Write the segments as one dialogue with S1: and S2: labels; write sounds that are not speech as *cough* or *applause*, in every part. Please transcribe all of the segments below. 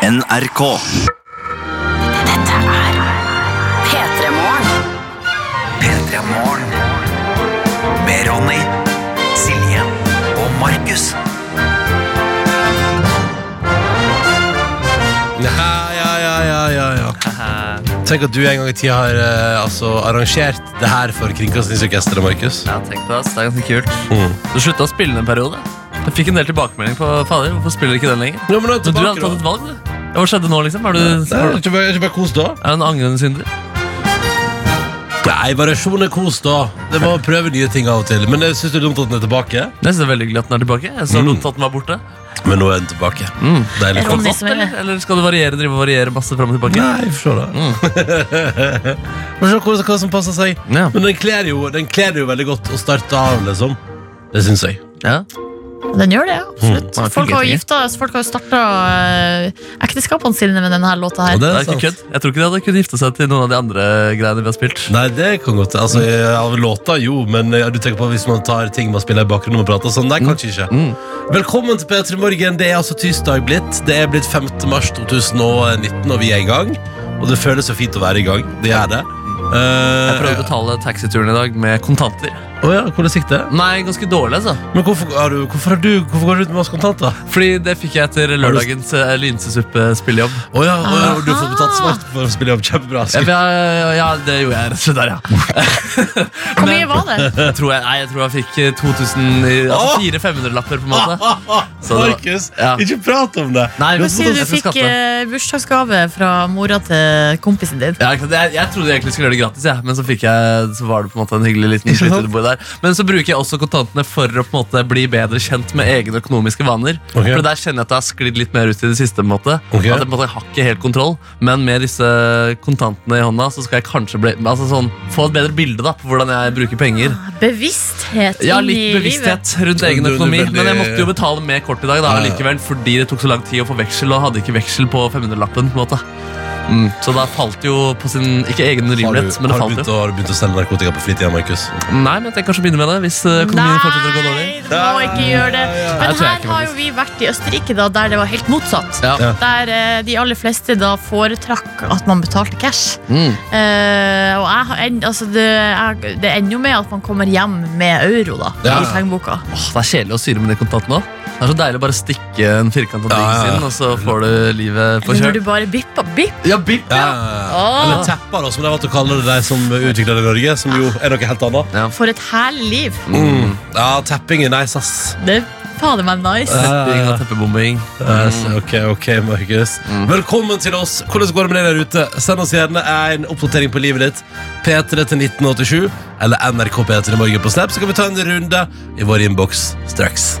S1: NRK.
S2: Dette er P3 Morgen.
S3: P3 Morgen. Med Ronny, Silje og Markus.
S4: Ja, ja, ja, ja, ja, ja. Tenk at du en gang i tida har eh, altså, arrangert det her for Kringkastingsorkesteret, Markus.
S5: Ja, tenk på det, ass. Det er ganske kult.
S4: Mm.
S5: Du slutta å spille en periode. Jeg fikk en del tilbakemelding på Fader, hvorfor spiller du ikke den lenger?
S4: Ja, men, da er
S5: Men du
S4: tilbake,
S5: hadde
S4: da.
S5: tatt et valg, du. Ja, Hva skjedde nå, liksom? Er du,
S4: Det er
S5: er
S4: ikke bare, ikke bare kos, da?
S5: du en angrende synder?
S4: Nei, variasjon er kos, da. Det må prøve nye ting av og til. Men jeg syns det er dumt at den er tilbake.
S5: Jeg synes det er veldig hyggelig at den er tilbake. Jeg så
S4: Mm.
S5: dumt at den var borte.
S4: Men nå er den tilbake.
S5: Mm.
S4: Deilig.
S5: Skal
S2: Ronny
S5: den opp,
S2: som er-
S5: eller? eller skal du variere, drive og variere masse fram og tilbake?
S4: Nei, vi får se, da.
S5: Mm.
S4: *laughs* Får se hvordan- hva som passer seg.
S5: Ja.
S4: Men den kler jo, den kler jo veldig godt å starte av, liksom. Det syns jeg.
S5: ja.
S2: Den gjør det, ja, absolutt.
S5: Mm.
S2: Folk har jo gifta Folk har jo starta ekteskapene sine med denne låta
S4: Og
S2: her.
S5: Det
S4: det
S5: er ikke kødd. Jeg tror ikke de hadde kunnet gifte seg til noen av de andre greiene vi har spilt.
S4: Nei, det kan godt Altså,
S5: Mm.
S4: av låta, jo, men eh, du tenker på hvis man tar ting man spiller i bakgrunnen og prater sånn. Nei, kanskje ikke.
S5: Mm.
S4: Velkommen til P3 Morgen. Det er altså tirsdag blitt. Det er blitt 5. mars 2019, og vi er i gang. Og det føles så fint å være i gang. Det gjør det.
S5: Mm.
S4: Eh,
S5: Jeg prøvde å betale taxituren i dag med kontanter.
S4: ja, hvordan gikk det?
S5: Nei, ganske dårlig, altså.
S4: Men hvorfor, har du, hvorfor, har du, hvorfor går du ut med masse kontanter?
S5: Fordi det fikk jeg etter lørdagens eh, linsesuppespill-jobb.
S4: Å ja, å ja, og du får betalt svart for å spille jobb. Kjempebra.
S5: Ja, ja, ja, det gjorde jeg rett og slett der, ja.
S2: Hvor mye var
S5: *laughs*
S2: det?
S5: Jeg tror jeg, nei, jeg, tror jeg fikk eh, 2000 i- altså
S4: Åh!
S5: 400-500-lapper, på en måte.
S4: *laughs* Ah, ah,
S5: Så det var-
S4: Markus,
S5: ja.
S4: ikke prat om det!
S5: Nei, sånn
S4: Du har
S2: Du sier du
S5: jeg skal
S2: fikk
S5: skatte.
S2: eh, bursdagsgave fra mora til kompisen din.
S5: Ja, ikke sant? jeg, jeg trodde egentlig jeg skulle gjøre det gratis, jeg. men så, fikk jeg, så var det på en måte en hyggelig liten
S4: Ikke sant?
S5: flyttebord der. Men så bruker jeg også kontantene for å på en måte bli bedre kjent med egne økonomiske vaner.
S4: Ok.
S5: For der kjenner jeg at jeg har sklidd litt mer ut i det siste. på en måte
S4: Ok.
S5: At jeg på en måte har ikke helt kontroll Men med disse kontantene i hånda Så skal jeg kanskje bli, altså sånn, få et bedre bilde da på hvordan jeg bruker penger.
S2: Bevissthet
S5: Ja,
S2: inn i
S5: litt bevissthet rundt egen
S4: Du- du er
S5: økonomi.
S4: veldig-
S5: Men jeg måtte jo betale med kort i dag da,
S4: Ja, ja.
S5: likevel, fordi det tok så lang tid å få veksel, og hadde ikke veksel på 500-lappen. på en måte. Mm, så da falt jo på sin Ikke egen
S4: Har du,
S5: rimelighet, men det
S4: har, du
S5: falt
S4: begynt,
S5: jo.
S4: å- har du begynt å selge narkotika på fritida, Markus?
S5: Nei, men jeg tenker kanskje å begynne med det hvis eh,
S2: livet.
S5: økonomien fortsetter å gå dårlig.
S2: Nei, du må ikke gjøre det.
S5: Nei,
S2: Men
S5: jeg tror jeg
S2: her
S5: ikke,
S2: har jo
S5: faktisk.
S2: vi vært i Østerrike, da, der det var helt motsatt.
S5: Ja.
S4: Ja.
S2: Der eh, de aller fleste da foretrakk at man betalte cash.
S5: Mm.
S2: Eh, og jeg, har en- altså det, jeg, det ender jo med at man kommer hjem med euro da,
S4: Ja.
S2: i pengeboka.
S5: Åh, det er kjedelig å styre med de kontantene òg. Det er så deilig å bare stikke en firkant av
S4: Ja, ja, ja.
S5: inn, og så får du livet på
S2: Eller
S5: kjøl.
S2: når du bare bipper. Bipp!
S5: Ja, bip, ja.
S2: Åh,
S4: Eller tepper, da, som det var til å kalle det de som utvikla det i Norge, som jo er noe helt annet.
S2: for et herlig liv.
S4: Mm. Ja, tapping er nice, ass.
S2: Det er fader meg nice.
S5: Setting av teppebombing.
S4: Yes, Eh, ok, ok, Markus. Velkommen til oss. Hvordan går det med deg der ute? Send oss gjerne en oppdatering på livet ditt. P3 til 1987 eller NRK P3 i morgen på Snap, så kan vi ta en runde i vår innboks straks.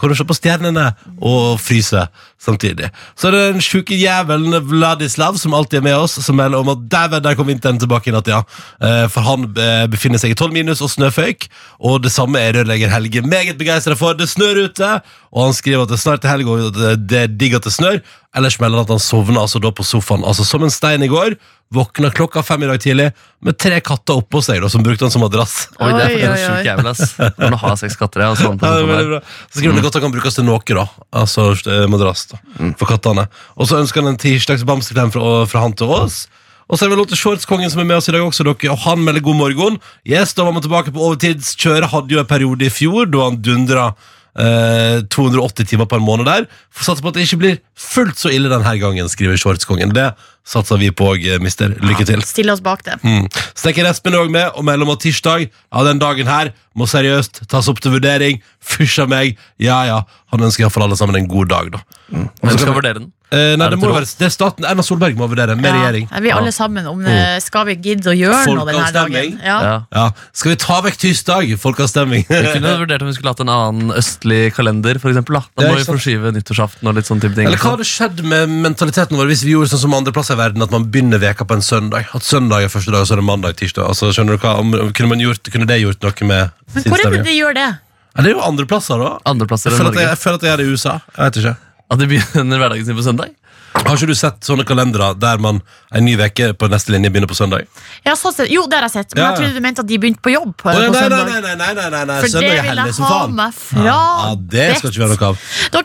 S4: Kan du se på stjernene og fryse samtidig. Så er det den sjuke jævelen Vladislav som alltid er med oss, som melder om at dæven, der kom vinteren tilbake i natt, ja. Eh, For han eh, befinner seg i 12 minus og snøføyk, og det samme er rørlegger Helge meget begeistra for. Det snør ute, og han skriver at det snart er helg og at det- det er digg at det snør. Ellers melder han at han sovna altså da på sofaen, altså som en stein i går. Våkna klokka fem i dag tidlig med tre katter oppå seg, da, som brukte han som madrass.
S5: Oi, det er
S2: Oi,
S5: faktisk en
S2: oi, oi.
S5: sjuk jævel, ass. Når du har seks katter, ja, og sånn på
S4: Ja, det er
S5: sofaen der.
S4: veldig bra. Så skriver han godt at han kan brukes til noe, da. Altså eh, madrass, da. For kattene. Og så ønsker han en tirsdags bamseklem fra, fra han til oss. Og så er det vel lov til Shortskongen som er med oss i dag også, dere. Og han melder god morgen. Yes, da var man tilbake på overtidskjøret. Hadde jo en periode i fjor da han dundra eh, 280 timer på en måned der. Får satse på at det ikke blir fullt så ille denne gangen, skriver Shortskongen. Det satser vi på òg, mister. Lykke til.
S2: Stille oss bak det.
S4: Mm. Steker Espen er også med, og mellom at tirsdag Ja, den dagen her må seriøst tas opp til vurdering. Fysj av meg. Ja, ja. Han ønsker iallfall alle sammen en god dag, da.
S5: Hvem skal vurdere den?
S4: Eh, nei,
S5: Er
S4: det,
S5: det
S4: må
S5: til
S4: være, det er staten Erna Solberg må vurdere, med regjering. Mm.
S2: Ja, vi er alle sammen om eh, Skal vi gidde å gjøre noe denne dagen?
S4: Folkeavstemning.
S2: Ja.
S5: Ja.
S4: Ja. Skal vi ta vekk tirsdag? Folkeavstemning.
S5: Vi kunne vurdert om vi skulle hatt en annen østlig kalender. For eksempel, da. da
S4: Ja,
S5: må
S4: ikke
S5: vi
S4: sant.
S5: forskyve nyttårsaften og litt sånne type ting.
S4: *laughs* Eller hva hadde skjedd med mentaliteten vår hvis vi gjorde sånn som andre plasser i verden, at man begynner veka på en søndag? At søndag er første dag, og så er det mandag, tirsdag. Altså, skjønner du hva? Om, om- kunne, man gjort, kunne det gjort noe med
S2: Men hvor er det
S4: sinnsstemningen?
S2: de gjør det?
S4: Ja, det er jo andre plasser, da.
S5: Andreplasser
S4: Jeg
S5: enn
S4: føler, at
S5: Norge.
S4: jeg, jeg føler at jeg er i USA. Jeg vet ikke.
S5: At de begynner hverdagen sin på søndag?
S4: Har ikke du sett sånne kalendere der man en ny veke på neste linje begynner på søndag?
S2: Ja, sånn sett. Jo, det har jeg sett, men
S4: Ja,
S2: jeg
S4: ja.
S2: trodde du mente at de begynte på jobb. På,
S4: Å,
S2: på
S4: nei, nei,
S2: søndag.
S4: nei, nei, nei, nei, nei, nei.
S2: For
S4: søndag
S2: det
S4: er
S2: vil
S4: hellig
S2: jeg
S4: som
S2: ha
S4: faen.
S2: meg fra.
S4: Ja, det skal ikke være noe av.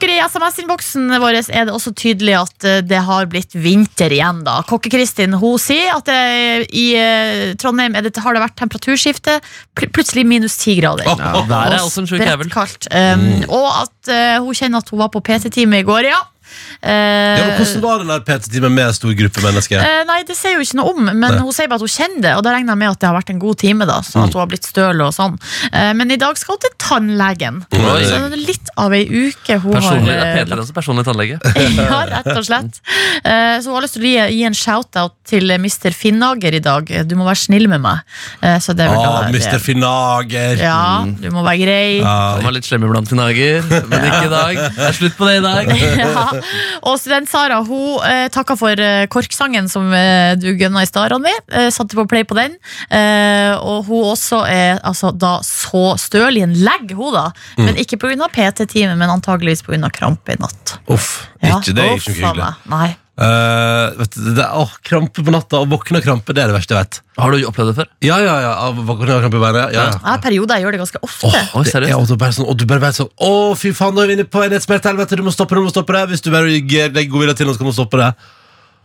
S2: Dere I SMS-innboksen vår er det også tydelig at eh, det har blitt vinter igjen. da. Kokke-Kristin hun sier at det, i eh, Trondheim er det, har det vært temperaturskifte. Pl plutselig minus ti grader.
S4: Åh, åh, åh.
S5: Været er også en sjuk jævel.
S2: kaldt. Um, Og at eh, hun kjenner at hun var på PT-time i går, ja. Eh,
S4: Ja, men hvordan var den der PT-timen med stor gruppe mennesker?
S2: eh, nei, det sier jo ikke noe om, men
S4: Nei.
S2: hun sier bare at hun kjenner det. Og da regner jeg med at det har vært en god time, da, så at hun har blitt støl og sånn. Eh, men i dag skal hun til tannlegen.
S5: Oi.
S2: Så det er litt av ei uke hun
S5: Personlig, det
S2: har eh,
S5: er Peter også personlig tannlege.
S2: *laughs* ja, rett og slett. Eh, Så hun har lyst til å gi, gi en shout-out til eh, Mr. Finnager i dag. Du må være snill med meg. Eh, Så det er
S4: Å,
S2: vel da-
S4: Mr. Finager.
S2: Ja, du må være grei. Ja.
S4: Ah, Ja,
S5: Han var litt slem iblant i dager, men ikke i dag. Det er slutt på det i dag.
S4: *laughs*
S2: Og student Sara hun eh, takka for eh, korksangen som eh, du gønna i stad, Ronny. Eh, satte på play på den. Eh, og hun også er altså, da så støl i en legg, hun da.
S4: Mm.
S2: Men ikke pga. PT-time, men antageligvis pga. krampe i natt.
S4: Uff,
S2: Ja,
S4: ikke det er
S2: å,
S4: ikke noe
S2: faen
S4: hyggelig.
S2: meg. Nei.
S4: Eh, vet du, det er, åh, krampe på natta og våkne av krampe, det er det verste jeg vet.
S5: Har du opplevd det før?
S4: Ja, ja, ja. av Våkne av krampe i beinet. Ja, ja.
S2: Ja, perioder jeg gjør det ganske ofte.
S4: Åh,
S5: Oi,
S4: det
S5: seriøst?
S4: er- og du bare sånn, og du bare vet sånn Å, fy faen, nå er vi inne på en smerte helvete, du må stoppe det, du må stoppe det. Hvis du bare gir deg god vilje til, nå skal man stoppe det.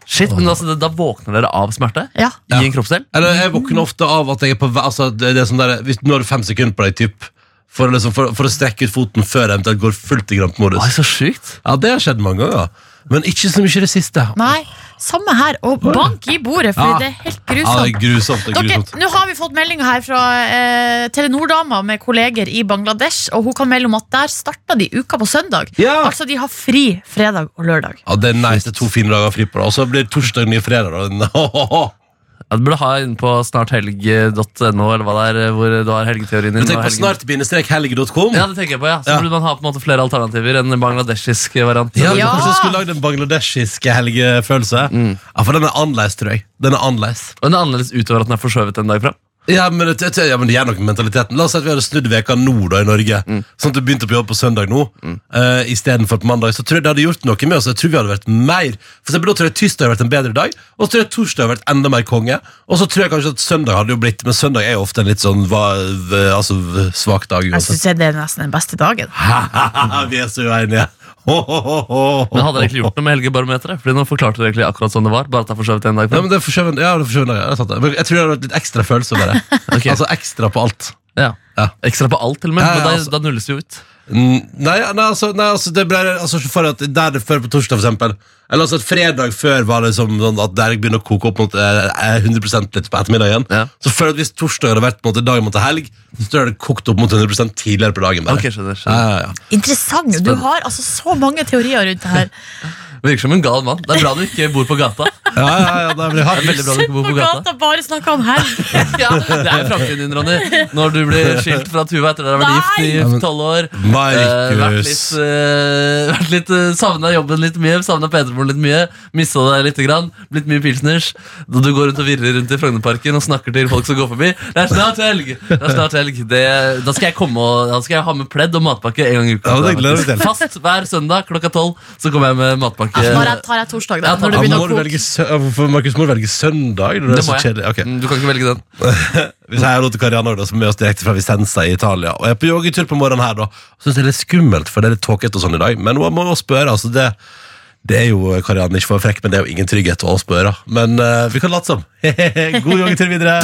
S5: Shit, men altså, Da våkner dere av smerte
S2: Ja.
S5: i en kroppsdel?
S4: Eller jeg våkner ofte av at jeg er på vei altså, det det er sånn der, hvis, Nå har du fem sekunder på deg, typ for, å liksom, for, for å strekke ut foten før jeg eventuelt går fullt i
S5: Oi,
S4: krampemodus.
S5: så sjukt.
S4: Ja, det har skjedd mange ganger. Men ikke så mye i det siste.
S2: Nei, samme her. Og bank i bordet, for
S4: Ja.
S2: det er helt
S4: Ja, det er
S2: grusomt.
S4: grusomt. Det er
S2: Dere,
S4: grusomt.
S2: nå har vi fått meldinger her fra eh, Telenor-dama med kolleger i Bangladesh, og hun kan melde om at der starta de uka på søndag.
S4: Ja.
S2: Altså, de har fri fredag og lørdag.
S4: Ja, det er nice. Det er to fine dager fri på det. Og så blir torsdag ny fredag. Da. *laughs*
S5: Ja, du burde ha inn på snarthelg.no, eller hva det er, eh, hvor du har helgeteorien din.
S4: Men tenk
S5: og
S4: på
S5: helgen.
S4: snart-helg.com.
S5: Ja, det tenker jeg på, ja. Så
S4: Ja.
S5: burde man ha på en måte flere alternativer enn en bangladeshisk variant.
S4: Ja,
S2: Ja.
S4: Kanskje jeg skulle lagd en bangladeshiske helgefølelse.
S5: Mm.
S4: Ja, For den er annerledes, tror jeg. Den er annerledes.
S5: Og den er annerledes utover at den er forskjøvet en dag fram.
S4: Ja, men det, det- ja, men det gjør noe med mentaliteten. La oss si at vi hadde snudd veka nå da i Norge.
S5: Mm.
S4: Sånn at du begynte på jobb på søndag nå, eh, i stedet istedenfor på mandag. Så tror jeg det hadde gjort noe med oss. Jeg tror vi hadde vært mer For eksempel, da tror jeg tirsdag hadde vært en bedre dag, og så tror jeg torsdag hadde vært enda mer konge. Og så tror jeg kanskje at søndag hadde jo blitt Men søndag er jo ofte en litt sånn va, v- altså, v- svak dag.
S2: Jeg
S4: uansett.
S2: syns det er nesten den beste dagen.
S4: *laughs* vi er så uenige. Ho, ho, ho, ho, ho.
S5: Men hadde dere egentlig gjort noe med helgebarometeret? Fordi nå forklarte dere egentlig akkurat sånn det var, bare at det er forskjøvet en dag
S4: Ja,
S5: fram.
S4: men det er forskjøvet, ja, det er forskjøvet, ja, det er sant det. Men jeg tror det hadde vært litt ekstra følelse over det.
S5: *laughs* Ok.
S4: Altså ekstra på alt.
S5: Ja.
S4: Ja.
S5: Ekstra på alt, til og med.
S4: Ja, ja,
S5: men da,
S4: altså.
S5: da nulles det jo ut.
S4: Mm, Nei, nei, altså, nei, altså det ble, altså for at Der det før på torsdag, for eksempel. Eller altså at fredag før var det som sånn at der jeg begynner å koke opp mot eh, eh, 100 litt på ettermiddagen.
S5: Ja.
S4: Så føler jeg at hvis torsdag hadde vært på en måte, dagen mot helg, så tror jeg det kokt opp mot 100 tidligere på dagen. bare.
S5: Ok, skjønner,
S4: Ja,
S5: skjønner.
S4: ja, ja.
S2: Interessant. Du har altså så mange teorier rundt det her.
S5: Virker som en gal mann. Det er bra du ikke bor på gata. Det
S4: ja, ja, ja, da blir det
S5: er
S4: hardt.
S5: veldig bra du ikke bor
S2: På
S5: på gata.
S2: gata bare snakker om helg.
S5: Ja, *laughs* det er jo framtiden din, Ronny. Når du blir skilt fra Tuva etter at dere har vært
S2: Nei!
S5: gift i tolv år. eh, vært litt,
S4: Markus.
S5: uh, vært litt eh, Savna jobben litt mye, savna P3-morgen litt mye. Mista deg lite grann. Blitt mye pilsners. Da du går rundt og virrer rundt i Frognerparken og snakker til folk som går forbi. Det er snart helg! Det er snart helg det, Da skal jeg komme og Da skal jeg ha med pledd og matpakke en gang i uka.
S4: Ja, det gleder jeg meg til.
S5: Fast hver søndag klokka tolv så kommer jeg med matpakke.
S2: Når Altså, jeg tar jeg torsdag, da.
S5: Ja,
S2: Når du
S5: da
S4: Ja,
S2: begynner
S4: må
S2: å
S4: du
S2: koke.
S4: velge sø ja, hvorfor, Markus må du velge søndag. Det er
S5: det
S4: så
S5: må jeg.
S4: kjedelig. Ok.
S5: Mm, Du kan ikke velge den.
S4: Hvis jeg er råd til Karianne også, som er med oss direkte fra Vicenza i Italia Og jeg er på joggetur på morgenen her da Synes det er litt skummelt, for det er litt tåket og sånn i dag Men hun må jo spørre, altså det Det er jo, Karianne, ikke for frekk, men det er jo ingen trygghet å spørre Men eh, vi kan late som *laughs* God joggetur videre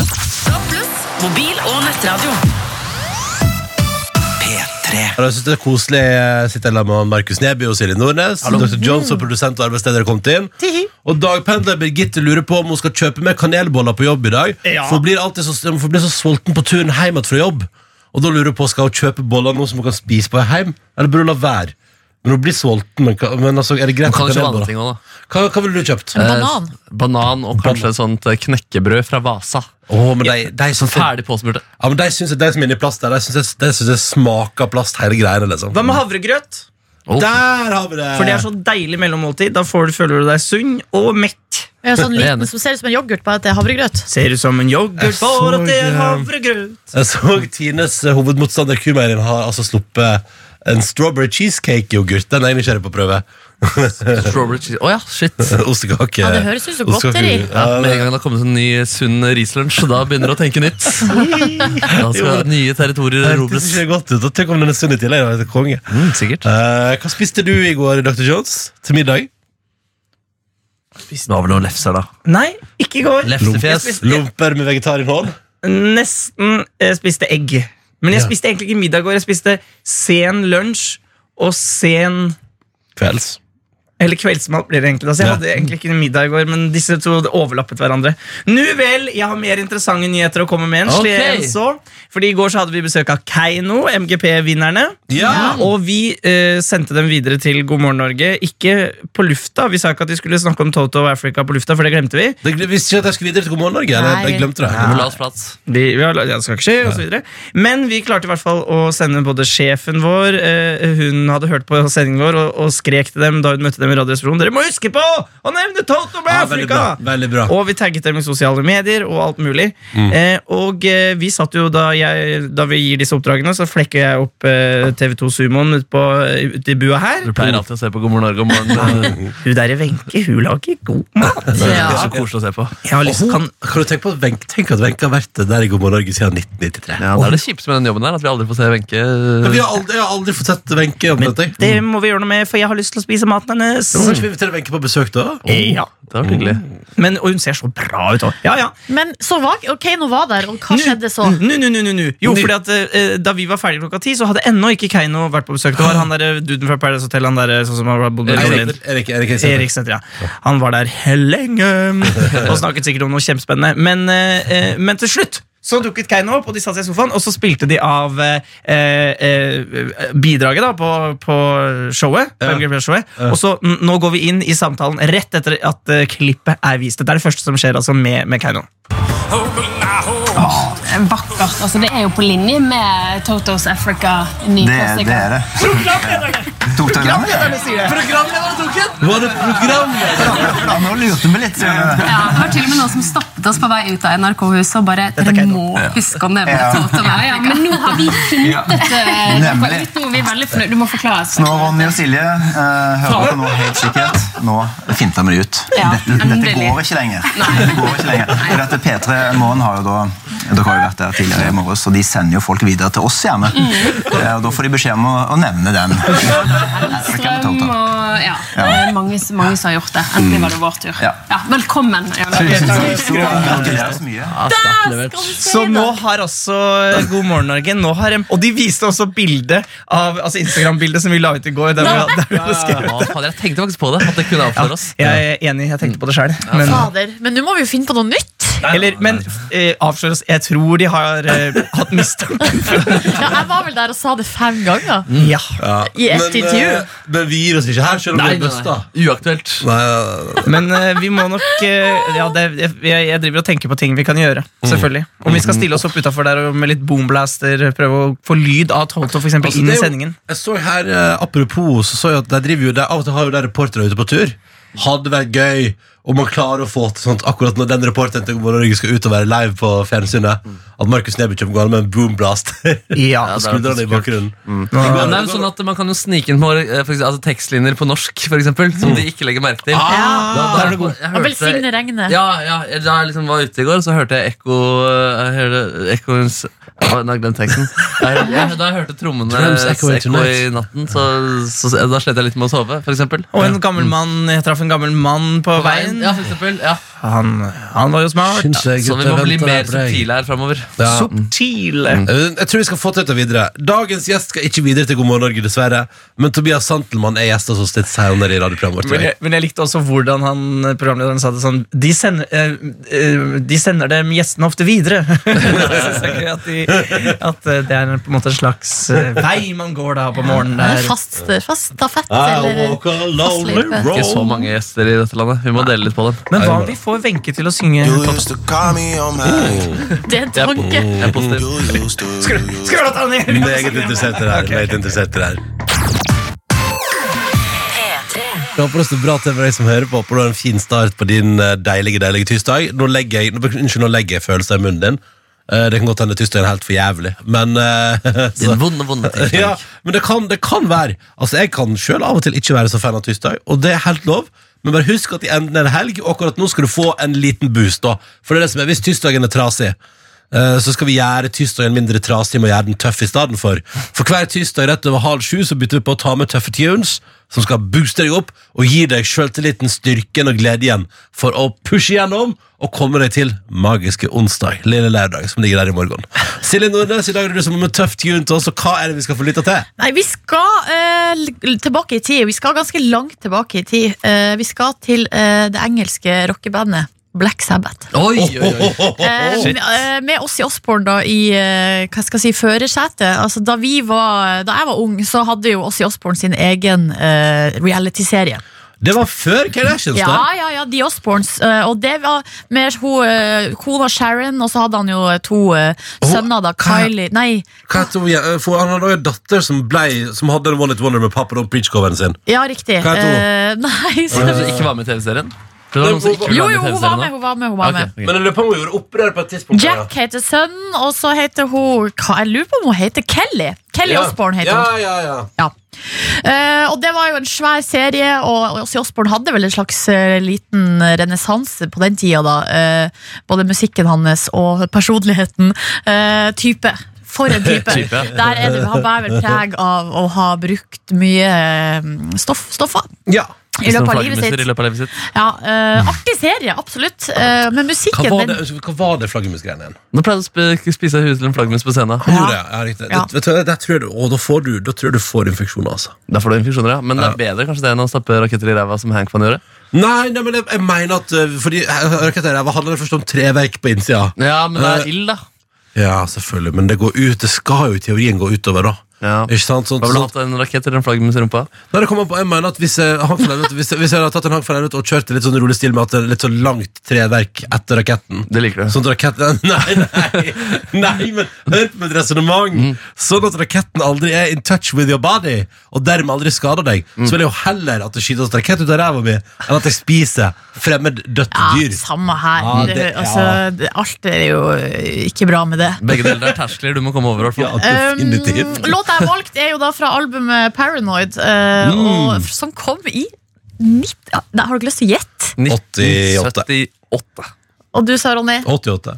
S1: Mobil og nettradio.
S3: P3
S4: Og Jeg synes det er koselig Jeg sitter her med Markus Neby og Silje Nordnes Dr. Jones og produsent og arbeidsleder har kommet inn Og dagpendler Birgitte lurer på om hun skal kjøpe med kanelboller på jobb i dag. For hun blir alltid så, for hun blir så sulten på turen hjem igjen fra jobb. Og da lurer hun på skal hun kjøpe boller nå som hun kan spise på hjem, eller burde hun la være? Men hun blir sulten. Men, hva- men altså, er det greit?
S5: Man
S4: at
S5: kan
S4: det er
S5: jo kjøpe andre
S4: det,
S5: ting òg, da.
S4: da? Hva, hva ville du kjøpt? Å,
S2: En banan.
S5: Eh, banan sånn og kanskje et sånt eh, knekkebrød fra Vasa.
S4: men de, de, som-
S5: Ferdig påsmurt.
S4: ja, men de syns at de som er inni plast der, de syns jeg- de syns jeg smaker plast hele greiene. liksom
S6: Hva med havregrøt?
S5: Oh.
S4: Der har vi det!
S6: For det er så deilig mellommåltid. Da får du, føler du deg sunn og mett.
S2: En sånn
S5: Jeg er
S2: liten
S5: enig.
S2: som ser ut som en yoghurt, bare at det er havregrøt.
S6: Ser ut som en yoghurt,
S4: Jeg
S6: bare at det
S4: så,
S6: er
S4: ja.
S6: havregrøt.
S4: Jeg så Tines eh, hovedmotstander Kumeirin har altså sluppet en strawberry cheesecake-yoghurt. Den er jeg nysgjerrig på å prøve. *laughs*
S5: Strawberry cheese. Å ja, shit.
S4: Ostekake.
S2: Ja, det høres ut som godteri.
S4: ostekake-
S5: Ja,
S4: Ja,
S5: med en gang det har kommet en ny sunn rislunsj, da begynner du å tenke nytt. Da skal nye territorier
S4: Eh, Det
S5: erobres.
S4: hørtes ikke godt ut. og Tenk om den er sunn i tillegg. da, vet du, konge.
S5: Eh, Mm, sikkert.
S4: Eh, hva spiste du i går, Dr. Jones? Til middag?
S5: Det var vel noen lefser, da.
S6: Nei, ikke i går.
S5: Lefsefjes.
S4: Lomper med vegetarinnhold?
S6: Nesten eh, spiste egg. Men jeg spiste egentlig ikke middag i går. Jeg spiste sen lunsj og sen
S4: Kvelds.
S6: Eller kveldsmat blir det egentlig. Altså, jeg
S4: Ja.
S6: hadde egentlig ikke middag i går, men disse to overlappet hverandre. Nu vel, jeg har mer interessante nyheter å komme med. enn
S5: Ok.
S6: slik enn så. Fordi I går så hadde vi besøk av Keiino, MGP-vinnerne.
S4: Ja!
S6: Og vi eh, sendte dem videre til God morgen Norge. Ikke på lufta. Vi sa ikke at de skulle snakke om Toto og Africa på lufta, for det glemte vi.
S4: Det, jeg visste ikke at jeg skulle videre til God morgen Norge. eller?
S2: Nei.
S4: Jeg glemte det.
S5: Du må la oss prate.
S6: Vi, vi har, la- ja, det skal ikke skje, og så videre. Men vi klarte i hvert fall å sende både sjefen vår eh, Hun hadde hørt på sendingen vår og, og skrek til dem da hun møtte dem i Radioresepsjonen. Dere må huske på å nevne Toto med
S4: Ja, veldig
S6: Afrika!
S4: bra. Veldig bra.
S6: Og vi tagget dem i sosiale medier og alt mulig.
S4: Mm.
S6: Eh, og eh, vi satt jo da, jeg, da vi gir disse oppdragene, så flekker jeg opp eh, TV2 Sumoen ute på- ute i bua her.
S5: Du pleier alltid å se på God morgen Norge om morgenen.
S6: Hun der i Wenche, hun lager god mat.
S5: Det er
S2: Ja.
S5: så koselig å se på.
S6: Jeg har lyst
S4: Og hun-
S6: til kan,
S4: um, Kan du tenke på at Wenche tenk at Wenche har vært der i God morgen Norge siden 1993?
S5: Ja, det er det kjipeste med den jobben her, at vi aldri får se Wenche.
S4: Men vi har aldri, jeg har aldri fått sett Wenche. omtrent, jeg.
S6: Det må vi gjøre noe med, for jeg har lyst til å spise maten hennes.
S4: Kan ikke vi invitere Wenche på besøk, da?
S6: Ja.
S5: Det var hyggelig.
S6: Men, og hun ser så bra ut òg. Ja, ja.
S2: Men så var ok, nå var der, og hva
S6: Nu-
S2: skjedde så?
S6: Nu, nu, nu, nu, nu. Jo,
S4: Nu.
S6: fordi at eh, Da vi var ferdige klokka ti, så hadde ennå ikke Keiino vært på besøk. Det var han der, eh, duden fra Paradise Hotel, han der, sånn som har bodd i Berlin.
S4: Erik, Erik, Erik, Erik,
S6: Erik Sæther, ja. Han var der
S4: *laughs*
S6: lenge og snakket sikkert om noe kjempespennende. Men, eh, eh, men til slutt så dukket Keiino opp, og de satte seg i sofaen, og så spilte de av eh, eh, eh, bidraget da på, på showet. På
S4: Ja.
S6: MGP-showet. Og så n- nå går vi inn i samtalen rett etter at eh, klippet er vist. Dette er det første som skjer altså, med, med Keiino.
S7: vakkert. Altså, det er jo på linje med Totos Africa. Ny klassiker.
S3: det. Tok dere den?
S4: Var det programmet?
S3: Ja, nå lurte vi litt. Ja,
S7: Ja, det var til og med noen som stoppet oss på vei ut av NRK-huset og bare Dere må huske å nevne
S3: Ja.
S7: Toto. Ja, ja, men nå har vi funnet dette.
S3: Nemlig.
S7: ut noe vi er veldig fornøyd. Du må forklare oss.
S3: Nå, Ronny og Silje, eh, hører dere nå helt sikkert. Nå finta vi det ut.
S7: Ja,
S3: Dette, dette
S7: endelig.
S3: går ikke lenger. Dette går ikke lenger. For dette P3 Morgen har jo da dere har jo vært der tidligere i morges, og de sender jo folk videre til oss gjerne.
S2: Mm.
S3: Eh, Og da får de beskjed om å, å nevne den. Afrika med
S7: Strøm
S3: Toto.
S7: og
S3: Ja.
S7: ja. Det er mange, mange som har gjort det. Endelig var det vår tur.
S3: Ja.
S7: velkommen.
S3: Så gratulerer så mye.
S5: Ja, sterkt levert.
S6: Så nå har altså God morgen Norge nå har en, Og de viste også bildet av altså Instagram-bildet som vi la ut i går. Der vi, der vi hadde
S5: Ja,
S6: skrevet.
S5: fader, jeg tenkte faktisk på det. At det kunne avsløre oss.
S6: Jeg er enig, jeg tenkte på det sjøl. Men,
S2: Fader. Men nå må vi jo finne på noe nytt.
S6: eller, men eh, avslør oss. Jeg tror de har eh, hatt mistanke.
S2: Ja, jeg var vel der og sa det fem ganger.
S6: Ja.
S2: I ett
S4: Men,
S2: intervju.
S4: eh, Men vi gir oss ikke her, selv om vi er best, da.
S5: Uaktuelt.
S4: Nei, nei, nei.
S6: Men eh, vi må nok eh, ja, det, jeg, jeg driver og tenker på ting vi kan gjøre. Selvfølgelig Om vi skal stille oss opp utafor der og med litt boomblaster prøve å få lyd av Toto for eksempel,
S4: Altså,
S6: inn
S4: det
S6: i
S4: er jo-
S6: sendingen.
S4: Jeg så her, eh, apropos, så så jeg at de driver jo der, av og til har jo de reportere ute på tur. Hadde vært gøy om man klarer å få til sånt akkurat når den reporteren til Morgen Norge skal ut og være live på fjernsynet. At Markus Neby kommer gående med en *laughs* boomblaster på
S6: Ja,
S5: det er
S4: skuldrene i bakgrunnen.
S5: Men det er jo sånn at Man kan jo snike inn på eh, for eksempel, altså, tekstlinjer på norsk, for eksempel, som de ikke legger merke til. Da- da- jeg
S2: Og
S5: hørte-
S2: velsigne regnet.
S5: Ja, ja, jeg- Da jeg liksom var ute i går, så hørte jeg ekko jeg hørte ekkoens Å, Nå har jeg glemt teksten. Jeg- jeg- Da jeg hørte trommene
S4: Trumps Echo
S5: ekko
S4: in
S5: i natten, så, så, da slet jeg litt med å sove, for eksempel.
S6: Og en gammel mann, jeg traff en gammel mann på veien.
S5: Ja, for eksempel. Ja.
S6: Han, han var jo smart.
S4: Syns jeg,
S5: Så Sånn vi
S4: gutter,
S5: må bli
S4: venter
S5: mer
S4: jeg på deg.
S5: subtile her framover.
S4: Ja.
S6: Subtil.
S4: Eh, Jeg tror vi skal få til dette videre. Dagens gjest skal ikke videre til God morgen Norge, dessverre. Men Tobias Santelmann er gjest hos oss litt senere i radioprogrammet vårt. i
S6: Men jeg,
S4: dag.
S6: men jeg likte også hvordan han, eh, programlederen sa det sånn De sender, eh, eh, de sender dem gjestene ofte videre. *laughs* Det synes jeg er gøy at, de, at eh, det er på en måte en slags eh, vei man går da på morgenen.
S2: Er det
S6: Der.
S2: Fast, eh, fast stafett,
S4: I
S2: eller
S4: walk a lonely
S2: fast løype?
S4: road.
S5: Ikke så mange gjester i dette landet. Vi må dele litt på dem.
S6: Men hva om vi får Wenche til å synge?
S8: You used to call me on my
S2: *laughs* Det er en tanke.
S5: Jeg er positiv.
S8: You used to
S6: Skrolla ta ned!
S4: Mm. Meget interessert i det her. Meget interessert i det her. Jeg håper det står bra til for deg som hører på. Håper du har en fin start på din eh, deilige deilige tirsdag. Nå legger jeg, nå, unnskyld, nå legger jeg følelser i munnen din. Eh, det kan godt hende tirsdagen er helt for jævlig, men eh, *laughs* så-
S5: Din vonde, vonde tirsdag.
S4: *laughs* Ja, men det kan, det kan være Altså, jeg kan selv av og til ikke være så fan av tirsdag Og det er helt lov Men bare husk at i enden er det helg Og akkurat nå skal du få en liten boost da For det er det som er, hvis tirsdagen er trasig eh, så skal vi gjøre tirsdagen mindre trasig Med å gjøre den tøff i stedet for For hver tirsdag rett over halv sju Så bytter vi på å ta med tøffe tunes Som skal booste deg opp Og gi deg selv til liten styrken og glede igjen For å pushe gjennom Og komme deg til magiske onsdag Lille lørdag som ligger der i morgen Silje Nordnes, i dag er det du som har med tøff tune til oss Og hva er det vi skal få lytte til?
S2: Nei, vi skal eh, l- tilbake i tid. Vi skal ganske langt tilbake i tid. Eh, vi skal til eh, det engelske rockebandet Black Sabbath. *laughs*
S5: Oi, oi, oi.
S2: Eh, med, eh, med oss i Osborne da, i eh, hva skal jeg si, førersetet. Altså, da, vi var, da jeg var ung, så hadde jo oss i Osborne sin egen eh, reality-serie.
S4: Det var før Kardashians,
S2: Ja,
S4: da.
S2: ja, ja, The Osborns. eh, og det var mer hun, eh, kona Sharon, og så hadde han jo to eh, sønner, da. Kylie Nei,
S4: Hva heter hun igjen? For han hadde jo en datter som, ble, som hadde en One It Wonder med Papa og Preach-coveren sin.
S2: ja, riktig.
S4: Hva
S2: Eh, *laughs* nei,
S5: Var det noen
S2: så,
S5: som ikke var med i TV-serien? Det var noen som ikke
S2: jo,
S5: var med i
S2: jo, hun var med,
S5: TV-serien nå.
S2: hun var med. Hun var med.
S5: Ok, ok.
S4: Men jeg lurer på om hun gjorde opprør på et tidspunkt.
S2: Jack heter sønnen, og så heter hun hva, Jeg lurer på om hun heter Kelly. Kelly Osborne heter
S4: ja,
S2: hun.
S4: ja, ja.
S2: Ja. Eh, og det var jo en svær serie, og Åssi Osborne hadde vel en slags eh, liten renessanse på den tida, da. Eh, både musikken hans og personligheten. Eh, type. For en
S4: *laughs*
S2: type.
S5: Type, ja.
S2: Der er det, han bærer vel preg av å ha brukt mye eh, stoff, stoffer
S4: ja.
S2: i
S5: Som
S2: løpet av livet
S5: flaggermuser I
S2: sitt.
S5: løpet av livet sitt.
S2: Ja, eh, artig serie, absolutt. Eh, men
S4: Hva
S2: musikken
S4: var
S2: den
S4: det, hva var det flaggermusgreiene igjen?
S5: Nå pleide jeg å sp- spise huet til en flaggermus på scenen.
S4: Ja. Ja, riktig.
S2: Ja.
S4: Det, vet du, hva, der tror jeg du, å, da, får du, da tror jeg du får infeksjon, altså.
S5: Da får du infeksjoner, ja. Men det er bedre kanskje det enn å stappe raketter i ræva, som Hank kan gjøre.
S4: Nei, nei, men jeg, jeg mener at eh, Fordi rakettræva handler først om treverk på innsida.
S5: Ja, men det er ild, da.
S4: Ja, selvfølgelig, men det går ut Det skal jo i teorien gå utover, da.
S5: Ja.
S4: Ikke sant? Sånn,
S5: Hva ville du
S4: sånn,
S5: hatt? En rakett eller en flaggermus i rumpa?
S4: Nei, det kommer an på, jeg mener at hvis jeg, han for Leirut- hvis, jeg- hvis jeg hadde tatt en Hank van Leirut og kjørt i litt sånn rolig stil med at det er litt sånn langt treverk etter raketten
S5: Det liker du.
S4: Sånn at raketten *laughs* Nei, nei, nei men hør på mitt resonnement!
S5: Mm.
S4: Sånn at raketten aldri er in touch with your body, og dermed aldri skader deg,
S5: Mm.
S4: så vil jeg jo heller at det skytes rakett ut av ræva mi, enn at jeg spiser fremmed dødt
S2: Ja,
S4: dyr.
S2: samme her.
S4: Ja,
S2: det,
S4: det-
S2: altså,
S4: ja.
S2: det, alt er jo eh, ikke bra med det.
S5: Begge deler er terskler du må komme over. i hvert fall.
S4: Ja,
S2: Um,
S4: definitivt.
S2: låta jeg har valgt, er jo da fra albumet Paranoid, eh,
S4: Mm.
S2: og, som kom i 90, ja, nei, Har du ikke lyst til å gjette?
S5: 1978.
S2: Og du sa, Ronny,
S4: 88.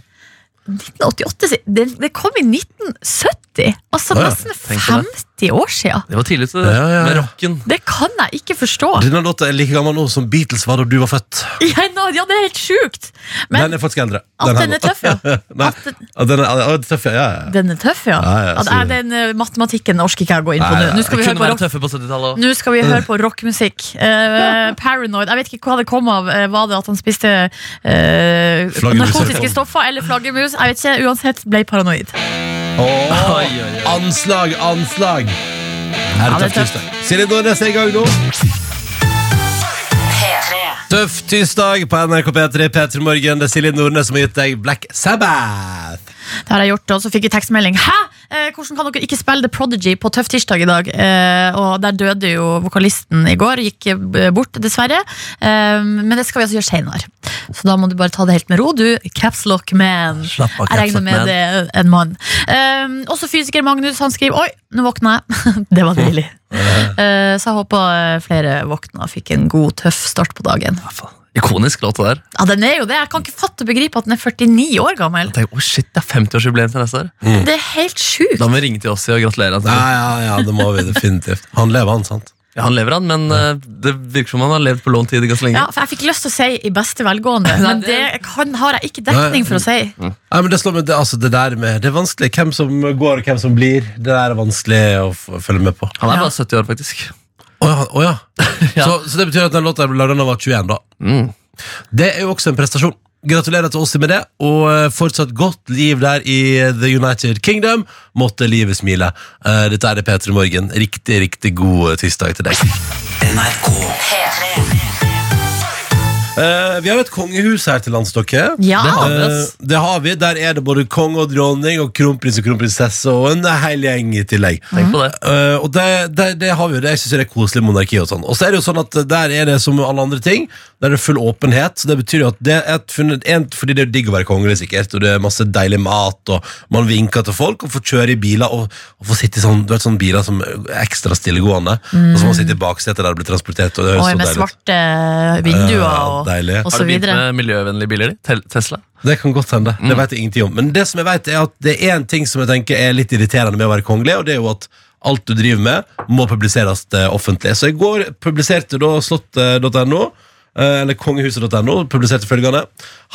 S2: 1988 si- Det, det kom i 1970! Altså
S4: Å ja,
S2: nesten
S5: tenk på
S2: 50 år sia!
S5: Det var tidlig ute,
S4: Ja, ja, ja.
S5: med rocken.
S2: Det kan jeg ikke forstå!
S4: Denne låta er like gammel nå som Beatles var da du var født.
S2: *laughs* Ja, nå- ja, det er helt sjukt! Men
S4: den er faktisk eldre.
S2: at
S4: her
S2: den
S4: nå.
S2: er tøff, ja.
S4: *laughs* Nei,
S2: At den-
S4: at den er, ja, den er tøff, ja, ja. ja.
S2: Den er tøff, ja.
S4: Ja, ja,
S2: At,
S4: så-
S2: er den eh, matematikken orker ikke jeg å gå inn på
S4: Nei,
S2: nå.
S4: nei,
S2: Nå skal
S5: Det
S2: vi høre
S5: kunne
S2: på
S5: være
S2: rock.
S5: tøffe på 70-tallet også.
S2: Nå skal vi høre på rockmusikk. Eh, paranoid. Jeg vet ikke hva det kom av. Eh, var det at han spiste eh,
S4: Flaggermus.
S2: narkotiske stoffer eller flaggermus? Jeg vet ikke, Uansett ble paranoid.
S4: Åh,
S5: Oi, oi, oi.
S4: Anslag, anslag! Her
S2: Ja,
S4: er
S2: det er
S4: Tøff tirsdag. Silje Nordnes er i gang nå. Tøff tirsdag på NRK P3 P3 Morgen. Det er Silje Nordnes som har gitt deg Black Sabbath.
S2: Det har jeg gjort, og så fikk jeg tekstmelding. Hæ?! Eh, hvordan kan dere ikke spille The Prodigy på Tøff tirsdag i dag? Eh, og der døde jo vokalisten i går. Gikk eh, bort, dessverre. Eh, men det skal vi altså gjøre seinere. Så da må du bare ta det helt med ro, du. Caps lock man.
S5: Slapp av,
S2: Jeg regner
S5: Capsock
S2: med
S5: Man.
S2: det er en mann. Eh, også fysiker Magnus han skriver Oi, nå våkna jeg. *laughs* det var deilig. Eh, så jeg håper eh, flere våkna og fikk en god, tøff start på dagen.
S5: Ja, faen. Ikonisk låt, det der.
S2: Ja, den er jo det. Jeg kan ikke fatte og begripe at den er 49 år gammel.
S5: Jeg tenker, oh shit, Det er 50-årsjubileum til neste år.
S2: Det er helt sjukt.
S5: Da må vi ringe til oss og gratulere.
S4: Ja,
S5: Han.
S4: ja, ja, det må vi definitivt. Han lever, han, sant?
S5: Ja, han lever, han, men eh, det virker som han har levd på lånt tid ganske lenge.
S2: Ja, for jeg fikk lyst til å si i beste velgående,
S5: Nei,
S2: men det
S5: det-
S2: kan, har jeg ikke dekning for å si.
S4: Nei, men det, slår meg, det, altså, det der med Det er vanskelig. Hvem som går, og hvem som blir. Det der er vanskelig å f følge med på.
S5: Han er bare 70 år, faktisk.
S4: Å ja. å ja.
S5: *laughs* Ja.
S4: Så, så det betyr at den låta ble laget da han var 21, da.
S5: Mm.
S4: Det er jo også en prestasjon. Gratulerer til oss med det, og eh, fortsatt godt liv der i eh, The United Kingdom. Måtte livet smile. Eh, Dette er det P3 Morgen. Riktig, riktig god eh, tirsdag til deg. Eh, vi har jo et kongehus her til lands, dere.
S2: Ja.
S4: Det, har vi,
S5: ass.
S4: Eh, det har vi. Der er det både konge og dronning og kronprins og kronprinsesse og en hel gjeng i tillegg.
S5: Tenk på det.
S4: Eh, og det, det, det har vi jo, det, jeg synes det er koselig monarki og sånn. Og så er det jo sånn at der er det som med alle andre ting, der er det full åpenhet, så det betyr jo at det er et funnet, en, fordi det er digg å være kongelig sikkert, og det er masse deilig mat, og man vinker til folk, og får kjøre i biler, og, og får sitte i sånn, du vet, sånne biler som er ekstra stillegående, og så må man sitte i baksetet der det blir transportert, og det høres
S2: Og
S4: så
S2: med
S4: deilig ut.
S2: svarte eh, vinduer
S4: Ja,
S2: og,
S4: deilig.
S2: og
S5: Har du
S2: så
S5: begynt
S2: videre.
S5: med miljøvennlige biler? de? Tel- Tesla?
S4: Det kan godt hende. Det vet jeg ingenting om. Men det som jeg vet er at det er en ting som jeg tenker er litt irriterende med å være kongelig, og det er jo at alt du driver med, må publiseres eh, offentlig. Så i går publiserte da slott.no, eh, eller kongehuset.no, publiserte følgende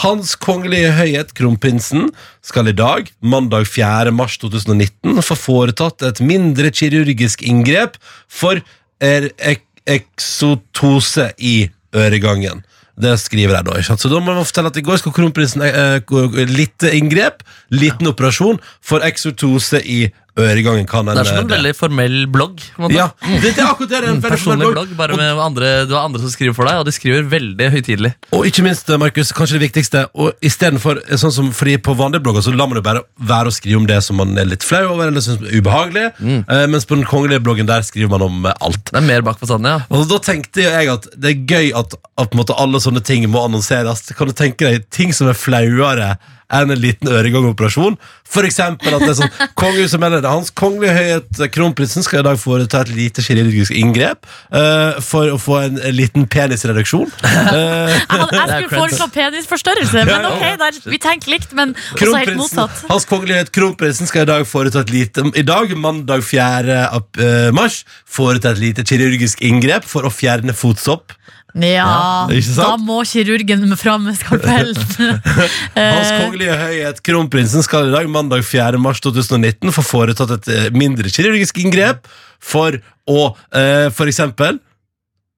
S4: Hans kongelige høyhet, kronprinsen, skal i dag, mandag 4. mars 2019, få foretatt et mindre kirurgisk inngrep for er ek eksotose i øregangen. Det skriver jeg da, ikke sant? Så da må man fortelle at i går skal kronprinsen eh, gå- gå- litt inngrep, liten operasjon, for eksotose i øregangen kan en
S5: Det er som en
S4: eh,
S5: veldig formell blogg. på en måte.
S4: Ja, det, det er akkurat det. det er en
S5: En
S4: veldig
S5: personlig
S4: formell
S5: blogg, bare med andre, Du har andre som skriver for deg, og de skriver veldig høytidelig.
S4: Og ikke minst, eh, Markus, kanskje det viktigste Og i stedet for, sånn som fordi på vanlige blogger Så lar man jo bare være å skrive om det som man er litt flau over Eller synes er ubehagelig
S5: Mm.
S4: eh, Mens på den kongelige bloggen der skriver man om eh, alt
S5: Det er mer bak fasaden, ja.
S4: Og da tenkte jo jeg at det er gøy at, at på en måte alle sånne ting må annonseres. Kan du tenke deg ting som er flauere enn en liten øregangoperasjon? For eksempel at det er
S2: *laughs*
S4: sånn Kongehuset melder det. Hans kongelige høyhet eh, kronprinsen skal i dag foreta et lite kirurgisk inngrep eh, for å få en, en liten
S2: *laughs*
S4: penisreduksjon.
S2: Altså
S4: Eh,
S2: Jeg, hadde, jeg
S5: Det er
S2: skulle
S5: crazy.
S2: foreslå penisforstørrelse, men
S4: ja.
S2: ok, der, vi tenker likt, men også helt
S4: Kronprinsen,
S2: motsatt.
S4: hans kongelige høyhet kronprinsen skal i dag foreta et lite I dag, mandag 4. ap- eh, mars, foreta et lite kirurgisk inngrep for å fjerne fotsopp.
S2: Ja,
S4: Ja, ikke sant?
S2: da må kirurgen fram med
S4: *laughs*
S2: skalpellen. Eh,
S4: Hans kongelige høyhet kronprinsen skal i dag, mandag 4. mars 2019, få foretatt et eh, mindre kirurgisk inngrep for å eh, for eksempel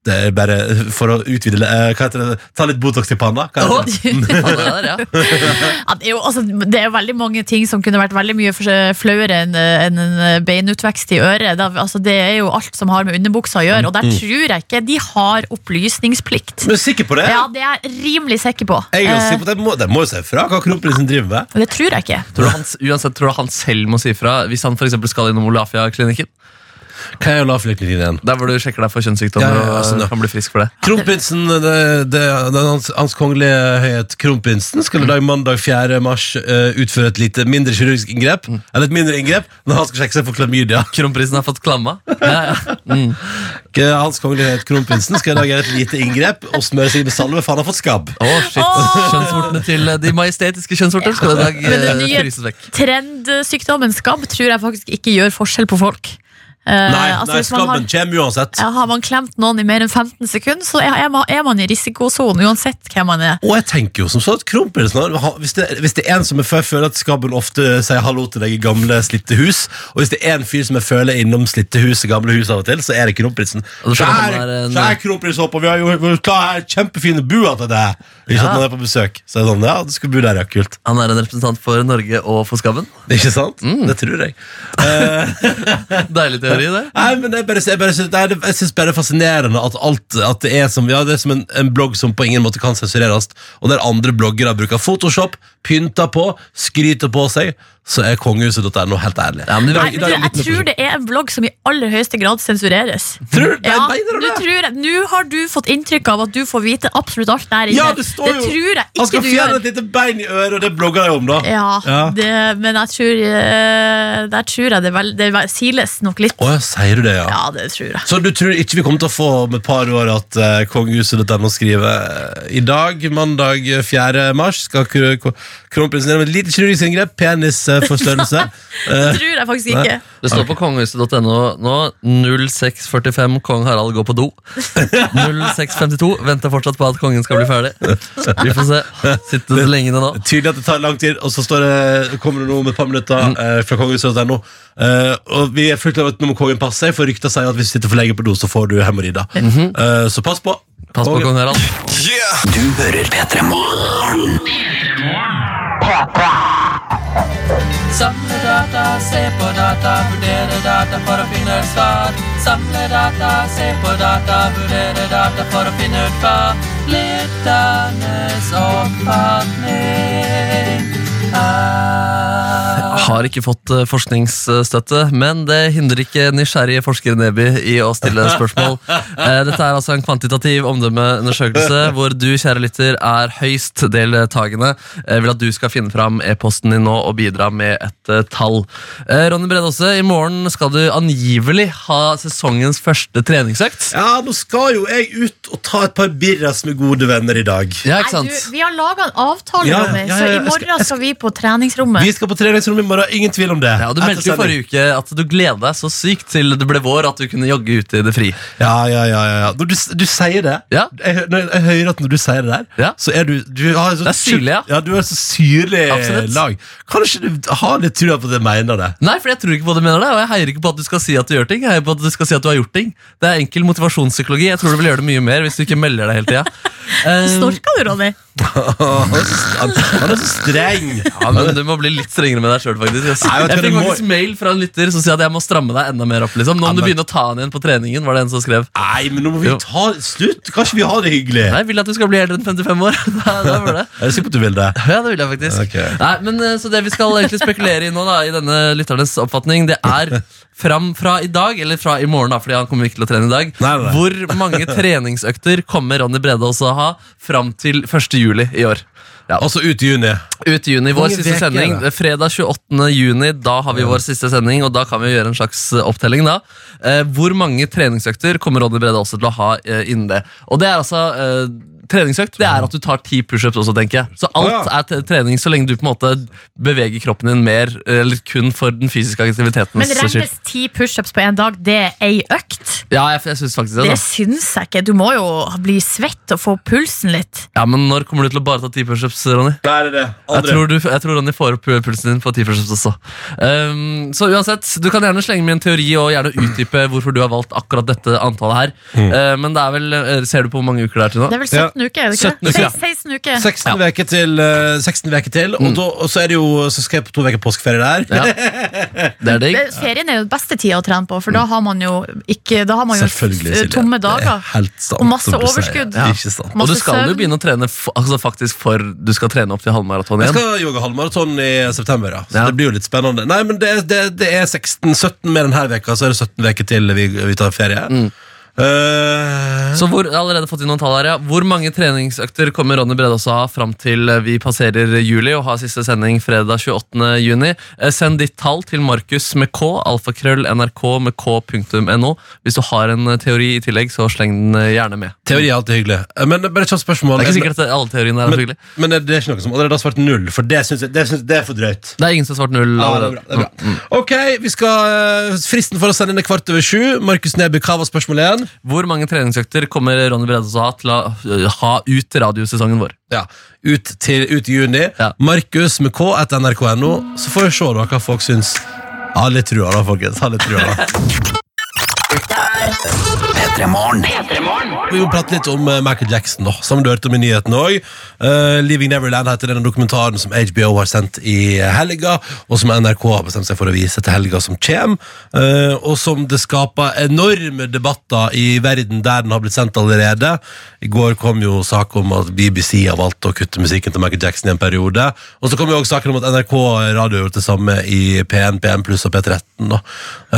S4: det er bare for å utvide eh, Hva heter det? Ta litt Botox i panna? Hva heter det? *laughs*
S5: Faen, det der, ja.
S2: Ja, det, er jo, altså, det er jo veldig mange ting som kunne vært veldig mye for- flauere enn enn en beinutvekst i øret. Det, er- altså, det er jo alt som har med underbuksa å gjøre, og
S4: Mm.
S2: der tror jeg ikke de har opplysningsplikt.
S4: Men du er sikker på det?
S2: Ja, det er jeg rimelig sikker på.
S4: Jeg er ganske
S2: Eh,
S4: sikker på det. Det må, det må jo se fra hva kronprinsen driver med.
S2: det tror jeg ikke.
S5: Tror du han, uansett tror du han selv må si fra hvis han for eksempel skal innom Olafia-klinikken.
S4: Hva er lavflyktningen din igjen?
S5: Der hvor du sjekker deg for kjønnssykdommer
S4: Ja, ja, ja, sånn, ja.
S5: og kan bli frisk for det.
S4: Kronprinsen, det, det, det, hans, hans kongelige høyhet kronprinsen skal i dag mandag 4. mars eh, utføre et lite mindre kirurgisk inngrep. Eller et mindre inngrep når han skal sjekke seg for klamydia.
S5: Kronprinsen har fått klamma. Ja, ja.
S4: Ikke Hans kongelighet kronprinsen skal i dag gjøre et lite inngrep og smøre seg med salve, for han har fått skabb.
S5: Å, shit. Kjønnsvortene til eh, De majestetiske kjønnsvorter skal i dag
S2: Men den
S5: eh,
S2: nye-
S5: fryses vekk.
S2: Trendsykdommen skabb tror jeg faktisk ikke gjør forskjell på folk. Eh,
S4: Nei,
S2: altså,
S4: nei
S2: hvis man har-
S4: skabben kommer uansett.
S2: Ja, har man klemt noen i mer enn 15 sekunder, så er er man, er man i risikosonen uansett hvem man er.
S4: Og jeg tenker jo som så at kronprinsen han- han- hvis, det- hvis det er en som jeg fø- føler at skabben ofte sier hallo til deg i gamle, slitte hus, og hvis det er en fyr som jeg føler er innom slitte hus og gamle hus av og til, så er det kronprinsen.
S5: Og da skjønner han
S4: Kjær,
S5: er en-
S4: kjær kronprins Håkon, vi har jo vi har kjempefine bua til deg! Ikke sant,
S5: Ja.
S4: når han er på besøk. Så er det sånn, ja, du skulle bo der, ja, kult.
S5: Han er en representant for Norge og for skabben.
S4: Ikke sant? Det tror jeg.
S5: Deilig teori, det.
S4: Nei, men jeg, bare, jeg, bare, synes- det er- jeg synes bare det er fascinerende at, alt, at det er som, ja, det er som en, en blogg som på ingen måte kan sensureres, og der andre bloggere bruker Photoshop, pynter på, skryter på seg, så er kongehuset.no helt ærlig.
S5: Ja, men i
S2: Nei,
S5: dag,
S2: men
S5: i
S2: du,
S5: dag er det
S2: jeg
S5: litt
S2: tror det er en blogg som i aller høyeste grad sensureres.
S4: Tror du? Nei,
S2: Ja,
S4: mener du
S2: nå
S4: det?
S2: tror jeg- Nå har du fått inntrykk av at du får vite absolutt alt der inne.
S4: Ja, det står jo
S2: tror jeg
S4: Han
S2: ikke
S4: skal
S2: du
S4: fjerne
S2: gjør.
S4: et lite bein i øret, og det blogger jeg om, da.
S2: Ja,
S4: Ja.
S2: Det, men jeg tror, eh, der tror jeg det, vel, det vel- siles nok litt.
S4: Å, ja, sier du det, ja.
S2: Ja, det tror jeg.
S4: Så du tror ikke vi kommer til å få om et par år at eh, kongehuset.no skriver eh, I dag, mandag 4. eh, mars, skal kro- ko- Kronprinsen gjennom et lite kirurgisk inngrep. eh, Penisforstørrelse.
S2: *laughs* Det tror jeg faktisk ikke.
S5: Det står på kongehuset.no nå. 0645 kong Harald går på do. 0652 venter fortsatt på at kongen skal bli ferdig. Vi får se. Sitter det lenge nå?
S4: Tydelig at det tar lang tid, og så står det, kommer det noe om et par minutter
S5: Mm.
S4: eh, fra kongehuset.no. Eh, og vi er fullt av at nå må kongen passe seg, for rykta sier at hvis du sitter for lenge på do, så får du hemoroider. Eh, så pass på.
S5: Mhm. Pass på kong Harald.
S8: Yeah!
S5: Samle data, se på data, vurdere data for å finne et svar. Samle data, se på data, vurdere data for å finne ut hva lytternes oppfatning er. Har ikke fått eh, forskningsstøtte, men det hindrer ikke nysgjerrige forskere Neby i å stille spørsmål. Eh, Dette er altså en kvantitativ omdømmeundersøkelse hvor du, kjære lytter, er høyst deltakende. Jeg vil at du skal finne fram e-posten din nå og bidra med et eh, tall. Eh, Ronny Brede Aase, i morgen skal du angivelig ha sesongens første treningsøkt.
S4: Ja, nå skal jo jeg ut og ta et par birras med gode venner i dag.
S5: Ja,
S2: Nei,
S5: ikke sant?
S2: du, vi har laga en avtale,
S4: Ja,
S2: Ronny,
S4: ja, ja,
S2: så i
S4: jeg skal- jeg
S2: morgen skal vi på
S4: Vi
S2: treningsrommet.
S4: skal på treningsrom i morgen, ingen tvil om det.
S5: Ja, og Du meldte jo forrige uke at du gleda deg så sykt til det ble vår at du kunne jogge ute i det fri.
S4: Ja, ja, ja, ja, ja. Når du, du sier det
S5: Ja.
S4: jeg, hø- når jeg hører at når du sier det der,
S5: Ja.
S4: så er du, du har et sånt
S5: Det er syrlig, ja.
S4: sjukt- ja. Du er et så syrlig
S5: Absolutt.
S4: lag. Kanskje du har litt trua på at jeg mener det.
S5: Nei, for jeg tror ikke på det mener det, og jeg heier ikke på at du skal si at du gjør ting. Jeg heier på at du skal si at du har gjort ting. Det er enkel motivasjonspsykologi. Jeg tror du vil gjøre det mye mer hvis du ikke melder deg hele tida. Um,
S2: Snorka du, Ronny?
S4: Han er så, han, han er så streng.
S5: ja, men du må bli litt strengere med deg sjøl, faktisk. ass.
S4: Nei, vet du
S5: Jeg
S4: hva,
S5: fikk
S4: du må-
S5: faktisk mail fra en lytter som sier at jeg må stramme deg enda mer opp. liksom Nå må du begynne å ta han igjen på treningen, var det en som skrev.
S4: Nei, men nå må vi
S5: Jo.
S4: ta slutt. Kanskje vi har det hyggelig?
S5: Nei, jeg vil at du skal bli eldre enn 55 år. *laughs* Da, da var det.
S4: Er du sikker på at du vil det?
S5: *laughs* Ja, det vil jeg faktisk.
S4: Ok.
S5: Nei, men eh, Så det vi skal egentlig spekulere i nå, da i denne lytternes oppfatning, det er fram fra i dag, eller fra i morgen, da, fordi han kommer ikke til å trene i dag,
S4: Nei, nei, nei.
S5: hvor
S4: *laughs*
S5: mange treningsøkter kommer Ronny Brede også å ha fram til 1. juli i år? Ja,
S4: Altså ut i juni.
S5: ut i juni, vår
S4: Mange
S5: siste
S4: veker,
S5: sending.
S4: da.
S5: Det er Fredag 28. juni, da har vi vår siste sending, og da kan vi gjøre en slags eh, opptelling. da. Eh, hvor mange treningsøkter kommer Ronny Brede også til å ha eh, innen det? Og det er altså... Eh, Treningsøkt det er at du tar ti pushups også, tenker jeg. Så alt
S4: Å, ja.
S5: er t- trening så lenge du på en måte beveger kroppen din mer, eller kun for den fysiske aktivitetens
S2: Men
S5: skyld.
S2: regnes ti pushups på én dag, det er ei økt?
S5: Ja, jeg, jeg synes faktisk det.
S2: Det
S5: Da.
S2: syns jeg ikke. Du må jo bli svett og få pulsen litt.
S5: Ja, Men når kommer du til å bare ta ti pushups, Ronny?
S4: Nei, det er det.
S5: Jeg tror, du, jeg tror Ronny får opp pulsen din på 10 push-ups også. Ehm, så uansett, Du kan gjerne slenge med en teori og gjerne utdype hvorfor du har valgt akkurat dette antallet. her Eh, Men det er vel, eh, ser du på hvor mange uker det er til nå?
S2: Det er vel 17 uker? er det
S5: 17
S2: ikke?
S5: uker, ja.
S2: Se- 16 uker.
S4: 16 veker til, eh, 16 veker til
S5: Mm.
S4: og, da, og så, er det jo, så skal jeg på to veker påskeferie der.
S5: Det er digg.
S2: Det- Ferien er jo den beste tida å trene på, for da har man jo, ikke, da har man jo
S4: Selvfølgelig,
S2: f-
S4: Silje.
S2: tomme dager.
S4: Det er helt sant,
S2: Og masse
S4: som du sier.
S2: overskudd.
S4: Ja. Ikke sant.
S5: Og du
S2: Masse
S5: skal jo
S2: søvn.
S5: begynne å trene f altså faktisk for du skal trene opp til halvmaraton
S4: Jeg
S5: igjen.
S4: skal jogge halvmaraton i september, ja. Så
S5: Ja.
S4: det blir jo litt spennende. Nei, men det, det, det er 16-17 med denne veka, så er det 17 veker til vi, vi tar ferie. Eh,
S5: Mm. Så hvor, jeg har allerede fått inn noen tall her, ja. hvor mange treningsøkter kommer Ronny Brede også ha fram til eh, vi passerer juli og har siste sending fredag 28. juni? Eh, Send ditt tall til Markus med K, alfakrøll nrk med k.no. Hvis du har en eh, teori i tillegg, så sleng den eh, gjerne med.
S4: teori er alltid hyggelig. Eh, Men bare et kjapt spørsmål.
S5: Det er ikke sikkert at alle teoriene er
S4: men,
S5: hyggelig.
S4: men det er ikke noen som allerede har svart null, for det syns jeg det, synes, det er for drøyt.
S5: Det er ingen som har svart null.
S4: Ja, det er
S5: allerede.
S4: bra, det er bra. Ok, vi skal, eh, Fristen for å sende inn er kvart over sju. Markus Neby, hva var spørsmålet igjen?
S5: Hvor mange treningsøkter kommer Ronny Brede også ha til å eh, ha ut radiosesongen vår?
S4: Ja, Ut, til, ut i juni.
S5: Ja.
S4: Markus med K etter nrk.no. Så får vi se da hva folk syns. Ha litt trua, da, folkens. Ha litt trua, da. Vi må prate litt om eh, Michael Jackson, da, som du hørte om i nyhetene òg. 'Leaving Neverland' heter denne dokumentaren som HBO har sendt i helga, og som NRK har bestemt seg for å vise til helga som kommer. eh, og som det skaper enorme debatter i verden der den har blitt sendt allerede. I går kom jo sak om at BBC har valgt å kutte musikken til Michael Jackson i en periode. Og så kom jo også saken om at NRK Radio har gjort det samme i P1, P1 pluss og P13. Da.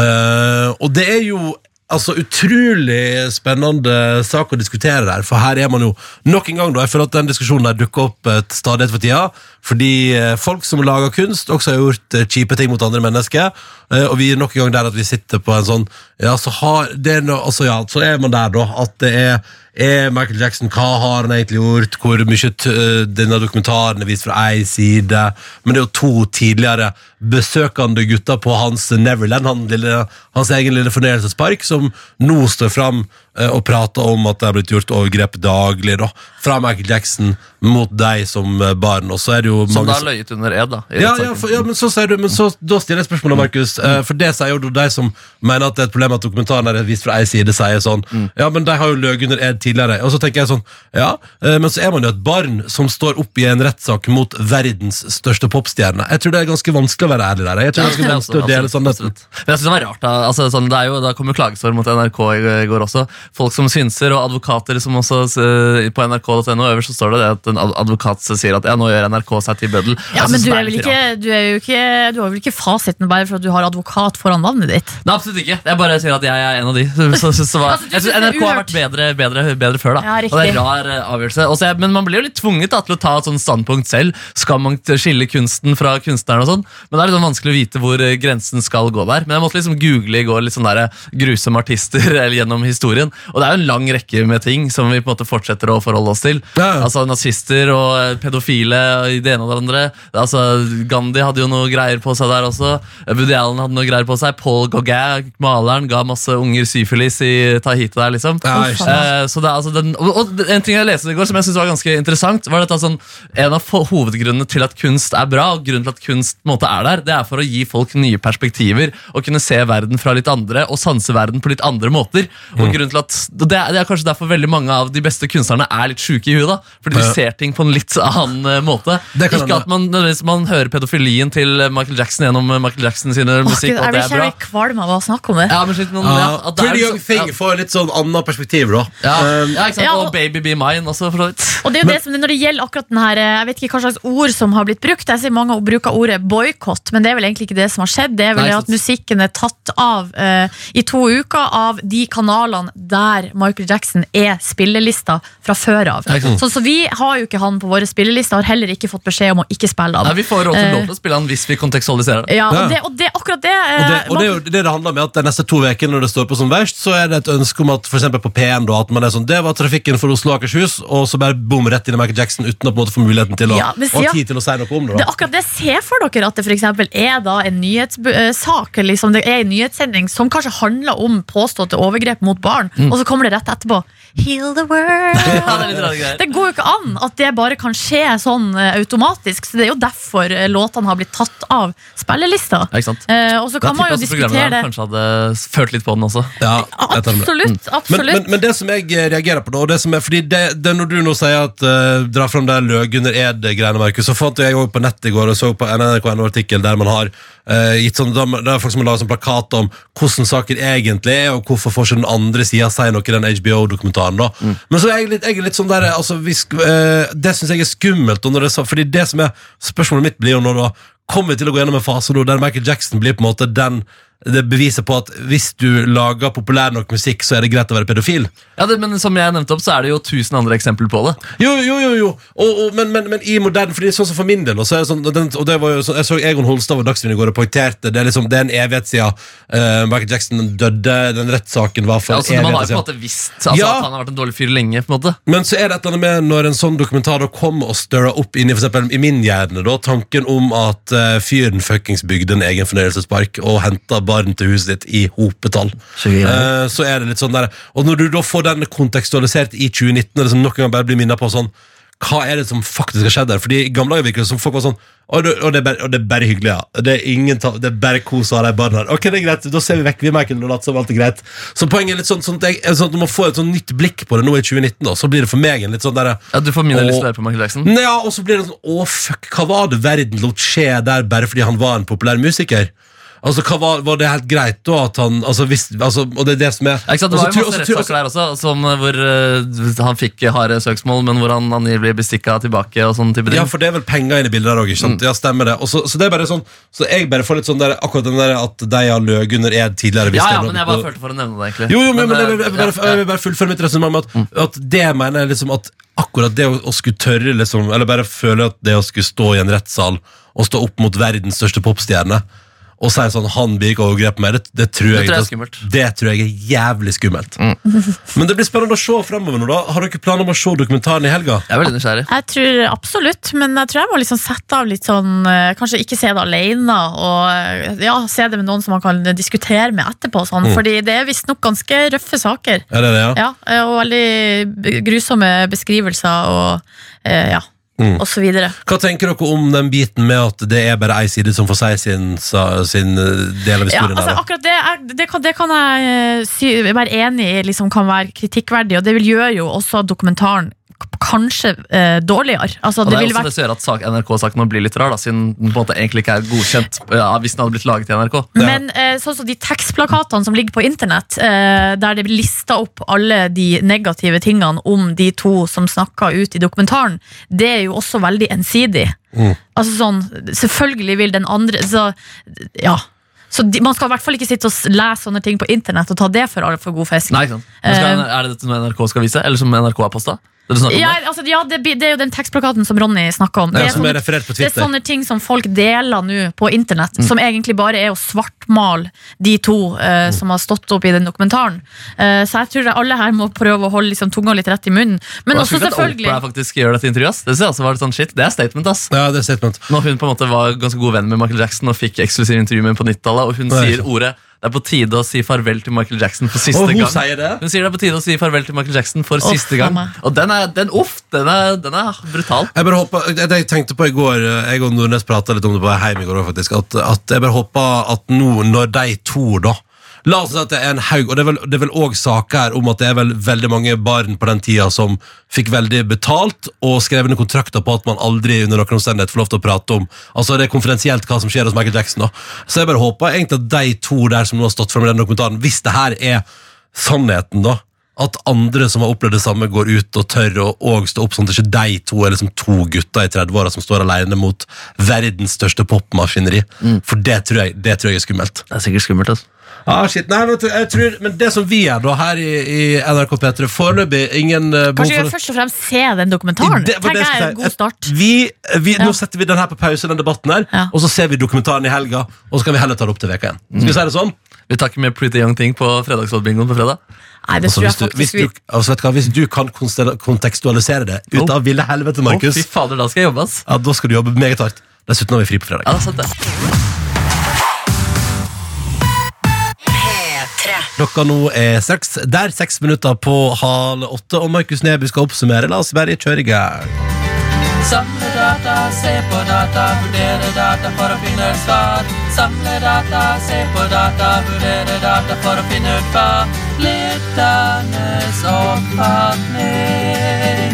S4: Eh, og det er jo altså, utrolig spennende sak å diskutere der, for her er man jo nok en gang da, jeg føler at den diskusjonen der dukker opp eh, til stadighet for tida, fordi eh, folk som lager kunst også har gjort eh, kjipe ting mot andre mennesker, eh, og vi er nok en gang der at vi sitter på en sånn, ja, så har det er no, altså ja, så er man der da, at det er er Michael Jackson, hva har han egentlig gjort, hvor mye t øh, denne dokumentaren er vist fra ei side, men det er jo to tidligere besøkende gutter på hans Neverland, han lille, hans egen lille fornøyelsespark, som nå står fram øh, og prater om at det er blitt gjort overgrep daglig, da, fra Michael Jackson mot deg som øh, barn, og så er det jo
S5: Som
S4: mange...
S5: da har løyet under ed, da. i
S4: Ja,
S5: rettssaken.
S4: ja, for, ja, men så sier du Men så, da stiller jeg spørsmålet, Markus eh, For det sier jo da de som mener at det er et problem At dokumentaren er vist fra en side sier sånn
S5: Mm.
S4: Ja, men de har jo løg under ed tidligere Og så tenker jeg sånn, ja eh, Men så er man jo et barn som står opp i en rettsak Mot verdens største popstjerne Jeg tror det er ganske vanskelig å være ærlig der Jeg tror det er ganske vanskelig
S5: Ja,
S4: å
S5: absolutt,
S4: dele sånn
S5: altså. absolutt. Men jeg synes det var rart da, altså, sånn, det er jo, da kom jo klagestorm mot NRK i går også. Folk som synser, og advokater som også eh, På nrk.no øverst så står det, det at en ad- advokat sier at ja, nå gjør NRK seg til bøddel.
S2: Ja,
S5: Jeg
S2: men
S5: synes
S2: du,
S5: det
S2: er vel
S5: litt
S2: ikke,
S5: rart.
S2: du, er jo ikke, du har vel ikke fasiten bare for at du har advokat foran navnet ditt?
S5: Nei, absolutt ikke. Jeg bare sier at jeg er en av de. *laughs* Så, så, så, så var,
S2: Altså, du
S5: jeg
S2: synes det
S5: synes
S2: er
S5: NRK har
S2: uhørt.
S5: vært bedre, bedre, bedre før, da.
S2: Ja, riktig.
S5: og det er en rar eh, avgjørelse. Også, jeg, men man blir jo litt tvunget da, til å ta et sånt standpunkt selv. Skal man t- skille kunsten fra kunstneren og sånn? Men det er litt sånn vanskelig å vite hvor eh, grensen skal gå der. Men jeg måtte liksom google i går litt sånn der eh, grusomme artister *laughs* eller gjennom historien. Og det er jo en lang rekke med ting som vi på en måte fortsetter å forholde oss til.
S4: Ja, ja.
S5: Altså nazister og eh, pedofile i det ene og det andre. Altså, Gandhi hadde jo noe greier på seg der også. Woody Allen hadde noe greier på seg. Paul Gauguin, maleren, ga masse unger syfilis i Tahiti der, liksom.
S4: Ja, ikke sant.
S5: Eh, så det er altså den, og, og en ting jeg leste i går som jeg synes var ganske interessant, var dette sånn, en av ho- hovedgrunnene til at kunst er bra, og grunnen til at kunst på en måte er der, det er for å gi folk nye perspektiver, og kunne se verden fra litt andre, og sanse verden på litt andre måter.
S4: Mm.
S5: Og grunnen til at, og det, er, det er kanskje derfor veldig mange av de beste kunstnerne er litt syke i huet, da, fordi
S4: Ja.
S5: de ser ting på en litt annen eh, måte.
S4: Det kan
S5: Ikke
S4: hende.
S5: at man, nødvendigvis- man hører pedofilien til eh, Michael Jackson gjennom eh, Michael Jackson sine
S2: Åh,
S5: musikk,
S2: Gud,
S5: og
S2: jeg
S5: at det
S2: blir
S5: er bra.
S2: kjærlig kvalm av å snakke om det.
S5: Ja, men slik, noen, ja,
S4: Ja,
S5: at det er
S4: Pretty Young
S5: liksom- ja.
S4: Thing får litt sånn annet perspektiv da
S5: Ja,
S4: Eh,
S5: ja, ikke sant?
S2: Ja, og-
S5: Og Baby Be Mine også, for så vidt.
S2: Og det er jo det som, Når det gjelder akkurat den her, eh, jeg vet ikke hva slags ord som har blitt brukt. Jeg ser Mange bruker ordet boikott, men det er vel egentlig ikke det som har skjedd. Det er vel
S5: Nei,
S2: det at
S5: sant.
S2: musikken er tatt av eh, i to uker av de kanalene der Michael Jackson er spillelista fra før av.
S5: sant.
S2: Så, så vi har jo ikke han på våre spillelister, har heller ikke fått beskjed om å ikke spille
S5: Nei,
S2: han.
S5: vi får råd til
S2: Eh.
S5: lov til å spille han hvis vi kontekstualiserer det.
S2: Ja,
S4: Ja.
S2: og det, og det, akkurat det, eh,
S4: Og det, og det, er jo det det handler om er at de neste to ukene når det står på som verst, så er det et ønske om at for eksempel på P1 da, at man er sånn, det var trafikken for Oslo og Akershus, og så bare bom rett inn i Michael Jackson uten å på en måte få muligheten til å,
S2: Ja, men
S4: og ha
S2: sier-
S4: tid til å si noe om det.
S2: Det er
S4: da.
S2: akkurat det. Se for dere at det for eksempel er da en nyhetssak liksom det er en nyhetssending som kanskje handler om påståtte overgrep mot barn, og så kommer det rett etterpå. Heal
S5: Ja,
S2: the
S5: det
S2: world.
S5: er litt rare greier.
S2: Det går jo ikke an at det bare kan skje sånn eh, automatisk. Så Det er jo derfor eh, låtene har blitt tatt av spillelista.
S5: Ja, ikke sant?
S2: Eh, og så
S5: Da
S2: kan man jo
S5: tipper jeg også
S2: diskutere det.
S5: programlederen Kanskje hadde ført litt på den også.
S4: Ja, jeg tar det med.
S2: Absolutt.
S4: Men,
S2: absolutt
S4: men, men det som jeg eh, reagerer på da, og det som er, fordi det, det når du nå sier at eh, dra fram den løg under ed-greiene, Markus, så fant jeg også på nettet i går og så på NRK.no-artikkel der man har eh, gitt sånn, der, der er folk som har laget sånn plakat om hvordan saker egentlig er, og hvorfor får ikke den andre siden si noe i den HBO-dokumentaren da. Men så er jeg litt, jeg er litt sånn der, eh, altså, vi, sk- eh, det synes jeg er skummelt, og når det, er så- fordi det som er, spørsmålet mitt blir jo nå da, kommer vi til å gå gjennom en fase nå der Michael Jackson blir på en måte den det beviser på at hvis du lager populær nok musikk, så er det greit å være pedofil.
S5: Ja, det, men som jeg nevnte opp, så er det jo tusen andre eksempler på det.
S4: Jo, jo, jo, jo. Og, og, men, men, men i moderne Fordi sånn som for min del og så er det sånn, og den, og det var jo sånn, Jeg så Egon Holstad og Dagsrevyen i går og poengterte det. er Liksom, det er en evighet siden eh, Michael Jackson døde. Den rettssaken var for
S5: Ja, altså, man har jo på en
S4: evigheter siden.
S5: måte visst altså,
S4: Ja.
S5: at han har vært en dårlig fyr lenge. på en måte
S4: Men så er det et eller annet med når en sånn dokumentar da kommer og stirrer opp inni for eksempel, i min hjerne da, tanken om at eh, fyren fuckings bygde en egen fornøyelsespark og henta barn til huset ditt i hopetall. Eh, så er det litt sånn der Og når du da får den kontekstualisert i 2019, og liksom noen gang bare blir minna på sånn hva er det som faktisk har skjedd der? Fordi I gamle dager virket det som folk var sånn Og det, og det, er, bare, og det er bare hyggelig, ja. Det er, ingen ta, det er bare kos av de barna her. Ok, det er greit, da ser vi vekk. Vi merker det og later som alt er greit. Så poenget er litt sånn, sånn at jeg, sånn at du må få et sånn nytt blikk på det nå i 2019, da. Så blir det for meg en litt sånn derre
S5: Ja, Du får mindre
S4: Og- Mm.
S5: lyst til å høre på Michael Jackson.
S4: Nei, ja, og så blir det sånn Å, fuck, hva var det verden lot skje der bare fordi han var en populær musiker? Altså, hva var, var det helt greit da at han altså, hvis, altså, Og det er det som er
S5: Ja, ikke sant? Det
S4: Også
S5: var jo
S4: tror-
S5: masse
S4: også tror-
S5: rettssaker der også, som, eh, hvor eh, han fikk harde søksmål, men hvor han angivelig ble bestikka tilbake. og sånn type ting.
S4: Ja, for det er vel penger inne i bildet der òg, ikke sant?
S5: Mm.
S4: Ja, stemmer det. Og så, så det er bare sånn Så jeg bare får litt sånn der akkurat den der at de har løyet under ed tidligere. hvis
S5: ja,
S4: det
S5: ja,
S4: er
S5: men jeg
S4: noe-
S5: bare følte for å nevne det, egentlig.
S4: Jo, jo, men, men jeg, vil- jeg, vil
S5: eh,
S4: bare,
S5: ja, Mm.
S4: jeg vil bare fullføre mitt resonnement med at, at det mener jeg liksom at akkurat det å, å skulle tørre liksom Eller bare føle at det å skulle stå i en rettssal og stå opp mot verdens største popstjerne og si sånn 'han blir ikke overgrepet mer', det, det tror jeg
S5: Det tror jeg er
S4: ikke-
S5: skummelt. Mm.
S4: Det tror jeg er jævlig skummelt. Men det blir spennende å se fremover nå, da. Har dere planer om å se dokumentaren i helga?
S5: Jeg er veldig nysgjerrig.
S2: Jeg tror absolutt, men jeg tror jeg må liksom sette av litt sånn eh, Kanskje ikke se det alene, og eh, ja, se det med noen som man kan diskutere med etterpå.
S5: Mm.
S2: og Sånn. Fordi det er visstnok ganske røffe saker.
S4: Er det det, ja?
S2: Ja, eh, og veldig b- grusomme beskrivelser og eh, ja,
S4: Mm.
S2: og så videre.
S4: Hva tenker dere om den biten med at det er bare ei side som får si sin, sa- sin eh, del av
S2: Ja,
S4: historien?
S2: altså
S4: her, da?
S2: akkurat det, er, det, kan, det kan jeg eh, si, være enig i liksom, kan være kritikkverdig, og det vil gjøre jo også dokumentaren k- kanskje eh, dårligere. Altså,
S5: Og det,
S2: det
S5: er
S2: vil
S5: også
S2: være
S5: det som gjør at sak, NRK-saken nå blir litt rar, da, siden den på en måte egentlig ikke er godkjent eh, hvis den hadde blitt laget i NRK.
S2: Men eh, sånn som de tekstplakatene som ligger på internett, eh, der det blir lista opp alle de negative tingene om de to som snakka ut i dokumentaren, det er jo også veldig ensidig. Altså sånn, Selvfølgelig vil den andre Så, ja. så de, Man skal i hvert fall ikke sitte og s- lese sånne ting på internett og ta det for, all- for god fisk.
S5: Nei, ikke sant? Men Skal, er det dette noe NRK skal vise, eller som NRK har posta? Det du snakker om
S2: Eh. Ja,
S5: nå?
S2: altså, ja det, blir- det er jo den tekstplakaten som Ronny snakka om.
S4: Ja,
S2: Det er,
S4: som er
S2: sånne,
S4: referert på
S2: det er
S4: Twitter. Mm.
S2: sånne ting som folk deler nå på internett, som egentlig bare er å svartmale de to
S4: Mm.
S2: eh, som har stått opp i den dokumentaren. Eh, så jeg tror alle her må prøve å holde liksom, tunga litt rett i munnen. Men
S5: Og
S2: også
S5: jeg skulle at
S2: selvfølgelig
S5: Oprah faktisk gjør dette intervjuet. ass. Det synes jeg også var litt sånn shit, det er statement, ass.
S4: Ja, det er statement.
S5: Når hun på en måte var ganske god venn med Michael Jackson og fikk eksklusive intervju med ham på 90-tallet, og hun
S4: Nei.
S5: sier ordet 'det er på tide å si farvel til Michael Jackson' for siste
S4: Og hun
S5: gang.
S4: sier det?
S5: Hun sier det er på tide å si farvel til Michael Jackson for
S2: Uff,
S5: siste gang.
S2: mamma.
S5: Og den er, den, uff, den er, den er brutal.
S4: Jeg bare håper, jeg, jeg tenkte på i går eh, Jeg og Nordnes prata litt om det på vei hjem i går òg, faktisk. At, at jeg bare håper at nå, når de to, da La oss si at det er en haug, og det er vel- det er vel òg saker her om at det er vel veldig mange barn på den tida som fikk veldig betalt og skrev under kontrakter på at man aldri under noen omstendighet får lov til å prate om. Altså Det er konfidensielt hva som skjer hos Michael Jackson. da Så jeg bare håper egentlig at de to der som nå har stått frem i den dokumentaren, hvis det her er sannheten, da at andre som har opplevd det samme, går ut og tør å og stå opp, sånn at ikke de to er liksom to gutter i 30-åra som står alene mot verdens største popmaskineri. For det tror, jeg, det tror jeg er skummelt.
S5: Det er sikkert skummelt. ass.
S4: Ah, shit, nei, men, jeg tror, men det som vi gjør da her i, i NRK P3 foreløpig ingen eh, behov
S2: Kanskje vi
S4: for-
S2: først og fremst se den dokumentaren.
S4: det var det
S2: Tenker jeg er
S4: jeg skulle
S2: en god
S4: si.
S2: start.
S4: Vi, vi,
S2: Ja.
S4: Nå setter vi den her på pause, den debatten her,
S2: Ja.
S4: og så ser vi dokumentaren i helga, og så kan vi heller ta det opp til veka igjen.
S2: Mm.
S4: Skal vi si det sånn?
S5: Vi takker med Pretty Young Thing på fredagsrådbingoen på fredag.
S2: Nei, det
S4: Altså,
S2: tror
S4: hvis,
S2: jeg
S4: du, hvis,
S2: faktisk vi
S4: du, altså, vet du hva, hvis du kan konstel- kontekstualisere det ut
S5: Oh.
S4: av ville helvete,
S5: Å,
S2: Oh,
S4: Markus
S5: fy fader, da skal jeg jobbe, ass.
S4: Ja, da skal du jobbe meget hardt. Dessuten har vi fri på fredag.
S5: Ja, det er sant, det.
S4: Klokka nå er straks der, seks minutter på halv åtte, og Markus Neby skal oppsummere. La oss bare kjøre i gang.
S5: Samle data, se på data, vurdere data for å finne ut svar. Samle data, se på data, vurdere data for å finne ut hva lytternes oppfatning er.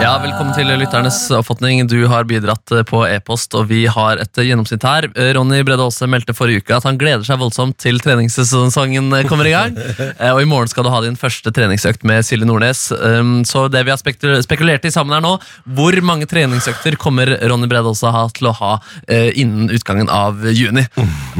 S5: Ja, velkommen til lytternes oppfatning. Du har bidratt eh, på e-post, og vi har et eh, gjennomsnitt her. Eh, Ronny Brede Aase meldte forrige uke at han gleder seg voldsomt til treningssesongen eh, kommer i *laughs* gang. Eh, Og i morgen skal du ha din første treningsøkt med Silje Nordnes. Um, Så det vi har spekul- spekulert i sammen her nå, hvor mange treningsøkter kommer Ronny Brede Aase ha til å ha eh, innen utgangen av juni?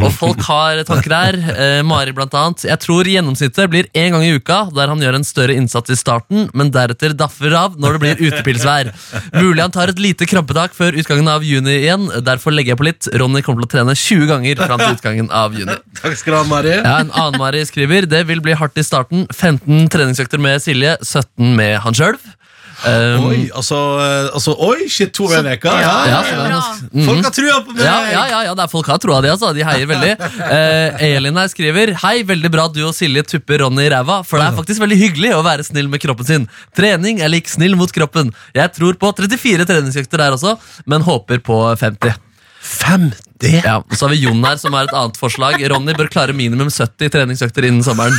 S5: Og folk har tanker her. eh, Mari blant annet. Jeg tror gjennomsnittet blir én gang i uka, der han gjør en større innsats i starten, men deretter daffer av når det blir utepilsvær. Mulig han tar et lite krampetak før utgangen av juni igjen. Derfor legger jeg på litt. Ronny kommer til å trene 20 ganger fram til utgangen av juni.
S4: Takk skal du ha, Mari.
S5: Ja, En annen Mari skriver Det vil bli hardt i starten. 15 treningsøkter med Silje, 17 med han sjøl. Um,
S4: Oi, altså, eh, altså, oi, shit, to ganger i veka. Ja,
S5: ja,
S2: det er bra.
S4: Folk har trua på meg!
S5: ja, ja, ja, ja, det er folk har troa de, altså. De heier veldig. Eh, Elin her skriver Hei, veldig bra at du og Silje tupper Ronny i ræva, for det er faktisk veldig hyggelig å være snill med kroppen sin. Trening er lik snill mot kroppen. Jeg tror på 34 treningsøkter der også, men håper på 50.
S4: 50! det?
S5: Ja, og så har vi Jon her, som har et annet forslag. Ronny bør klare minimum 70 treningsøkter innen sommeren.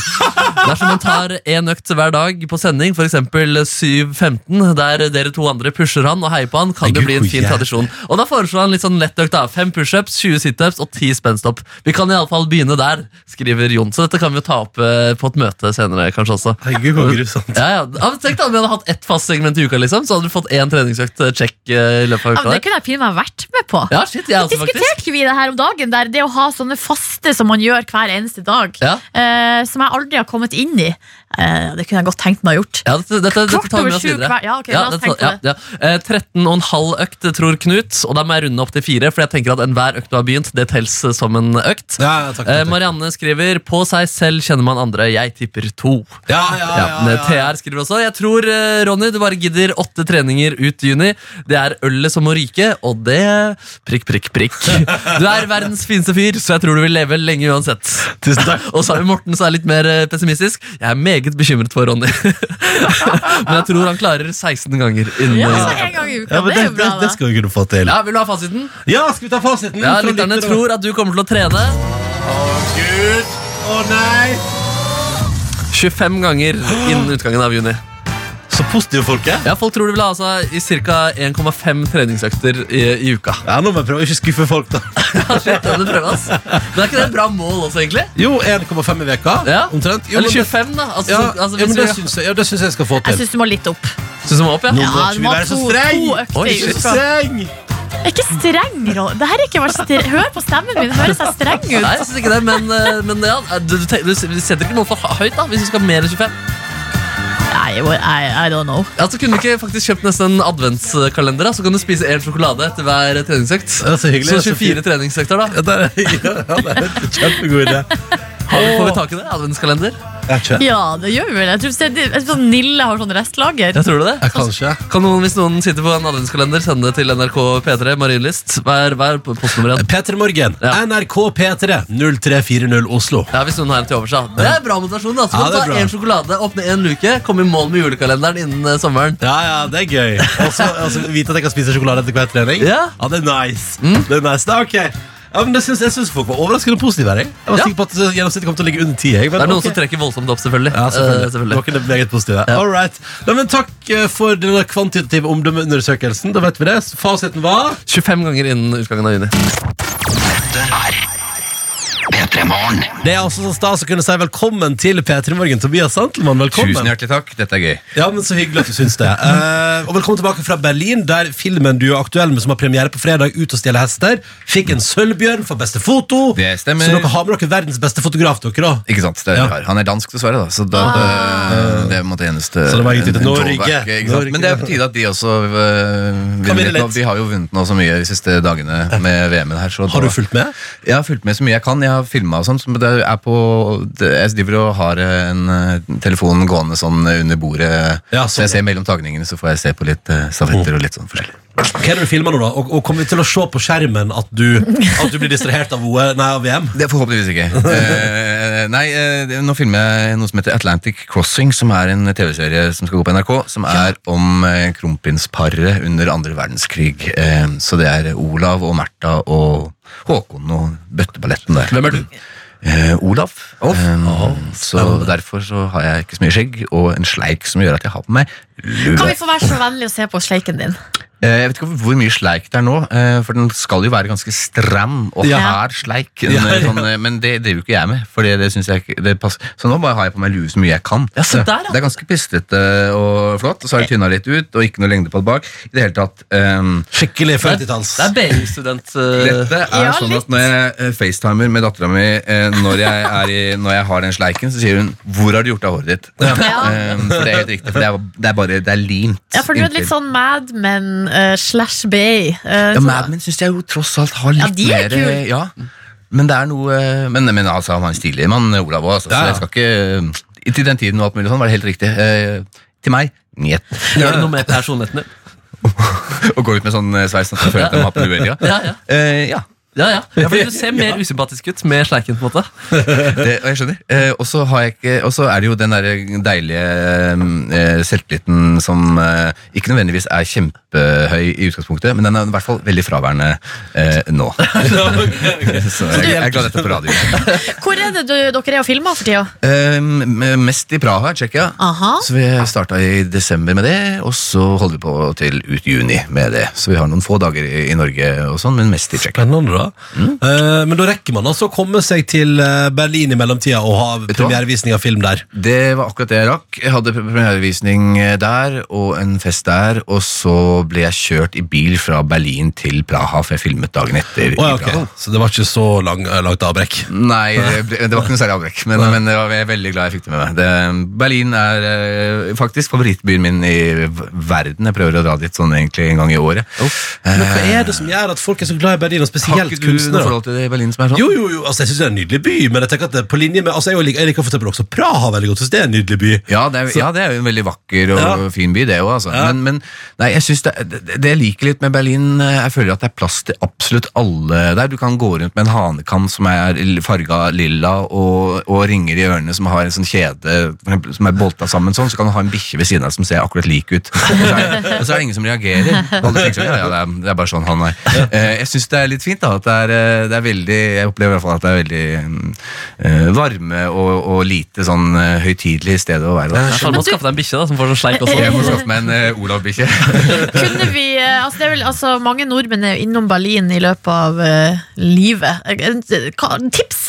S5: Dersom man tar én økt hver dag på sending, f.eks. 7.15, der dere to andre pusher han og heier på han, kan det
S4: Gud,
S5: bli en
S4: hvor
S5: fin
S4: jævlig.
S5: tradisjon. Og da foreslår han litt sånn lettøkt. da. Fem pushups, 20 situps og 10 spenstopp. Vi kan iallfall begynne der, skriver Jon. Så dette kan vi jo ta opp eh, på et møte senere, kanskje også.
S4: Herregud, hvor grusomt.
S5: Ja, ja. Ja, men Tenk da, om vi hadde hatt ett fast segment i uka, liksom, så hadde du fått én treningsøkt eh, check eh, i løpet av
S2: Ja, men
S5: uka.
S2: det
S5: der.
S2: kunne jeg pinlig meg vært med på.
S5: Ja, shit, jeg også, faktisk.
S2: Diskuterte ikke vi det her om dagen? Der, det å ha sånne faste som man gjør hver eneste dag.
S5: Ja.
S2: eh, som jeg aldri har kommet inn i. Eh, det kunne jeg godt tenkt meg å gjort.
S5: Ja, dette, dette, dette
S2: Kvart
S5: tar vi
S2: over
S5: med oss
S2: sju
S5: videre.
S2: hver- ja, ok, la oss
S5: dette-
S2: tenke på det.
S5: ja, ja. Eh, 13 og en halv økt, tror Knut, og da må jeg runde opp til fire, for jeg tenker at enhver økt du har begynt, det tels eh, som en økt.
S4: Ja, ja, takk,
S5: Eh,
S4: takk, takk.
S5: Marianne skriver På seg selv kjenner man andre, jeg tipper to.
S4: Ja, ja, ja,
S5: Ja, men
S4: ja, ja.
S5: TR skriver også Jeg tror, eh, Ronny, du bare gidder åtte treninger ut i juni. Det er ølet som må ryke, og det prikk, prikk, prikk. *laughs* Du er verdens fineste fyr, så jeg tror du vil leve lenge uansett.
S4: Tusen takk.
S5: Og så har vi Morten, som er litt mer eh, pessimistisk. Jeg er meget bekymret for Ronny. *laughs* Men jeg tror han klarer 16 ganger innen
S2: Ja,
S5: juni.
S2: så en gang i uka,
S4: Ja, men
S2: det
S4: det,
S2: er jo
S4: det,
S2: bra,
S4: det
S2: da.
S4: skal vi kunne få til.
S5: Ja, Vil du ha fasiten?
S4: Ja, skal vi ta fasiten?
S5: Ja,
S4: Fra
S5: Lytterne
S4: lytterne?
S5: tror at du kommer til å trene
S4: Gud, å nei!
S5: 25 ganger innen utgangen av juni.
S4: Så positive folk er.
S5: Ja, Folk tror du vil ha altså, i ca. 1,5 treningsøkter i, i uka.
S4: Ja, nå må jeg prøve å ikke skuffe folk, da.
S5: Shit, ja, du prøver, ass. Men er ikke det et bra mål også, egentlig?
S4: Jo, 1,5 i veka,
S5: Ja.
S4: omtrent. Jo,
S5: Eller
S4: men det-
S5: 25, da. Altså,
S4: Ja,
S5: så- altså,
S4: ja,
S5: hvis
S4: men
S5: vi-
S4: det syns jeg, ja, det syns jeg skal få
S2: Jeg
S4: til.
S2: syns du må litt opp.
S5: Syns du må opp, ja?
S4: Nå må
S2: Ja,
S4: ikke
S2: du
S4: vi
S2: må ha
S4: være så
S2: to,
S4: streng.
S2: to
S5: Oi,
S2: økter i
S5: shit.
S2: uka. Jeg er ikke streng, Ro- Det her er ikke å være stre- Hør på stemmen min, det høres jeg streng
S5: Nei,
S2: ut.
S5: jeg syns ikke det, men, eh, men ja, du, du, tenker- du setter ikke mål for høyt, da, hvis du skal ha mer enn 25.
S2: Nei, jeg- I, I don't know.
S5: Ja, så kunne du ikke faktisk kjøpt nesten en adventskalender, da, så kan du spise én sjokolade etter hver treningsøkt.
S4: Ja, så hyggelig,
S5: så
S4: det er så
S5: 24 treningsøkter, da.
S4: *laughs* Ja, der, er- ja, det er en kjempegod idé.
S5: Har vi, får vi tak i det? Adventskalender?
S4: Jeg kjører.
S2: Ja, det gjør vi vel. Jeg tror, jeg tror Nille har sånn
S5: Jeg
S2: restlager.
S5: tror du det?
S4: Ja, kanskje.
S5: Kan noen, Hvis noen sitter på en adventskalender, sende det til NRK P3, Marienlyst. Hver, hver på postnummer igjen.
S4: P3 Morgen,
S5: Ja.
S4: NRK P3, 0340 Oslo.
S5: Ja, Hvis noen har en til overs, da. Det er bra motivasjon. da Så
S4: Ja,
S5: kan du
S4: det er
S5: ta
S4: bra.
S5: én sjokolade, åpne én luke, komme i mål med julekalenderen innen eh, sommeren.
S4: Ja, ja, det er gøy. Og så altså, vite at jeg kan spise sjokolade etter hver trening.
S5: Ja.
S4: det er nice. Det er nice, da, ok ja, men det synes, Jeg syns folk var overraskende positive. her, Jeg, jeg var
S5: Ja.
S4: sikker på at eh, gjennomsnittet kom til å ligge under 10. Jeg, men
S5: Det er noen
S4: ok.
S5: som trekker voldsomt opp, selvfølgelig.
S4: ja, selvfølgelig.
S5: Eh, selvfølgelig.
S4: Noen er meget positive. All right. Nei, men takk eh, for denne kvantitative omdømmeundersøkelsen. Da vet vi det. Fasiten var
S5: 25 ganger innen utgangen av juni.
S4: Det er også så stas å kunne si velkommen til P3 Morgen. Tobias Santelmann, velkommen.
S9: Tusen hjertelig takk. Dette er gøy.
S4: Ja, men Så hyggelig at du syns det. Eh, og velkommen tilbake fra Berlin, der filmen du er aktuell med, som har premiere på fredag, Ut og stjele hester, fikk en sølvbjørn for beste foto.
S9: Det stemmer.
S4: Så dere har med dere verdens beste fotograf, dere, da.
S9: Ikke sant? Det er,
S4: Ja.
S9: rart. Han er dansk, dessverre. da Så da,
S5: Ah.
S9: det, det er på en måte eneste
S4: Så det var egentlig til
S9: en- en
S4: Norge.
S9: drawback, ikke sant?
S4: Norge.
S9: Men det er på tide at de også øh, vinner
S4: vinne
S9: litt. nå.
S4: litt.
S9: De har jo vunnet nå så mye de siste dagene med VM-en her. Så
S4: Har
S9: da-
S4: du fulgt med?
S9: Jeg har fulgt med så mye jeg kan. Jeg har filma og sånn. så det er på- det- Jeg driver og har eh, en eh, telefon gående sånn under bordet.
S4: Ja, sånn,
S9: så jeg ser mellom tagningene, så får jeg se på litt eh, stafetter og litt sånn forskjellig.
S4: Hva er det du filmer nå, da? Og, og kommer vi til å se på skjermen at du, at du blir distrahert av, OL, nei, av VM?
S9: Det er Forhåpentligvis ikke. *laughs* Eh, nei, eh, det- nå filmer jeg noe som heter Atlantic Crossing, som er en TV-serie som skal gå på NRK, som er om eh, kronprinsparet under andre verdenskrig. Eh, så det er Olav og Märtha og Håkon og bøtteballetten der. Hvem er du? Eh, Olav. Eh, så derfor så har jeg ikke så mye skjegg og en sleik som gjør at jeg har på meg lue.
S2: Kan vi få være så vennlig å se på sleiken din?
S9: Eh, Jeg vet ikke hvor mye sleik det er nå, eh, for den skal jo være ganske stram og
S4: Ja.
S9: hard sleik. En,
S4: Ja,
S9: eh,
S4: ja.
S9: Sånn, eh, men det driver jo ikke jeg med. For det, det synes jeg ikke det passer. Så nå bare har jeg på meg lue så mye jeg kan.
S5: Ja, se der, ja.
S9: Det er ganske pistrete og flott. Og så har jeg tynna litt ut, og ikke noe lengde på det bak. I det hele tatt ehm,
S4: Skikkelig 50-talls.
S5: Det er BI-student.
S9: *laughs*
S5: eh,
S9: dette er
S2: Ja,
S9: sånn
S2: litt.
S9: at når jeg eh, facetimer med dattera mi eh, når, jeg er i- når jeg har den sleiken, så sier hun 'Hvor har du gjort av håret ditt?'
S2: Ja.
S9: Ehm, for det er helt riktig. For det er, det er bare det er limt.
S2: Ja, for du er
S9: inntil.
S2: litt sånn Mad Men eh, slash Bay. eh,
S9: Ja,
S2: så-
S9: Mad Men syns jeg jo tross alt har
S2: Ja,
S9: litt
S2: de er
S9: mer eh,
S2: kul.
S9: Ja, men det er noe Men, men altså, han var en stilig mann, Olav òg, altså,
S4: Ja, ja.
S9: så jeg skal ikke eh, Til den tiden og alt mulig sånn var det helt riktig. Eh, til meg njet. *laughs*
S5: Gjør det noe med personligheten din?
S9: Og gå ut med sånn eh, sveis sånn at jeg føler at jeg må ha på duell,
S5: Ja, ja.
S9: Eh, ja.
S5: Ja, ja. Fordi du ser mer usympatisk ut med sleiken. på en måte
S9: Det, og jeg skjønner. Eh, og så har jeg ikke- og så er det jo den der deilige eh, selvtilliten som eh, ikke nødvendigvis er kjempehøy i utgangspunktet, men den er i hvert fall veldig fraværende eh,
S2: *laughs*
S9: nå. *laughs* så jeg, jeg er glad dette er på radio.
S2: Hvor er det du, dere er og filmer for tida?
S9: Eh, m- mest i Praha, Tsjekkia.
S2: Aha.
S9: Så vi starta i desember med det, og så holder vi på til ut juni med det. Så vi har noen få dager i, i Norge, og sånn, men mest i Tsjekkia.
S4: Spennende, da. Eh, men da rekker man altså å komme seg til eh, Berlin i mellomtida og ha
S9: du hva?
S4: premierevisning av film der.
S9: Det var akkurat det jeg rakk. Jeg hadde pre- premierevisning eh, der og en fest der, og så ble jeg kjørt i bil fra Berlin til Praha, for jeg filmet dagen etter. i
S4: Å, ja, ok.
S9: Praha.
S4: Så det var ikke så lang, eh, langt avbrekk.
S9: Nei, det ble- det var ikke noe særlig avbrekk, men, men det var, jeg er veldig glad jeg fikk det med meg. Det, Berlin er eh, faktisk favorittbyen min i v- verden. Jeg prøver å dra dit sånn egentlig en gang i året.
S4: Oh,
S9: Eh,
S4: Men hva er det som gjør at folk er så glad i Berlin, og
S9: Har
S4: spesielt
S9: ikke du noe
S4: kunstnere?
S9: forhold til det i Berlin som er sånn?
S4: Jo, jo, jo, altså jeg synes det er en nydelig by, men jeg tenker at det er på linje med Altså jeg liker, jeg liker for eksempel også Praha veldig godt, så det er en nydelig by.
S9: Ja det, er, ja, det er jo en veldig vakker og
S4: Ja.
S9: fin by, det òg. Altså.
S4: Ja.
S9: Men, men nei, jeg synes det, det- det jeg liker litt med Berlin, eh, jeg føler at det er plass til absolutt alle der. Du kan gå rundt med en hanekam som er farga lilla, og, og ringer i ørene som har en sånn kjede for eksempel, som er bolta sammen sånn, så kan du ha en bikkje ved siden av som ser akkurat lik ut. Og så er, og så er det ingen som reagerer. Alle tenker sånn, ja, ja, det er, det er bare sånn han er. Eh, Jeg syns det er litt fint, da. At det er, eh, det er veldig Jeg opplever i hvert fall at det er veldig mm, eh, varme og, og lite sånn eh, høytidelig sted å være. Da.
S5: Jeg må skaffe deg en bikkje da, som får sånn sleik også.
S9: Jeg må skaffe meg en eh, Olav-bikkje.
S2: Kunne vi, eh, altså det er vel, altså mange nordmenn er jo innom Berlin i løpet av eh, livet. Eh, eh, hva- Tips!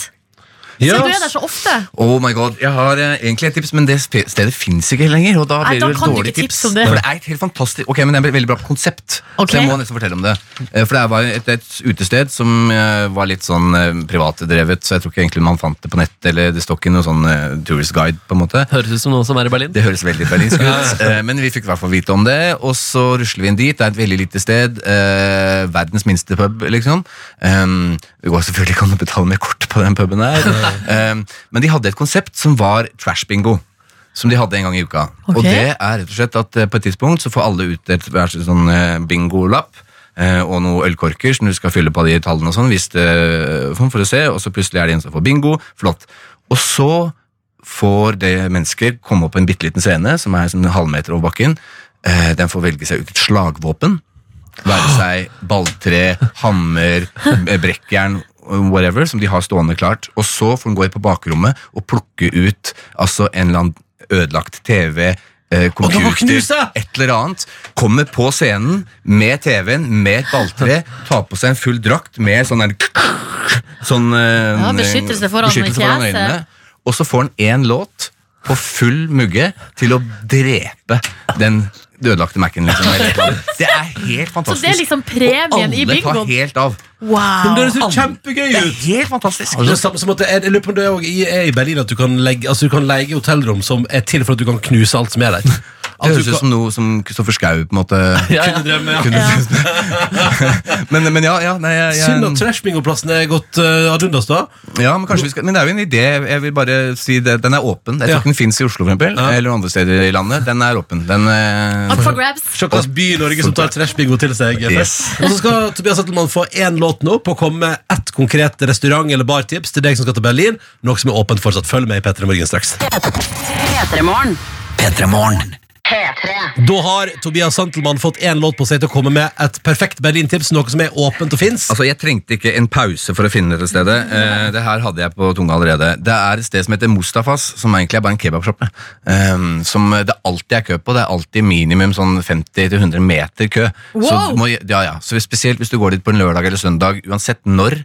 S4: Ja,
S2: Siden
S9: altså,
S2: du er der så ofte.
S9: Oh my god, Jeg har eh, egentlig et tips, men det sp- stedet fins ikke lenger. Og da
S2: Nei,
S9: blir
S2: da
S9: det
S2: kan du
S9: vel dårlig
S2: ikke
S9: tips.
S2: tipse om det.
S9: For det er et helt fantastisk Ok, men det er et veldig bra konsept.
S2: Ok.
S9: Så jeg må nesten fortelle om det. Eh, For det var et, et utested som eh, var litt sånn eh, privatdrevet, så jeg tror ikke egentlig man fant det på nett, eller det står ikke noe sånn eh, tourist guide, på en måte.
S5: Høres ut som noen som er i Berlin.
S9: Det høres veldig berlinsk ut, eh, men vi fikk i hvert fall vite om det. Og så rusler vi inn dit. Det er et veldig lite sted. eh, Verdens minste pub, liksom. Um, Det går selvfølgelig ikke an å betale med kort på den puben her. Um, Men de hadde et konsept som var trash bingo. Som de hadde en gang i uka. Og
S2: Ok.
S9: det er rett og slett at eh, på et tidspunkt så får alle ut et hver sin sånn eh, bingolapp. eh, Og noen ølkorker som du skal fylle på de tallene og sånn. Hvis det, sånn for å se, Og så plutselig er det en som får bingo. Flott. Og så får det mennesker komme opp på en bitte liten scene, som er sånn en halvmeter over bakken. Eh, Den får velge seg ut et slagvåpen. Være seg balltre, hammer, eh, brekkjern, whatever, som de har stående klart. Og så får den gå inn på bakrommet og plukke ut altså en eller annen ødelagt TV. eh,
S4: Og den må knuse!
S9: Computer, et eller annet. Kommer på scenen med TV-en, med et balltre, tar på seg en full drakt med sånn der sånn, eh,
S2: Ja, beskyttelse foran fjeset.
S9: Og så får han én låt på full mugge til å drepe den ødelagte Mac-en. Liksom. eller et eller annet. Det er helt
S2: Så
S9: fantastisk.
S2: det er liksom premien i
S9: altså, Alle tar
S2: bingoen.
S9: helt av.
S4: Men det
S2: Wow!
S4: høres jo kjempegøy
S9: Det er
S4: ut!
S9: helt fantastisk.
S4: Og Det er samme som at jeg, jeg lurer på om det er, også i- er i Berlin at du kan, legge, altså du kan leie hotellrom som er til for at du kan knuse alt som er der.
S9: *laughs* Det
S4: At du
S9: høres ut
S4: kan,
S9: som noe som Kristoffer Schau på en måte
S5: Ja, ja.
S9: kunne *laughs* men, men ja, ja, nei, jeg,
S4: synd at
S9: jeg,
S4: Trashbingo-plassen er gått uh, ad undas, da.
S9: ja men, kanskje vi skal, men det er jo en idé. Jeg vil bare si det, Den er åpen. Jeg tror
S4: Ja.
S9: ikke den fins i Oslo for eksempel,
S4: Ja.
S9: eller andre steder i landet. Den er åpen. Den, eh,
S2: Up for grabs.
S4: Se hvilken by i Norge som tar trashbingo til seg. eh,
S9: Yes.
S4: først. Og så skal Tobias Zettelmann få én låt nå på å komme med ett konkret restaurant- eller bartips til deg som skal til Berlin. Noe som er åpent fortsatt. Følg med i P3 Morgen straks.
S1: P3morgen.
S4: Da har Tobias Santelmann fått én låt på seg til å komme med et perfekt Berlin-tips. Noe som er åpent og fins.
S9: Altså, Jeg trengte ikke en pause for å finne dette stedet.
S5: Mm.
S9: Eh, det her hadde jeg på tunga allerede. Det er et sted som heter Mustafas, som egentlig er bare en kebabsjappe. Um, som det alltid er kø på. Det er alltid minimum sånn 50-100 meter kø. Så,
S2: Wow!
S9: du må, ja, ja. så hvis- Spesielt hvis du går dit på en lørdag eller søndag, uansett når.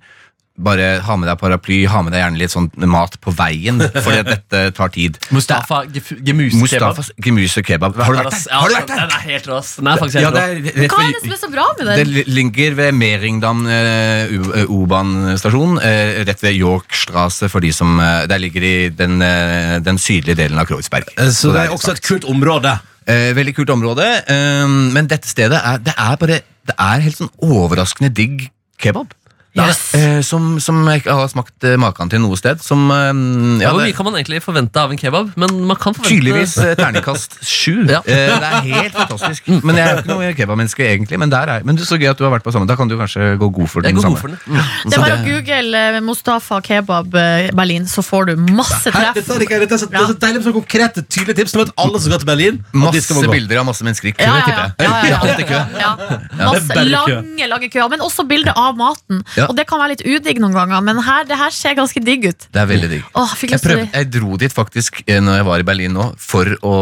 S9: Bare ha med deg paraply, ha med deg gjerne litt sånn mat på veien, for dette tar
S5: *laughs*
S9: tid.
S5: Mustafa Gef- Gemuse kebab.
S9: Mustafas gemuse kebab. Har du vært der?
S5: Ja, altså,
S9: Har du vært
S5: Den
S9: der?
S5: er helt rå. ass. Den er faktisk
S9: Ja,
S5: helt rå.
S9: det er rett
S2: Hva er
S9: ved-
S2: det som er så bra med
S9: det
S2: den?
S9: li- ligger ved Meringdam eh, U- eh, O-banestasjon, eh, rett ved Yorkstrasse, for de som eh, Der ligger de den, eh, den sydlige delen av Kreuzberg.
S4: Eh, Så det er
S9: litt
S4: også
S9: sant.
S4: et kult område.
S9: eh, Veldig kult område, eh, men dette stedet er, det er bare Det er helt sånn overraskende digg kebab.
S2: Yes.
S9: Eh, som, som jeg ikke har smakt eh, maken til noe sted. Som eh, ja,
S5: Hvor
S9: det-
S5: mye kan man egentlig forvente av en kebab? Men man kan forvente
S9: Tydeligvis eh, terningkast sju.
S5: *laughs* Ja.
S9: Eh, det er helt fantastisk. Men Jeg er jo ikke noe kebabmenneske, egentlig. Men, der er, men det er så gøy at du har vært på samme. Da kan du kanskje gå god for
S5: Jeg går
S9: den
S5: god
S9: samme.
S5: for den. Mm.
S2: Det er bare
S9: altså,
S2: å google eh, Mustafa kebab eh, Berlin, så får du masse
S4: Her,
S2: treff.
S4: dette er ikke- dette er så, det er så deilig med så konkrete, tydelige tips. Nå vet alle som skal til Berlin. at de skal
S9: Masse
S4: må gå.
S9: bilder av masse mennesker i kø,
S2: Ja, ja,
S9: tipper jeg.
S2: ja, ja, ja, ja, ja.
S4: Det
S2: Masse
S4: er bare kø.
S2: lange lange køer, men også bilder av maten.
S9: Ja.
S2: Og det kan være litt udigg noen ganger, men her, det her ser ganske digg ut.
S9: Det er veldig digg.
S2: Åh, fikk
S9: Jeg,
S2: lyst til det.
S9: prøvde, jeg dro dit faktisk eh, når jeg var i Berlin nå, for å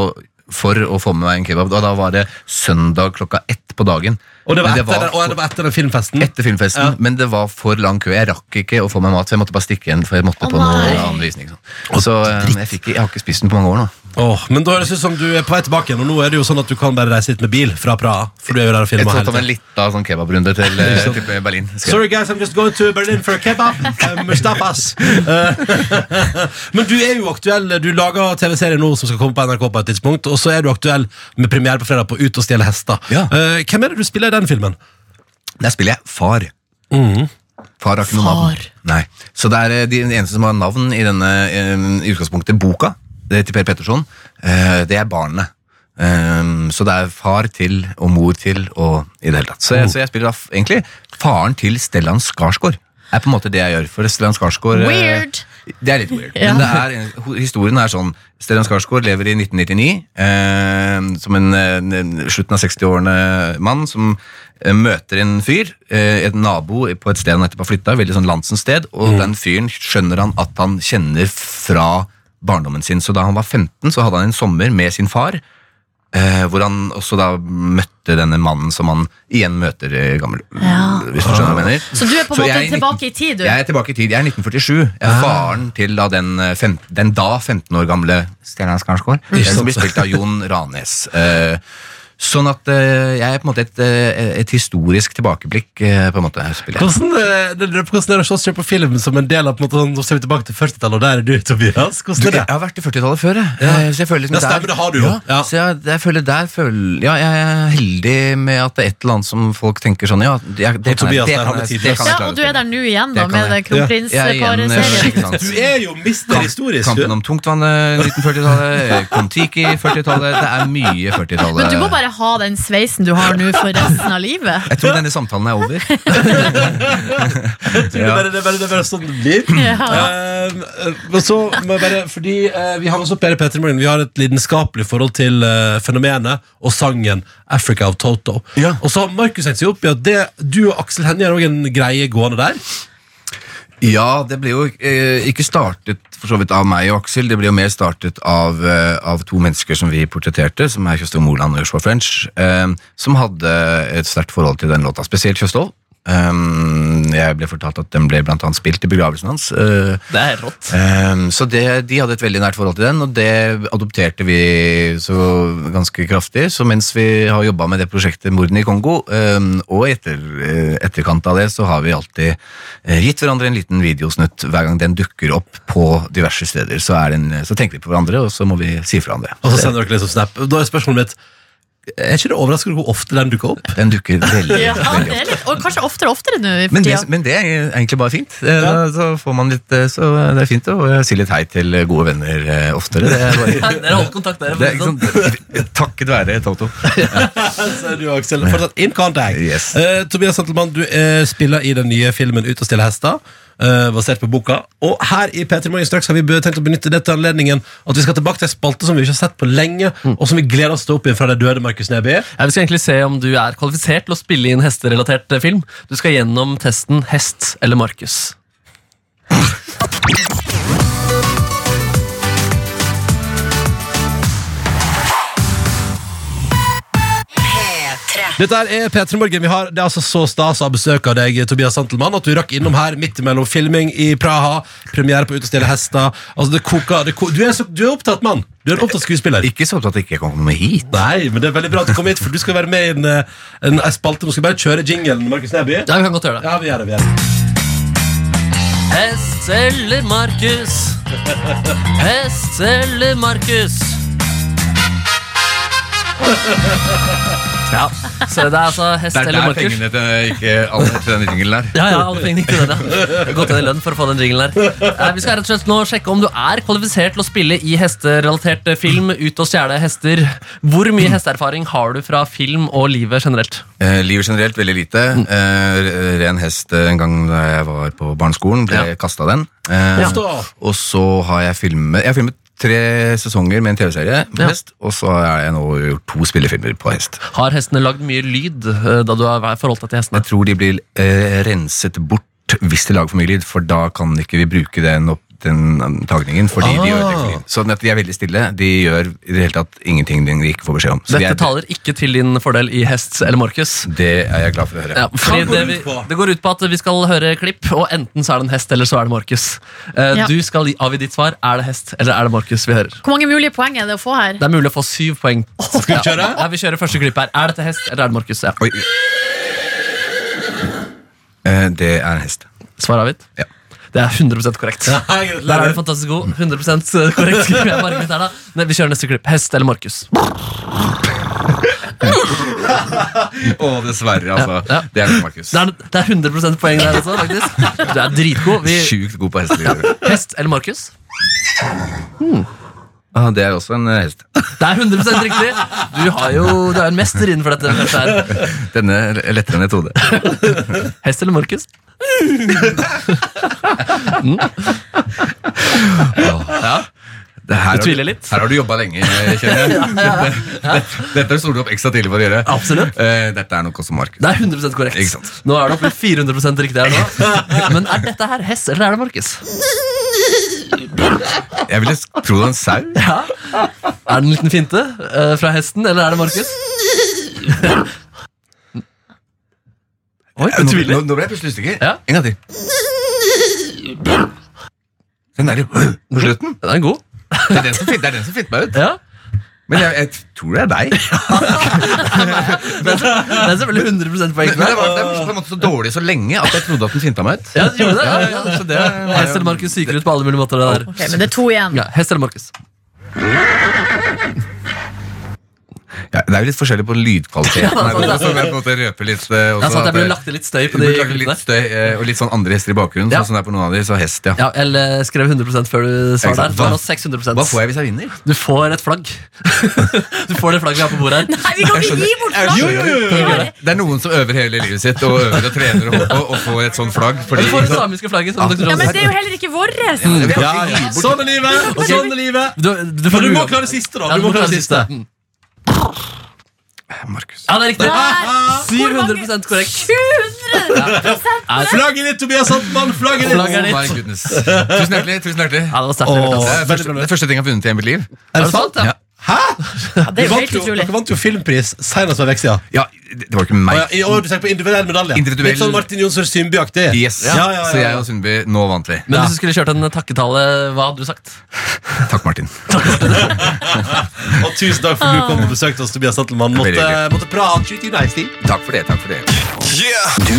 S9: for å få med meg en kebab. Og da var det søndag klokka ett på dagen.
S4: Og det var
S9: Men
S4: etter, den- og det var etter den filmfesten.
S9: etter filmfesten,
S4: Ja.
S9: men det var for lang kø. Jeg rakk ikke å få meg mat, så jeg måtte bare stikke igjen. For jeg måtte
S2: Å,
S9: på noe
S2: nei.
S9: annen visning sånn. Så eh, jeg, fikk, jeg har ikke spist den på mange år nå.
S4: Åh, men da høres det ut som du er på vei tilbake igjen. Og nå er det jo sånn at du kan bare reise hit med bil fra Praha. For du er jo der og
S9: Jeg
S4: filmer hele
S9: tok meg
S4: tiden.
S9: litt av sånn kebabrunde til, eh,
S4: *laughs*
S9: til Berlin. Skal jeg-
S4: Sorry guys, I'm just going to Berlin for a
S9: *laughs*
S4: kebab. Uh, Mustafas. Eh, men du er jo aktuell. Du lager TV-serie nå som skal komme på NRK på et tidspunkt. Og så er du aktuell med premiere på fredag på Ut og stjele hester.
S9: Ja.
S4: Eh, hvem er det du spiller i den filmen?
S9: Der spiller jeg far.
S4: Mhm.
S9: Far har ikke noe
S2: Far.
S9: navn. Nei. Så det er eh, de eneste som har navn i denne eh, i utgangspunktet boka det er til Per Petterson, eh, det er barnet. Eh, så det er far til og mor til og i det hele tatt. Så jeg, så jeg spiller da f- egentlig faren til Stellan Skarsgård. er på en måte det jeg gjør. For Stellan Skarsgård eh,
S2: Weird.
S9: Det er litt weird.
S2: Ja.
S9: Men det er, ho- historien er sånn Stellan Skarsgård lever i 1999 eh, som en, eh, en slutten av 60-årene mann som eh, møter en fyr, eh, et nabo på et sted han nettopp har flytta, veldig sånn landsens sted, og den fyren skjønner han at han kjenner fra barndommen sin. Så da han var 15, så hadde han en sommer med sin far. Eh, hvor han også da møtte denne mannen som han igjen møter eh, gammel.
S2: Ja.
S9: Hvis du skjønner hva jeg mener.
S2: Så du er på en måte
S9: jeg er
S2: tilbake i tid, du.
S9: Jeg er tilbake i tid. Jeg er 1947. Jeg
S4: Ah.
S9: er faren til da den, eh, fem, den da 15 år gamle Stjerna Skarsgård.
S4: Mm.
S9: eh, Som
S4: *laughs*
S9: blir spilt av Jon Ranes. Eh, Sånn at eh, jeg er på en måte et, eh, et historisk tilbakeblikk. eh, på en måte her spiller jeg.
S4: Hvordan, eh, det, det- hvordan er det å se på film som en del av på en måte, sånn, Nå ser vi tilbake til 40-tallet, og der er du, Tobias. Hvordan
S9: Du,
S4: er
S9: jeg
S4: det?
S9: har vært i 40-tallet før, jeg. Eh, Så jeg føler liksom
S4: Ja, stemmer,
S9: der-
S4: det har du jo.
S9: Ja,
S4: Ja.
S9: Så jeg, jeg føler der føler, Ja, jeg er heldig med at det er et eller annet som folk tenker sånn Ja, jeg, det, kan jeg,
S4: Tobias
S9: det,
S4: der, han
S9: kan
S4: er
S9: jeg, det
S4: tidløs.
S9: kan jeg
S2: Ja,
S9: klare
S2: og du er
S9: til.
S2: der nå igjen, da,
S9: Det kan
S2: med det
S9: jeg. Jeg er igjen, eh,
S2: kronprinsparet-serien.
S9: skikkelig
S4: Du er jo mister historisk. du.
S9: Kampen om tungtvannet 1940-tallet, Kon-Tiki 40-tallet Det er mye 40-tallet.
S2: Men du må bare ha den sveisen du har nå for resten av livet.
S9: Jeg tror denne samtalen er over.
S4: Det er bare, det er bare, det er bare sånn det blir.
S2: Ja.
S4: Eh, men så må jeg bare, fordi eh, Vi har også Per Petter Morgan Vi har et lidenskapelig forhold til eh, fenomenet og sangen 'Africa of Toto'.
S9: Ja.
S4: Og så har Markus hengt seg opp i at det, du og Aksel Hennie har også en greie gående der.
S9: Ja, det ble jo eh, ikke startet for så vidt av meg og Aksel, det ble jo mer startet av, eh, av to mennesker som vi portretterte, som er Kjøstov Moland og Joshua French, eh, som hadde et sterkt forhold til den låta, spesielt Kjøstov. Um, jeg ble fortalt at den ble blant annet spilt i begravelsen hans. eh,
S5: Det er
S9: *laughs*
S5: rått.
S9: Ehm, så det, de hadde et veldig nært forhold til den, og det adopterte vi så ganske kraftig. Så mens vi har jobba med det prosjektet Mordene i Kongo, ehm, og i etter, eh, etterkant av det, så har vi alltid eh, gitt hverandre en liten videosnutt hver gang den dukker opp på diverse steder. Så, er den, eh, så tenker vi på hverandre, og så må vi si fra om det.
S4: Og så sender dere liksom snap. Da er spørsmålet mitt Er ikke det overraskende hvor ofte den dukker opp?
S9: Den dukker veldig,
S2: *laughs* Ja,
S9: veldig
S2: det
S9: opp.
S2: er litt, og kanskje oftere og oftere nå. i
S9: Men det,
S2: tida.
S9: men det er egentlig bare fint. Eh, da- Så får man litt eh, Så det er fint å eh, si litt hei til gode venner eh, oftere. Det er *laughs* bare
S5: Dere holder kontakt der.
S9: Det er ikke sånn, takket være Toto.
S4: Så er du, Aksel, fortsatt in contact.
S9: Yes.
S4: Eh, Tobias Santelmann, du eh, spiller i den nye filmen Ut og stille hester, eh, basert på boka. Og her i P3 Morgen straks har vi be- tenkt å benytte det til anledningen at vi skal tilbake til en spalte som vi ikke har sett på lenge, og som vi gleder oss til å opp igjen fra det døde Markus Neby.
S5: Ja, vi skal egentlig se om du er kvalifisert til å spille inn hesterelatert eh, film. Du skal gjennom testen Hest eller Markus.
S4: Dette her er P3 Morgen. Vi har, det er altså så stas å ha besøk av deg, Tobias Santelmann, at du rakk innom her midt mellom filming i Praha, premiere på Ut og stille hester. Altså, det koker det ko du, er så, du er opptatt mann. Du er en opptatt skuespiller.
S9: Ikke så opptatt at jeg ikke kan komme hit.
S4: Nei, men det er veldig bra at du kom hit, for du skal være med i en, eh, en, en spalte. Nå skal vi bare kjøre jinglen, Markus Neby.
S5: Ja, vi kan godt gjøre det.
S4: Ja, vi gjør det. vi gjør det
S5: Hest eller Markus? Hest eller Markus? Ja, så det er altså hest
S9: Det er
S5: eller
S9: der
S5: markers.
S9: pengene til, ikke, alle, til den jingelen der.
S5: Ja, ja, alle pengene gikk til den, ja. Gått ned i lønn for å få den jinglen der. Eh, Vi skal rett og slett nå sjekke om du er kvalifisert til å spille i hesterelatert eh, film, ut og stjele hester. Hvor mye hesteerfaring har du fra film og livet generelt?
S9: Eh, livet generelt veldig lite. Eh, ren hest eh, en gang da jeg var på barneskolen, ble jeg kasta den. Eh,
S4: Ofte, da.
S9: Og så har jeg filmet Jeg har filmet tre sesonger med en TV-serie på
S5: Ja.
S9: hest, og så har jeg nå gjort to spillefilmer på hest.
S5: Har hestene lagd mye lyd eh, da du har vært- forholdt deg til hestene?
S9: Jeg tror de blir eh, renset bort hvis de lager for mye lyd, for da kan ikke vi bruke den opp den um, tagningen, fordi de
S4: Ah.
S9: ødelegger for lyd. Sånn at de er veldig stille. De gjør i det hele tatt ingenting de ikke får beskjed om. Så de
S5: Dette
S9: er,
S5: taler ikke til din fordel i hest eller markus.
S9: det er jeg glad for å høre.
S5: Ja, fordi
S4: Hva går
S5: det,
S4: det
S5: vi,
S4: ut på?
S5: det går ut på at vi skal høre klipp, og enten så er det en hest, eller så er det Markus. Eh,
S2: Ja.
S5: Du skal gi- avgi ditt svar. Er det hest, eller er det Markus vi hører?
S2: Hvor mange mulige poeng er det å få her?
S5: Det er mulig å få syv poeng.
S4: Skal vi kjøre?
S5: Ja, vi kjører første klipp her. Er dette hest, eller er det Markus? Ja.
S9: Oi. Eh, det er en hest.
S5: Svar avgitt?
S9: Ja.
S5: Det er 100 korrekt.
S4: Nei,
S5: Der er
S4: gratulerer.
S5: du fantastisk god. 100 korrekt skriver jeg bare ut her da Nei, Vi kjører neste klipp. Hest eller Markus?
S9: Å, dessverre, altså.
S5: Ja, ja.
S9: Det er nok Markus.
S5: Det er, det er 100 poeng der også, faktisk. Du er dritgod. Vi,
S9: Sjukt god på hester.
S5: hest eller Markus?
S9: Ah, det er også en eh, hest.
S5: Det er 100 riktig! Du, har jo, du er en mester innenfor dette. feltet her.
S9: Denne er lettere enn jeg trodde.
S5: Hest eller Markus?
S9: Det
S5: Du
S9: her har
S5: tviler litt?
S9: Her har du jobba lenge, *laughs* kjenner jeg. Dette, dette sto du opp ekstra tidlig for å gjøre.
S5: Absolutt.
S9: Eh, dette er nok også Markus.
S5: Det er 100 korrekt.
S9: Ikke sant.
S5: Nå er det oppe i 400 riktig her nå. Men er dette her hest, eller er det Markus?
S9: Jeg ville s- tro det var en sau.
S5: Ja. Er det en liten finte eh, fra hesten, eller er det Markus? Oi,
S9: Nå, nå, nå ble jeg plutselig usikker.
S5: Ja.
S9: En gang til. Den der på slutten.
S5: Den er god.
S9: Det er den som fint, det er den som fint meg ut.
S5: Ja.
S9: Men jeg, jeg tror det er deg.
S5: Den, den er selvfølgelig 100 poeng.
S9: Men, men det var, det var på en måte så dårlig så lenge at jeg trodde at den finta meg ut.
S5: Ja, den gjorde det. Ja, ja,
S9: Så det er-
S5: Hest eller Markus syker ut på alle mulige måter. Det der.
S2: Ok, men det er to igjen.
S5: Ja, hest eller Markus?
S9: Ja, det er jo litt forskjellig på lydkvaliteten. her også, så jeg på en måte røper litt eh, også
S5: Jeg sa at jeg
S9: at,
S5: ble
S9: eh,
S5: lagt til litt støy
S9: Det
S5: på de
S9: burde lage litt
S5: klippene.
S9: støy eh, og litt sånn andre hester i bakgrunnen.
S5: Ja.
S9: Sånn som det er på noen av de, så hest, ja.
S5: Ja, eller skrev 100 før du svarer
S9: Ikke sant.
S5: der. Det var
S9: Hva-
S5: nå 600
S9: Hva får jeg hvis jeg vinner?
S5: Du får et flagg. *laughs* du får det flagget vi har på bordet her.
S2: Nei, vi kan ikke gi bort flagg!
S9: Det er noen som øver hele livet sitt og øver og trener og håper og får et sånt flagg. Fordi,
S5: Du får det samiske flagget. Som dr.
S2: Ja, men
S5: Johnsen.
S2: det er jo heller ikke vårt!
S4: Ja, ja. Sånn er livet! Sånn er livet.
S5: du, du, får
S4: Men du må
S5: uavgjort.
S4: klare siste, da.
S5: Ja,
S4: Du må klare siste.
S5: Mm.
S9: Markus.
S5: Ja, det er riktig.
S4: Ah,
S2: Nei,
S5: 700 korrekt.
S2: 700
S4: Flagget ditt, Tobias Sandmann! Flagget
S9: Oh
S4: ditt!
S5: Flagget. Lager litt.
S9: my goodness. Tusen hjertelig. tusen hjertelig
S5: Ja, det var sterkt.
S4: Åh.
S5: det var
S9: Det
S5: sterkt.
S9: er første, det første ting jeg har funnet i mitt liv.
S5: Er det sant? Ja.
S2: Ja, Det er
S4: Dere
S2: jo
S4: vant
S2: helt
S4: jo,
S2: utrolig.
S4: dere vant jo filmpris senest for en uke siden.
S9: Ja, det det var ikke meg.
S4: Å, ja, I år du tenker på individuell medalje.
S9: Individuell-
S4: Litt sånn Martin Jonsson Sundby-aktig.
S9: Yes.
S4: Ja, ja,
S9: Så jeg
S4: ja,
S9: og Sundby, nå vant vi.
S5: Men hvis du skulle kjørt en takketale, hva hadde du sagt?
S9: Takk, Martin.
S4: ja. Og tusen takk for at du kom og besøkte oss, Tobias Sattelmann. Måtte,
S9: Veldig
S4: måtte prate skyte i deg, Stig.
S9: Takk for det. takk for det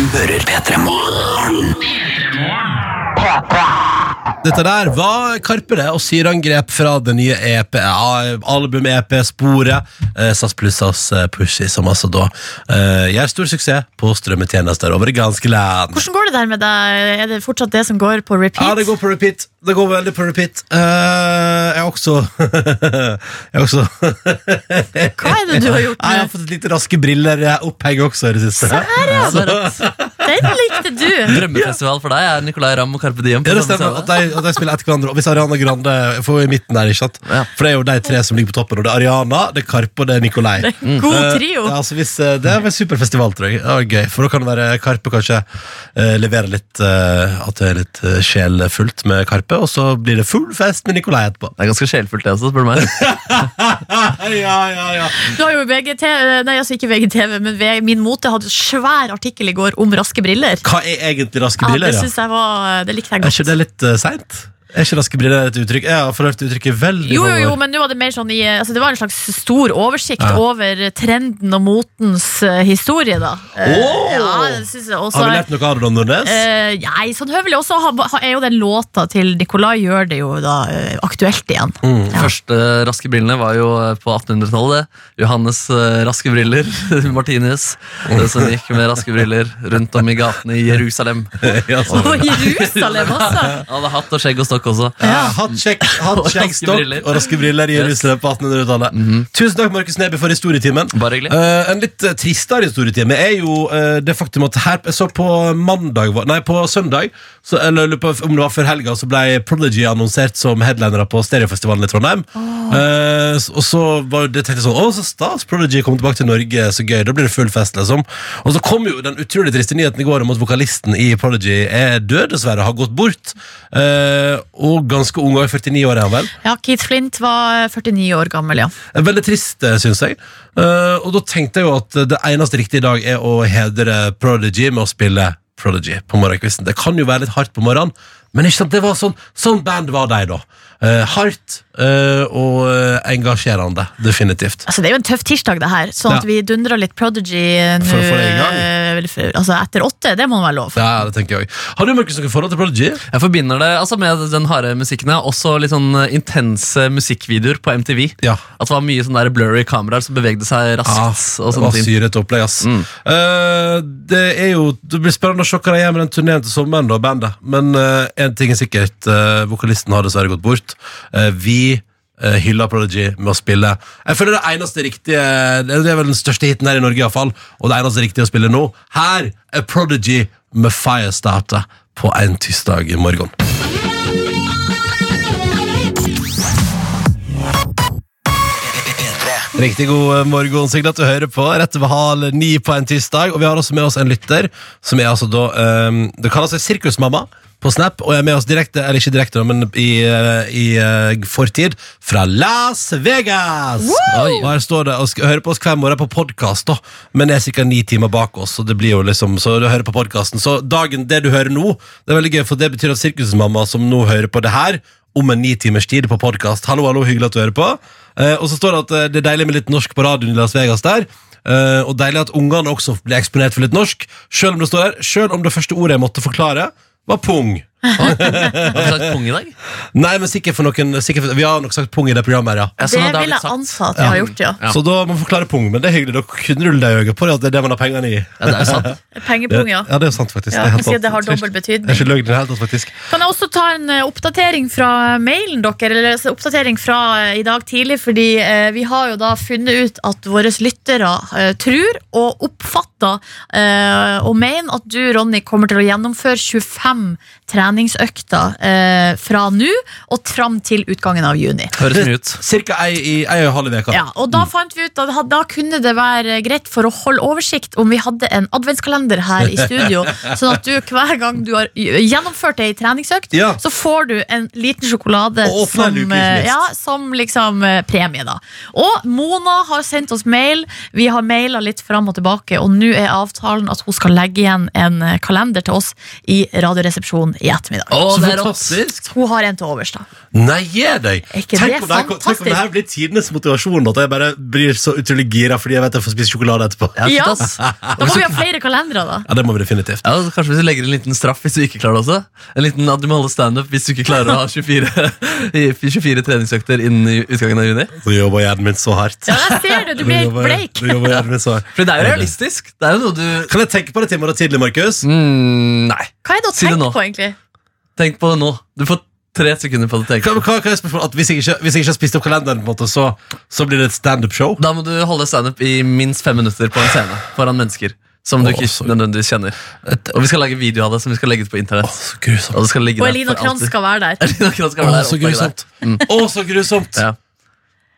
S4: Dette der var Karpe det, og syreangrep fra det nye EP, ja, album-EP-sporet. Eh, SAS Plussas eh, Pushy, som altså da eh, gjør stor suksess på strømmetjenester over det ganske land.
S2: Hvordan går det der med deg? Er det fortsatt det som går på repeat?
S4: Ja, det går på repeat. Det går veldig på repeat. Eh, jeg har også *laughs* Jeg har også
S2: Hva er det du har gjort
S4: Nei, Jeg har
S2: nå?
S4: fått litt raske briller eh, oppheng også i det siste.
S2: Der, ja.
S5: det er
S2: Den likte du!
S5: Drømmefestival for deg er Nicolay Ramm og Carpe Diem. på
S4: Ja, Sånn det stemmer
S5: samme
S4: at
S5: scene.
S4: de, at de spiller etter hverandre. Og hvis Ariana Grande får i midten der, ikke sant?
S5: Ja.
S4: For det er jo de tre som ligger på toppen. Og det er Ariana, det er Karpe og det er Nikolai.
S2: God
S4: Eh,
S2: trio.
S4: ja, altså hvis, eh, det er vel superfestival, tror jeg. Det var gøy, for da kan det være Karpe kanskje eh, leverer litt eh, At det er litt eh, sjelfullt med Karpe, og så blir det full fest med Nikolai etterpå.
S5: Det er ganske sjelfullt, det også, spør du *laughs* meg.
S4: Ja, ja, ja.
S2: Du har jo VGTV, nei, altså ikke VGTV, men V- Min Mote hadde svær artikkel i går om raske briller.
S4: Hva er egentlig raske
S2: Ja,
S4: briller?
S2: det
S4: Ja,
S2: synes jeg var, eh, det likte jeg
S4: Er ikke
S2: godt.
S4: det litt uh, seint? Er ikke raske briller et uttrykk? Jeg har forhørt uttrykket veldig
S2: Jo, jo, jo,
S4: mange år.
S2: men nå var det mer sånn i eh, altså Det var en slags stor oversikt
S4: Ja.
S2: over trenden og motens eh, historie, da. Eh, ja, det synes jeg også
S4: Har du lært noe av det, Don Nordnes?
S2: Eh, nei, sånn høvelig. Og så ha- ha- er jo den låta til Nicolai gjør det jo da eh, aktuelt igjen.
S4: Mm.
S5: Mm. Første raske brillene var jo eh, på 1800-tallet. Johannes eh, raske briller, *laughs* Martinus, eh, som gikk med raske briller rundt om i gatene i
S4: *laughs*
S5: Jerusalem.
S4: ja, så-
S2: *laughs* Og Jerusalem også!
S5: Han hadde hatt og skjegg og stokk også.
S4: Ja, Hatt sjekk, hatt *laughs*
S5: Og
S4: sjekk
S5: raske
S4: stokk
S5: briller.
S4: og raske briller i Jerusalem på 1800-tallet. Tusen takk, Markus Neby, for historietimen.
S5: Mhm. Bare hyggelig.
S4: Eh, en litt eh, tristere historietime er jo eh, det faktum at her Jeg så på mandag var- Nei, på søndag, så, eller lurer på om det var før helga, så ble Prodigy annonsert som headlinere på Stereofestivalen i Trondheim. Eh, s- og så var det tenkte jeg sånn Å, så stas! Prodigy kom tilbake til Norge, så gøy. Da blir det full fest, liksom. Og så kom jo den utrolig triste nyheten i går om at vokalisten i Prodigy er død, dessverre. Har gått bort. Eh, og ganske ung, og er 49 år er han vel.
S2: Ja, Keith Flint var eh, 49 år gammel, ja.
S4: Veldig trist, syns jeg. Eh, og da tenkte jeg jo at det eneste riktige i dag er å hedre Prodigy med å spille Prodigy på morgenkvisten. Det kan jo være litt hardt på morgenen, men ikke sant, det var sånn, sånn band var de da. Eh, hardt eh, og eh, engasjerende, definitivt.
S2: Altså, det er jo en tøff tirsdag, det her. Sånn at
S4: Ja.
S2: vi dundrer litt Prodigy eh, nå
S4: For å få det i gang.
S2: eh, vel, for- altså, etter åtte. Det må være lov.
S4: Ja, det tenker jeg også. Har du Markus, noe forhold til Prodigy?
S5: Jeg forbinder det altså med den harde musikken. ja. Også litt sånn eh, intense musikkvideoer på MTV.
S4: Ja. Ah,
S5: At det var mye sånn der blurry kameraer som bevegde seg raskt. og
S4: det
S5: sånne
S4: var
S5: ting.
S4: syret opplegg, ass.
S5: Mm.
S4: Eh, det er jo Det blir spennende å se hva de gjør med den turneen til sommeren, da, bandet. Men én ting er sikkert, eh, vokalisten har dessverre gått bort. Eh, vi eh, hyller Prodigy med å spille Jeg føler det eneste riktige Det er vel den største hiten her i Norge, iallfall. Og det eneste riktige å spille nå. Her er Prodigy med Firestarter på en tirsdag i morgen. Riktig god eh, morgen, Signe, at du hører på. Rett over halv ni på en tirsdag. Og vi har også med oss en lytter som er altså da ehm, Det kaller seg Sirkusmamma på Snap, og er med oss direkte, eller ikke direkte, da, men i, eh, i eh, fortid, fra Las Vegas! Oi. Og her står det og skal høre på oss hver morgen på podkast, da, men er ca. ni timer bak oss, så det blir jo liksom Så du hører på podkasten. Så dagen, det du hører nå, det er veldig gøy, for det betyr at Sirkusmamma, som nå hører på det her, om en ni timers tid på podkast. Hallo, hallo, hyggelig at du hører på. Eh, og så står det at eh, det er deilig med litt norsk på radioen i Las Vegas der. Eh, og deilig at ungene også blir eksponert for litt norsk. Selv om det står her, selv om det første ordet jeg måtte forklare, var pung.
S5: Har du sagt pung i dag?
S4: Nei, men sikkert for noen sikkert for, Vi har nok sagt pung i det programmet her, ja.
S5: Ja, sånn
S2: Det
S5: at har
S2: vil
S5: blitt
S2: jeg
S5: sagt.
S2: anta at vi har gjort, ja.
S5: Ja.
S4: Så da må man forklare pung, men det er hyggelig. Da kunne rulle deg i øyet på det, at det er det man har pengene i.
S5: Ja, det er
S4: *laughs*
S5: jo sant.
S2: Pengepung, ja.
S4: ja det er sant, faktisk.
S2: Ja,
S4: det er helt
S2: jeg sier det har
S4: sant.
S2: dobbel betydning.
S4: Det er ikke løgn i det hele tatt, faktisk.
S2: Kan jeg også ta en eh, oppdatering fra mailen dere, eller altså, oppdatering fra eh, i dag tidlig, fordi eh, vi har jo da funnet ut at våre lyttere eh, tror og oppfatter eh, og mener at du, Ronny, kommer til å gjennomføre 25 treningsøkter eh, fra nå og fram til utgangen av juni.
S5: Høres mye ut.
S4: Cirka ei, i, ei og en halv uke.
S2: Ja, og da fant vi ut at da kunne det være greit for å holde oversikt om vi hadde en adventskalender her i studio, sånn at du hver gang du har gjennomført ei treningsøkt,
S4: Ja.
S2: så får du en liten sjokolade
S4: Og åpner
S2: som,
S4: luke, ikke
S2: eh,
S4: minst.
S2: ja, som liksom eh, premie, da. Og Mona har sendt oss mail, vi har maila litt fram og tilbake, og nå er avtalen at hun skal legge igjen en eh, kalender til oss i Radioresepsjonen i ettermiddag.
S5: Å,
S4: Så
S5: det er rått.
S4: fantastisk!
S2: Hun har en til overs, da.
S4: Nei, gi deg!
S2: Er ikke det
S4: Tenk om, det her, tenk
S2: fantastisk?
S4: om det her blir tidenes motivasjon, at jeg bare blir så utrolig gira fordi jeg vet jeg får spise sjokolade etterpå. Ja,
S2: Ja.
S5: shit, ass.
S2: Da må vi ha flere kalendere, da.
S4: det må vi definitivt.
S5: Ja, altså, Kanskje hvis du legger en liten straff hvis du ikke klarer det også? En liten at du må holde standup hvis du ikke klarer å ha *laughs* 24, 24 treningsøkter innen i- utgangen av juni?
S4: Nå jobber hjernen min så hardt.
S2: Ja, jeg ser det, du
S4: Nå
S2: blir helt
S4: jobber-
S2: bleik.
S4: nå jobber hjernen min så *laughs* hardt.
S5: For det er jo realistisk. Det er jo noe du
S4: Kan jeg tenke på det timer og tidlig, Markus?
S5: mm, Nei.
S2: Hva er det å
S5: Si det
S2: tenke
S5: nå.
S2: på, egentlig?
S5: Tenk på det nå. Du får tre sekunder på det.
S4: Hva,
S5: tenk
S4: hva, hva er spørsmålet? At hvis, jeg ikke, hvis jeg ikke har spist opp kalenderen, på en måte, så, så blir det et standup-show?
S5: Da må du holde standup i minst fem minutter på en scene foran mennesker. Som
S4: Å,
S5: du ikke
S4: så-
S5: nødvendigvis kjenner. Og vi skal lage video av det som vi skal legge ut på internett.
S4: Så grusomt.
S5: Og det skal ligge
S2: Og
S5: der *laughs*
S2: Elina
S5: for
S2: Kranz
S5: alltid.
S2: skal være der.
S5: Elina Kranz
S4: *laughs*
S5: skal
S4: Å,
S5: være der
S4: så
S5: og oppdage det.
S4: grusomt! Å, så grusomt!
S5: Ja.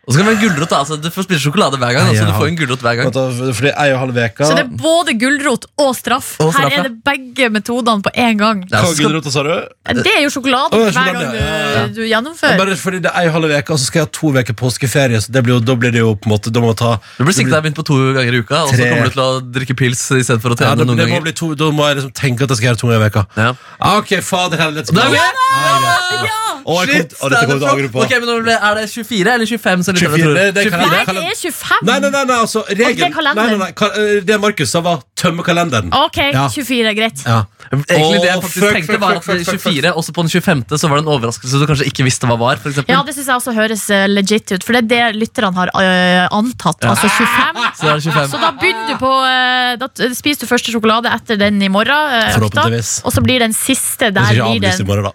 S5: Og så kan vi ha en gulrot. da, altså Du får spise sjokolade hver gang. da, så du får en gulrot hver gang
S4: Fordi ei og en halv uke
S2: Så det er både gulrot og straff.
S5: Og straff,
S2: Her
S5: ja.
S2: er det begge metodene på én gang.
S5: Ja,
S4: Hva
S5: så skal-
S4: gulrota, sa du?
S2: Det er jo sjokoladen
S4: Å, ja,
S2: hver
S4: sjokolade,
S2: gang
S4: ja, ja.
S2: du, du
S4: Ja,
S2: gjennomfører.
S4: Bare fordi det er ei og en halv uke, og så skal jeg ha to uker påskeferie. Så det blir jo, da blir det jo på en måte Da må jeg ta
S5: Du blir sikta deg begynt på to ganger i uka, og så
S4: Tre.
S5: kommer du til å drikke pils istedenfor
S4: ja,
S5: å trene
S4: det,
S5: noen
S4: det må
S5: ganger.
S4: bli to, Da må jeg liksom tenke at jeg skal gjøre to ganger i uka.
S5: Ja.
S4: Ah, ok, fader heller, let's go.
S5: Da er vi-
S4: Å, jeg kom,
S5: Shit,
S4: å, dette kommer du til å angre på.
S5: Ok, men nå ble, Er det 24 eller 25 som lytterne
S4: 24,
S5: tror?
S4: det kan jeg-
S2: Nei,
S5: 24.
S2: det er 25!
S4: Nei, nei, nei, nei, altså
S2: Og det er
S4: regelen nei,
S2: kalenderen.
S4: nei, nei, ka- eh, Det Markus sa, var tømme kalenderen.
S2: Ok,
S4: Ja.
S2: 24 er greit.
S4: Ja.
S5: Egentlig det jeg
S4: Åh,
S5: faktisk
S4: fuck,
S5: tenkte
S4: fuck,
S5: var
S4: fuck,
S5: at det
S4: fuck, fuck, fuck.
S5: 24, også på den 25. så var det en overraskelse du kanskje ikke visste hva var. For eksempel.
S2: Ja, det syns jeg også høres eh, legit ut, for det er det lytterne har eh, antatt. Altså 25.
S5: Så er det 25.
S2: Så da begynner du på eh, Da t- spiser du første sjokolade etter den i morgen. eh, økta.
S4: Forhåpentligvis.
S2: Og så blir den siste
S4: Jeg
S2: der
S4: skal ikke
S2: blir
S4: avlyse i
S2: den
S4: morgen, da.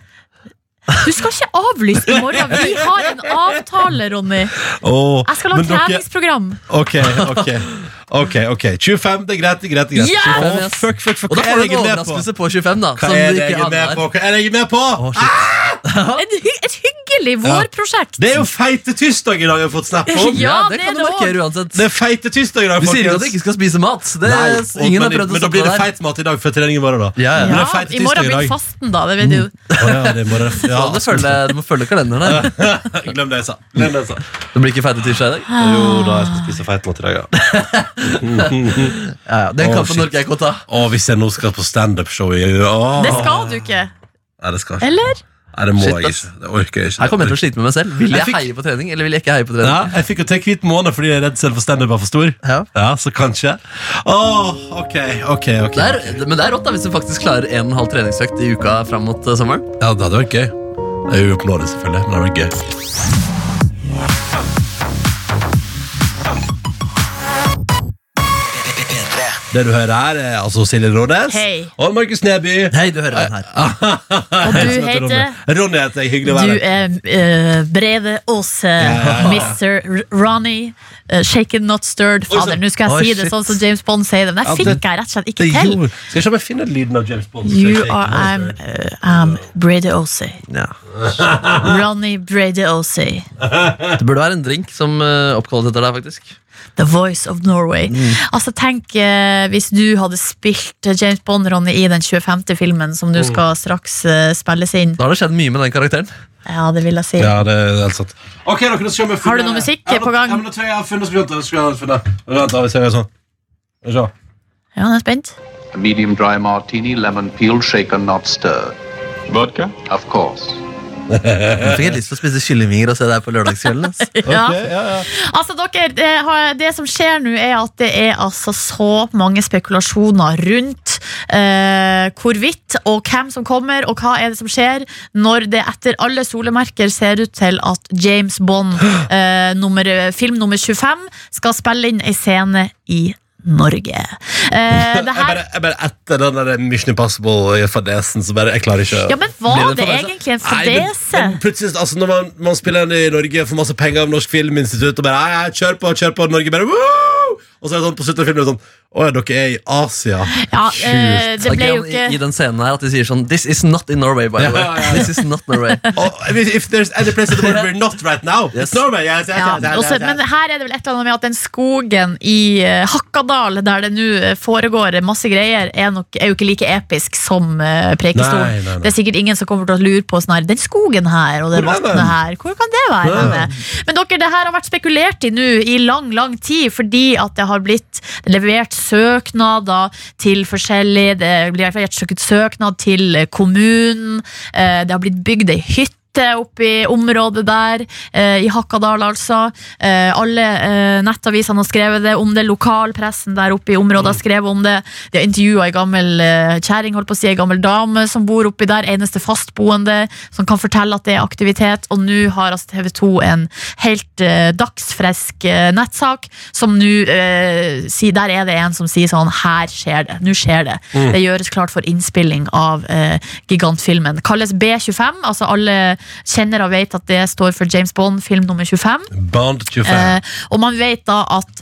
S2: Du skal ikke avlyse i morgen!
S4: *laughs*
S2: Vi har en avtale, Ronny! Jeg
S4: Åh,
S2: skal lage
S4: men dere-
S2: treningsprogram.
S4: Ok, ok. Ok, ok 25, det er greit. det er greit, det er greit.
S2: Ja!
S4: 25,
S5: yes.
S4: fuck, fuck, fuck.
S5: Og da
S4: Hva
S5: får
S4: er
S5: du
S4: det
S5: en
S4: jeg er med på?
S5: overraskelse på 25, da.
S4: Hva
S5: Som
S4: er
S5: du
S4: det jeg
S5: ikke
S4: er med
S5: aner.
S4: på? Hva er det jeg er med på?
S2: Et, hy et hyggelig vårprosjekt.
S4: Det er jo feite tirsdag i dag jeg har fått
S2: *laughs*
S4: snap om.
S2: Ja,
S5: Ja, det
S2: det er
S5: kan du
S2: det
S5: markere uansett.
S4: Det er feite tirsdag i dag,
S5: Vi sier jo at du
S4: folkens.
S5: ikke skal spise mat. Det,
S4: Nei, og-
S5: ingen har
S4: men-
S5: prøvd å
S4: Men da
S5: stoppe
S4: blir det
S5: deg der.
S4: feit mat i dag før trening i morgen, da.
S5: Ja,
S4: Men
S5: ja.
S4: det
S2: Ja,
S4: er feite
S2: I morgen
S4: tirsdag i
S2: blir
S4: dag. Mm.
S2: fasten, da. Det vet du.
S4: Å, ja, det er
S2: *laughs*
S4: morgen.
S5: Ja. Du, må
S4: Ja.
S5: følge, du må følge kalenderen der.
S4: Glem det jeg sa. Glem det jeg sa.
S5: Det blir ikke feite tirsdag i dag.
S2: Ah.
S4: Jo da, jeg skal spise feit mat i dag, ja.
S5: Ja, ja, Den
S4: Å,
S5: kampen
S4: shit.
S5: orker jeg ikke å ta.
S4: Å, hvis jeg nå skal på standup-show i Åh.
S2: Det skal du ikke.
S4: Nei, det skal jeg ikke.
S2: Eller?
S4: Nei, det må
S5: Shit,
S4: jeg
S5: ass.
S4: ikke. Det orker jeg ikke.
S5: Her kommer jeg til å slite med meg selv. Vil
S4: Jeg
S5: jeg
S4: fikk-
S5: heie på trening, eller vil jeg ikke heie på trening?
S4: ja, jeg fikk jo til hvit måned fordi redselen for standup var for stor.
S5: Ja.
S4: Så kanskje. Åh, ok, ok. ok
S5: Det er, men det er rått da hvis du faktisk klarer en og en halv treningsøkt i uka fram mot eh, sommeren.
S4: Ja, det hadde vært gøy. Det er uoppnåelig, selvfølgelig, men det hadde vært gøy. Det du hører her, er altså Silje Rånes
S2: Hei.
S4: og Markus Neby.
S5: Hei, du hører
S4: *laughs*
S5: den her.
S4: Og
S2: du heter?
S4: Ronny heter jeg. Hyggelig å
S2: Du
S4: være her.
S2: er eh, Brede Aase, Mr. R- Ronny, eh, shaken not stirred. Fader, nå skal
S4: Oi,
S2: jeg si det
S4: shit.
S2: sånn som James Bond sier det, men
S4: Ja,
S2: det fikk
S4: det-
S2: jeg rett og slett
S4: Det
S2: ikke til.
S4: gjorde- Skal jeg se om jeg finner lyden av James Bond.
S2: You are I'm, uh, I'm Brede Aase. Ronny Brede Aase.
S5: Det burde være en drink som eh, oppkalles etter deg, faktisk.
S2: The Voice of Norway. Altså Tenk eh, hvis du hadde spilt eh, James Bond, Ronny, i den 25. filmen som du skal straks eh, spilles inn.
S5: Da har det skjedd mye med den karakteren.
S2: Ja, det vil jeg si.
S4: Ja, det er helt sant. Ok, dere, nå skal vi finne...
S2: Har du noe musikk
S4: Ja, men-
S2: på gang?
S4: Ja, men nå tror jeg jeg har funnet som begynte. Skal jeg finne... Vent, da, hvis jeg gjør sånn. Skal vi se.
S2: Ja, jeg er spent.
S10: A medium dry martini, lemon peel, shaken, not stirred. Vodka? Of course.
S5: Jeg fikk helt lyst til å spise kyllingvinger og se deg på lørdagskvelden.
S2: *laughs*
S5: ass.
S2: Ja.
S4: Ok, ja, ja.
S2: Altså, dere, det, har- det som skjer nå, er at det er altså så mange spekulasjoner rundt eh, hvorvidt og hvem som kommer, og hva er det som skjer når det etter alle solemerker ser ut til at James
S4: *gasps*
S2: Bond, eh, nummer, film nummer 25, skal spille inn ei scene i Norge. Eh, det
S4: *laughs* Jeg
S2: her
S4: bare, jeg bare etter den der Mission eh, Impossible-fadesen sånn, så bare Jeg klarer ikke
S2: Ja, men var
S5: Blir det
S2: det
S5: en fadese?
S2: egentlig en
S4: Nei, men-
S2: fadese?
S4: men Plutselig, altså Når man, man spiller den i Norge, får masse penger av Norsk Filminstitutt og bare «Nei, nei, kjør på, kjør på, Norge bare Woo! Og så er det sånn på slutten av filmen sånn Å ja, dere er i Asia.
S2: Ja, eh, det
S5: Det
S2: ble
S5: er
S2: jo
S5: gøy
S2: ikke
S5: i, I den scenen her at de sier sånn This is not in Norway, by the way.
S4: Ja, ja, ja.
S5: This is not
S2: *laughs*
S5: Norway.
S4: Og if if there's any place in the world we're not right now,
S5: Yes.
S4: it's Norway. Yes, yes,
S2: Ja,
S4: yes, yes,
S2: også,
S4: yes,
S2: men
S4: yes.
S2: her er det vel et eller annet med at den skogen i eh, Hakkadal, der det nå eh, foregår masse greier, er, nok, er jo ikke like episk som eh, Preikestolen.
S4: Nei, nei, nei.
S2: Det er sikkert ingen som kommer til å lure på sånn her, den skogen her og det
S4: Hvor er den?
S2: vannet her, hvor kan det være? henne? Men dere, det her har vært spekulert i nå i lang, lang tid, fordi at det har blitt levert søknader til forskjellige, det blir levert søk- søknad til eh, kommunen, eh, det har blitt bygd ei hytte, Oppi området der, eh, i Hakkadal altså. Eh, alle eh, nettavisene har skrevet det om det, lokalpressen der oppe i området har
S4: Mm.
S2: skrevet om det. De har intervjua ei gammel eh, kjerring, holdt på å si, ei gammel dame som bor oppi der, eneste fastboende, som kan fortelle at det er aktivitet. Og nå har altså TV 2 en helt eh, dagsfresk eh, nettsak som nå eh, sier Der er det en som sier sånn Her skjer det. Nå skjer det. Det gjøres klart for innspilling av eh, gigantfilmen. Kalles B25, altså alle kjennere vet at det står for James Bond, film nummer 25.
S4: Bond 25.
S2: Eh, og man vet da at,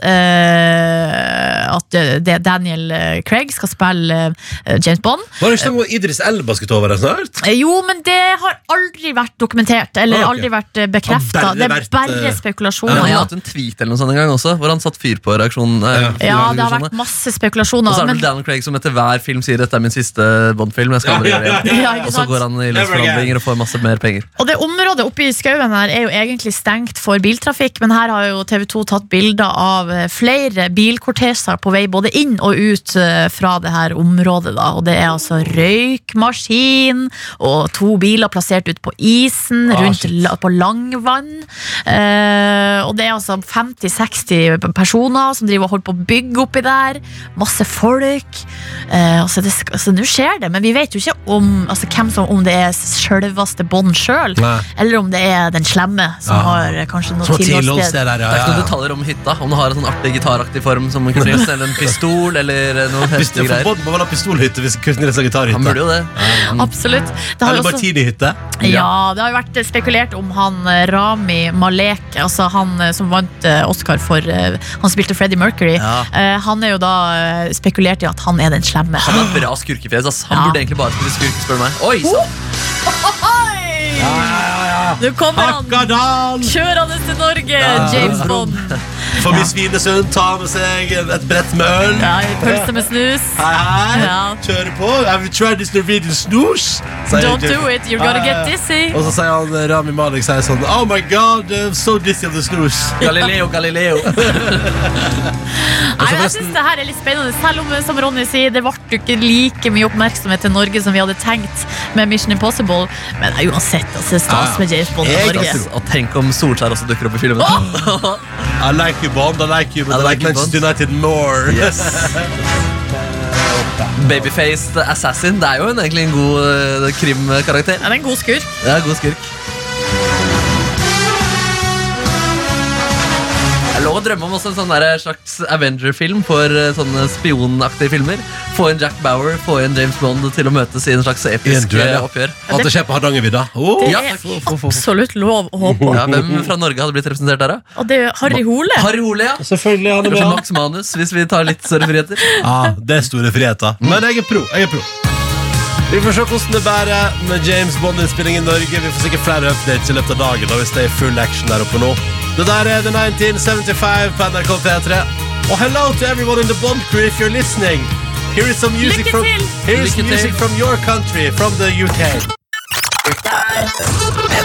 S2: eh, at eh, det Daniel eh, Craig skal spille eh, James Bond.
S4: Var det ikke sånn at Idris Elba skulle ta over der snart?
S2: Eh, Jo, men det har aldri vært dokumentert, eller
S4: Ah, ok.
S2: aldri vært eh, bekrefta.
S4: Har bare
S2: Det
S4: vært,
S2: er bare
S4: eh,
S2: spekulasjoner.
S5: Han har
S2: Ja,
S5: hatt en tweet eller noe sånt en gang også, hvor han satt fyr på reaksjonen. eh,
S4: Ja.
S2: ja, det har
S5: reaksjonene.
S2: vært masse
S5: Og så
S2: spekulasjoner.
S5: er det
S2: Men
S5: vel Daniel Craig som etter hver film sier 'dette er min siste Bond-film'. jeg skal aldri gjøre det igjen».
S2: *laughs* Ja, ikke
S5: Og så
S2: sant?
S5: går han i
S4: Never
S5: løsforhandlinger og får masse mer penger.
S2: Og det området oppe i skauen her er jo egentlig stengt for biltrafikk, men her har jo TV 2 tatt bilder av eh, flere bilkortesjer på vei både inn og ut eh, fra det her området. da, Og det er altså røykmaskin og to biler plassert ut på isen
S4: Ah,
S2: rundt
S4: shit.
S2: la- på langvann. Eh, og det er altså 50-60 personer som driver og holder på å bygge oppi der. Masse folk. Eh, altså det sk- altså, Nå skjer det, men vi vet jo ikke om, altså, hvem som, om det er selveste Bond sjøl, selv,
S4: Nei.
S2: eller om det er den slemme som
S4: Ah.
S2: har eh, kanskje noe
S4: Som
S2: tilholdssted.
S4: tilholdssted der, ja.
S5: Det er ikke
S4: ja,
S5: noen
S4: ja.
S5: detaljer om hytta. Om du har en sånn artig gitaraktig form som Kurt
S4: *laughs*
S5: Nielsen, eller en pistol eller noen
S4: Hvis det
S5: heftige
S4: er for
S5: greier.
S4: Bond må vel ha pistolhytte hvis Kurt Nilsen har
S5: Han burde
S4: gitarhytte.
S5: jo det.
S2: Absolutt. Det har jo
S4: Eller
S2: også-
S4: Martini-hytte.
S2: Ja, det har jo vært spekulert om han eh, Rami Malek, altså han eh, som vant eh, Oscar for eh, Han spilte Freddie Mercury.
S5: Ja.
S2: Eh, Han er jo da eh, spekulert i at han er den slemme. *laughs*
S5: Han har bra skurkefjes. ass. Han
S2: Ja.
S5: burde egentlig bare spille skurk, spør du meg. Oi, sant.
S2: Nå kommer han
S4: Hakkadal!
S2: kjørende til Norge, James Bond.
S4: Forbi Svinesund, ta med seg et brett med øl.
S2: Ja, i pølse med snus.
S4: Hei, hei.
S2: Ja.
S4: Kjøre på. Have you tried this Norwegian snooze? Sier
S2: Don't
S4: Jeff.
S2: do it, you're gonna
S4: Ja, ja.
S2: get dizzy.
S4: Og så sier han eh, Rami Malik sier sånn Oh my god, I'm so dizzy on the snooze.
S5: Galileo, Galileo. Altså,
S2: Nei, jeg synes det her er litt spennende, selv om eh, som Ronny sier, det ble jo ikke like mye oppmerksomhet til Norge som vi hadde tenkt med Mission Impossible. Men eh, uansett, altså, det er stas med James Bond i
S4: Jeg-
S2: Norge.
S5: Og tenk om Solskjær også dukker opp i filmen.
S4: I like you, Bond. I like you, but
S5: I
S4: I like
S5: like you,
S4: Manchester United more.
S5: Babyfaced Assassin. Det er jo en, egentlig en god eh, krimkarakter.
S2: Ja, det er en god skurk.
S5: Ja, god skurk. Jeg lov å drømme om også en sånn der slags Avenger-film for eh, sånne spionaktige filmer. Få inn Jack Bauer, få inn James Bond til å møtes i en slags
S4: I en
S5: episk
S4: duell, ja.
S5: eh, oppgjør.
S4: *laughs* Alt det skjer på Hardangervidda. Oh.
S2: Det
S5: Ja.
S2: er absolutt lov å håpe på.
S5: Ja, hvem fra Norge hadde blitt representert der, da?
S2: Og det er Harry Hole.
S5: Harry Ole, ja.
S4: Selvfølgelig han
S5: Kanskje Max Manus, hvis vi tar litt større friheter.
S4: Ja, Ah, det er store friheter. Men jeg er pro. Jeg er pro. Vi får se hvordan det bærer med James Bond-innspilling i Norge. Vi får sikkert flere updates i løpet av dagen. Da, hvis det er full action der oppe nå. Det der er The 1975 på NRK P3. Og hello to everyone in the Bond crew if you're listening. Here is some music
S2: Lykke
S4: from,
S2: til!
S4: here is
S5: Lykke til.
S4: music from your country, from the UK.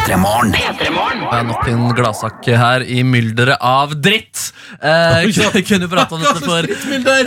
S5: Det er nok en gladsak her i mylderet av dritt. Eh, jeg kunne prate om dette for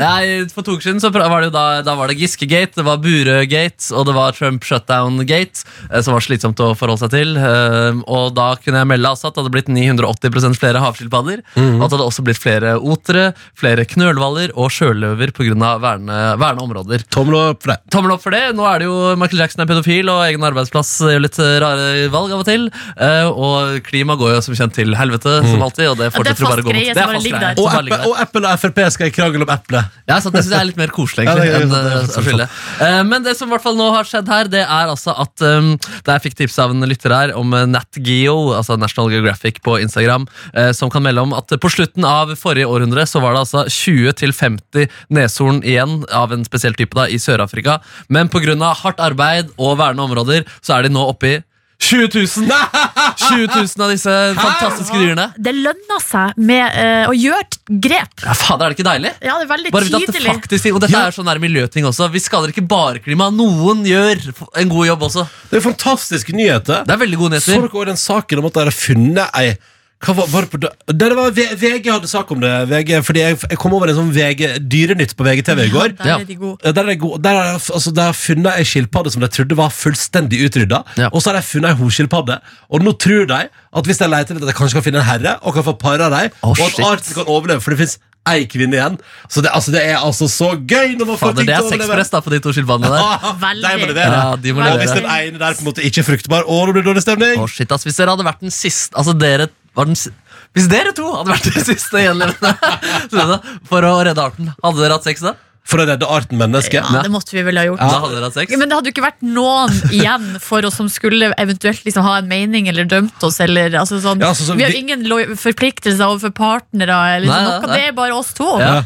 S5: Nei, For to uker siden så pra- var det jo da, da var det Giske-gate, det var Burøe-gate og det var Trump-shutdown-gate, eh, som var slitsomt å forholde seg til. Eh, og da kunne jeg melde altså at det hadde blitt 980 flere havskilpadder. Og at det hadde også blitt flere otere, flere knølhvaler og sjøløver pga. Verne, verne områder.
S4: Tommel opp for deg.
S5: Tommel opp for det. Nå er det jo Michael Jackson er pedofil, og egen arbeidsplass gjør litt eh, rare valg av og til. Eh, og klima går jo som kjent til helvete, som alltid. Og det
S2: er
S5: fortsetter å bare å
S2: fast
S5: gå mot.
S2: greie som bare ligger der.
S5: som
S4: Mm. Og
S5: bare
S4: Apple,
S5: ligger der.
S4: og Apple og Frp skal i krangel om eplet.
S5: Ja, sant, det synes jeg er litt mer koselig
S4: Ja, det
S5: egentlig,
S4: er
S5: enn
S4: sant, det er
S5: eh,
S4: sant,
S5: å skylde. Eh, Men det som i hvert fall nå har skjedd her, det er altså at um, da Jeg fikk tips av en lytter her om eh, Nat Geo, altså National Geographic på Instagram, eh, som kan melde om at eh, på slutten av forrige århundre så var det altså 20-50 neshorn igjen av en spesiell type da, i Sør-Afrika. Men pga. hardt arbeid og vernede områder så er de nå oppe i 20 000! 20 000 av disse fantastiske dyrene.
S2: Det lønner seg med eh, å gjøre et grep.
S5: Ja, Fader, er det ikke deilig?
S2: Ja, det er veldig
S5: Bare vite at det
S2: tydelig.
S5: faktisk Og dette
S4: Ja.
S5: er sånn der miljøting også. Vi skader ikke bare klima. Noen gjør en god jobb også.
S4: Det er fantastiske nyheter.
S5: Det er veldig gode
S4: Så
S5: nyheter.
S4: dere også den saken om at dere har funnet ei hva var, var det på, dø- Der det var V- VG hadde sak om det. VG, fordi jeg, jeg kom over en sånn VG Dyrenytt på VGTV i går.
S2: Der er de gode.
S4: Ja, Der har de god- der har de- altså, de har funnet ei skilpadde som de trodde var fullstendig utrydda.
S5: Ja.
S4: Og så har de funnet ei hoskilpadde. Og nå tror de at hvis de leter litt, at de kanskje kan finne en herre og kan få para dem.
S5: Å,
S4: og at
S5: shit.
S4: arten kan overleve, for det fins ei kvinne igjen. Så det, altså, det er altså så gøy når man får
S5: Fader,
S4: ting
S5: det er
S4: til å overleve.
S5: sexpress da på de to skilpaddene
S4: *laughs*
S5: der.
S4: Ah, de må
S2: Veldig.
S4: levere.
S5: Ja, de må
S4: Og hvis
S5: levere.
S4: den ene der på en måte ikke er fruktbar, og det blir dårlig stemning
S5: Å shit, ass. Hvis dere hadde vært den siste Altså dere var den si- *laughs* Hvis dere to hadde vært de siste gjenlevende for å redde arten, hadde dere hatt sex da?
S4: for å redde arten menneske.
S2: Ja, det måtte vi vel ha gjort.
S5: Da hadde dere hatt sex.
S2: Ja, men det hadde jo ikke vært noen igjen for oss som skulle eventuelt liksom ha en mening eller dømt oss. Eller, altså sånn.
S4: Ja, altså, så
S2: vi har
S4: vi-
S2: ingen lo- forpliktelser overfor partnere. Eller
S5: Nei,
S2: sånn.
S5: nei,
S2: noe.
S5: nei.
S2: Det er bare oss to.
S4: Ja.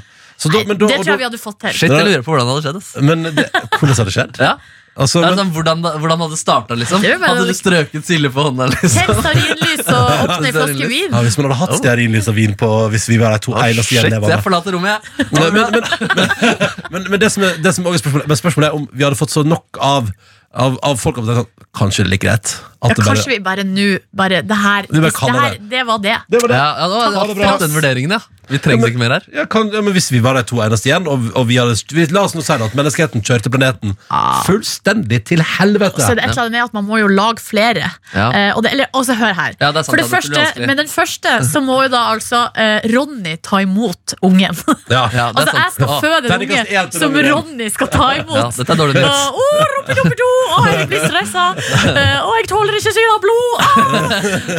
S4: Så da, men da,
S2: det
S4: og
S2: tror
S4: da,
S2: jeg vi hadde fått til.
S5: Shit, jeg lurer på hvordan det hadde skjedd. ass.
S4: men det, hvordan hadde det skjedd?
S5: Ja.
S4: Altså,
S5: Det er
S4: men,
S5: sånn, hvordan, hvordan hadde det starta, liksom?
S2: Det er jo bare-
S5: Hadde du strøket Silje på hånda?
S2: Hell
S5: liksom?
S2: stearinlys
S4: *laughs*
S2: og åpne en flaske vin.
S4: ja, hvis man hadde hatt stearinlys og vin på Hvis vi var de to
S5: Oh. Å,
S4: eneste
S5: shit,
S4: gjenlevende.
S5: jeg forlater rommet, jeg.
S4: Men, men, men, men, men, det som er, det som også er spørsmålet, men spørsmålet er om vi hadde fått så nok av, av, av folk at det er sånn, Kanskje det er like greit. At
S2: Ja,
S4: det,
S2: kanskje
S4: bare,
S2: vi bare nå bare, Det her,
S4: Du bare
S2: hvis det,
S4: kaller
S2: her det var det.
S4: det var det.
S5: Ja, ja, nå har
S4: Ha det
S5: jeg
S4: bra,
S5: fått
S4: ass.
S5: den vurderingen, ja. Vi trenger ikke mer her.
S4: Ja, kan, ja, men Hvis vi var de to eneste igjen, og, og vi hadde vi, La oss nå si det at menneskeheten kjørte planeten
S5: Ah.
S4: fullstendig til helvete.
S2: Så er det et eller annet med at man må jo lage flere.
S5: Ja.
S2: Eh, og det, eller, også hør her.
S5: Ja, det er sant,
S2: For
S5: ja, det
S2: det
S5: blir
S2: første,
S5: vanskelig.
S2: med den første så må jo da altså eh, Ronny ta imot ungen. *laughs*
S4: Ja.
S5: Ja, det
S2: altså,
S5: er
S2: jeg
S5: sant.
S2: skal
S5: Ja.
S2: føde en
S4: Terningkast
S2: unge
S4: én til
S2: som
S4: Ronny.
S2: Ronny skal ta
S5: Ja,
S2: imot.
S5: dette er dårlig
S2: Å,
S5: nytt.
S2: rumpe, rumpe, do! Å, jeg blir stressa! Eh, Å, jeg tåler ikke syn av blod! Ah!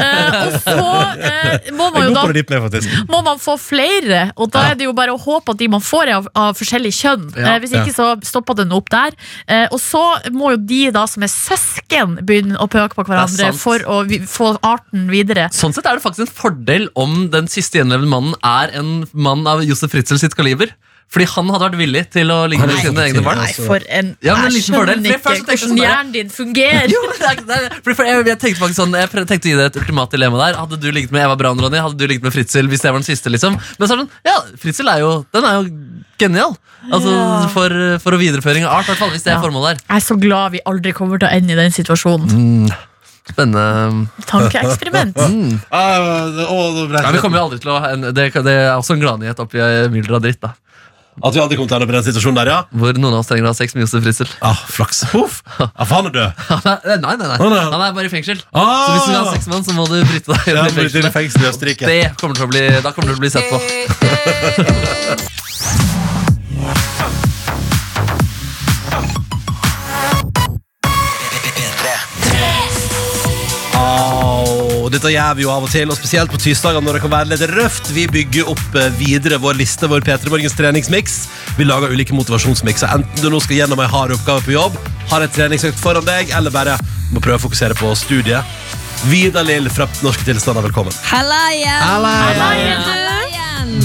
S2: Eh, og så eh, må man
S4: Jeg
S2: jo
S4: går
S2: da
S4: på det litt mer, faktisk.
S2: må man få flere, og da er det jo bare å håpe at de man får er av, av forskjellig kjønn.
S5: Ja.
S2: Eh, hvis ikke så stopper den opp der. Eh, og så må jo de da som er søsken begynne å pøke på
S5: Det er
S2: hverandre
S5: sant.
S2: for å vi, få arten videre.
S5: Sånn sett er det faktisk en fordel om den siste gjenlevende mannen er en mann av Josef Fritzl sitt kaliber. Fordi han hadde vært villig til å ligge
S4: Han
S5: med
S4: er
S5: sine
S4: ikke
S5: egne
S4: til,
S5: barn.
S4: altså.
S2: Nei, for en
S5: Ja, men en
S2: Jeg
S5: liten fordel. For
S2: skjønner ikke
S5: først så tenkte jeg
S2: hvordan
S5: sånn der-
S2: hjernen din fungerer.
S5: Jo, men det er ikke- det er- fordi for jeg, jeg tenkte faktisk sånn Jeg pre- tenkte å gi deg et ultimat dilemma der. Hadde du ligget med Eva Braun, Ronny? Hadde du ligget med Fritzl hvis jeg var den siste? liksom Men så er det sånn, ja, Fritzl er jo Den er jo genial. Altså
S2: Ja.
S5: for, for å videreføring av art, i hvert fall. Hvis det er
S2: Ja.
S5: formålet der.
S2: Jeg er så glad vi aldri kommer til å ende i den situasjonen.
S5: Spennende.
S2: *laughs* Tankeeksperiment.
S4: Ah, det- å, det ble-
S5: Ja, vi kommer jo aldri til å ha en- det, det er også en gladnyhet oppi eh, mylderet av dritt, da.
S4: At vi aldri kom til å ende opp i den situasjonen der, ja?
S5: Hvor noen av oss trenger å ha sex med Josef Fritzl.
S4: Ah, flaks. Huff. Ja, for han er død.
S5: Nei, Altså, eh, nei, nei, nei.
S4: Å, nei.
S5: Han er bare i fengsel. Så
S4: Ah!
S5: hvis du vil ha sex med han, så må du bryte deg
S4: Ja,
S5: inn
S4: han
S5: i
S4: burde til
S5: fengselet.
S4: fengsel i Østerrike.
S5: Det kommer til å bli, da kommer du til å bli sett på.
S4: Au, dette gjør vi jo av og til, og spesielt på tirsdager når det kan være litt røft. Vi bygger opp eh, videre vår liste, vår P3 Morgens treningsmiks. Vi lager ulike motivasjonsmikser, enten du nå skal gjennom ei hard oppgave på jobb, har en treningsøkt foran deg, eller bare må prøve å fokusere på studiet. Vidar Lill fra Norske Tilstander, velkommen.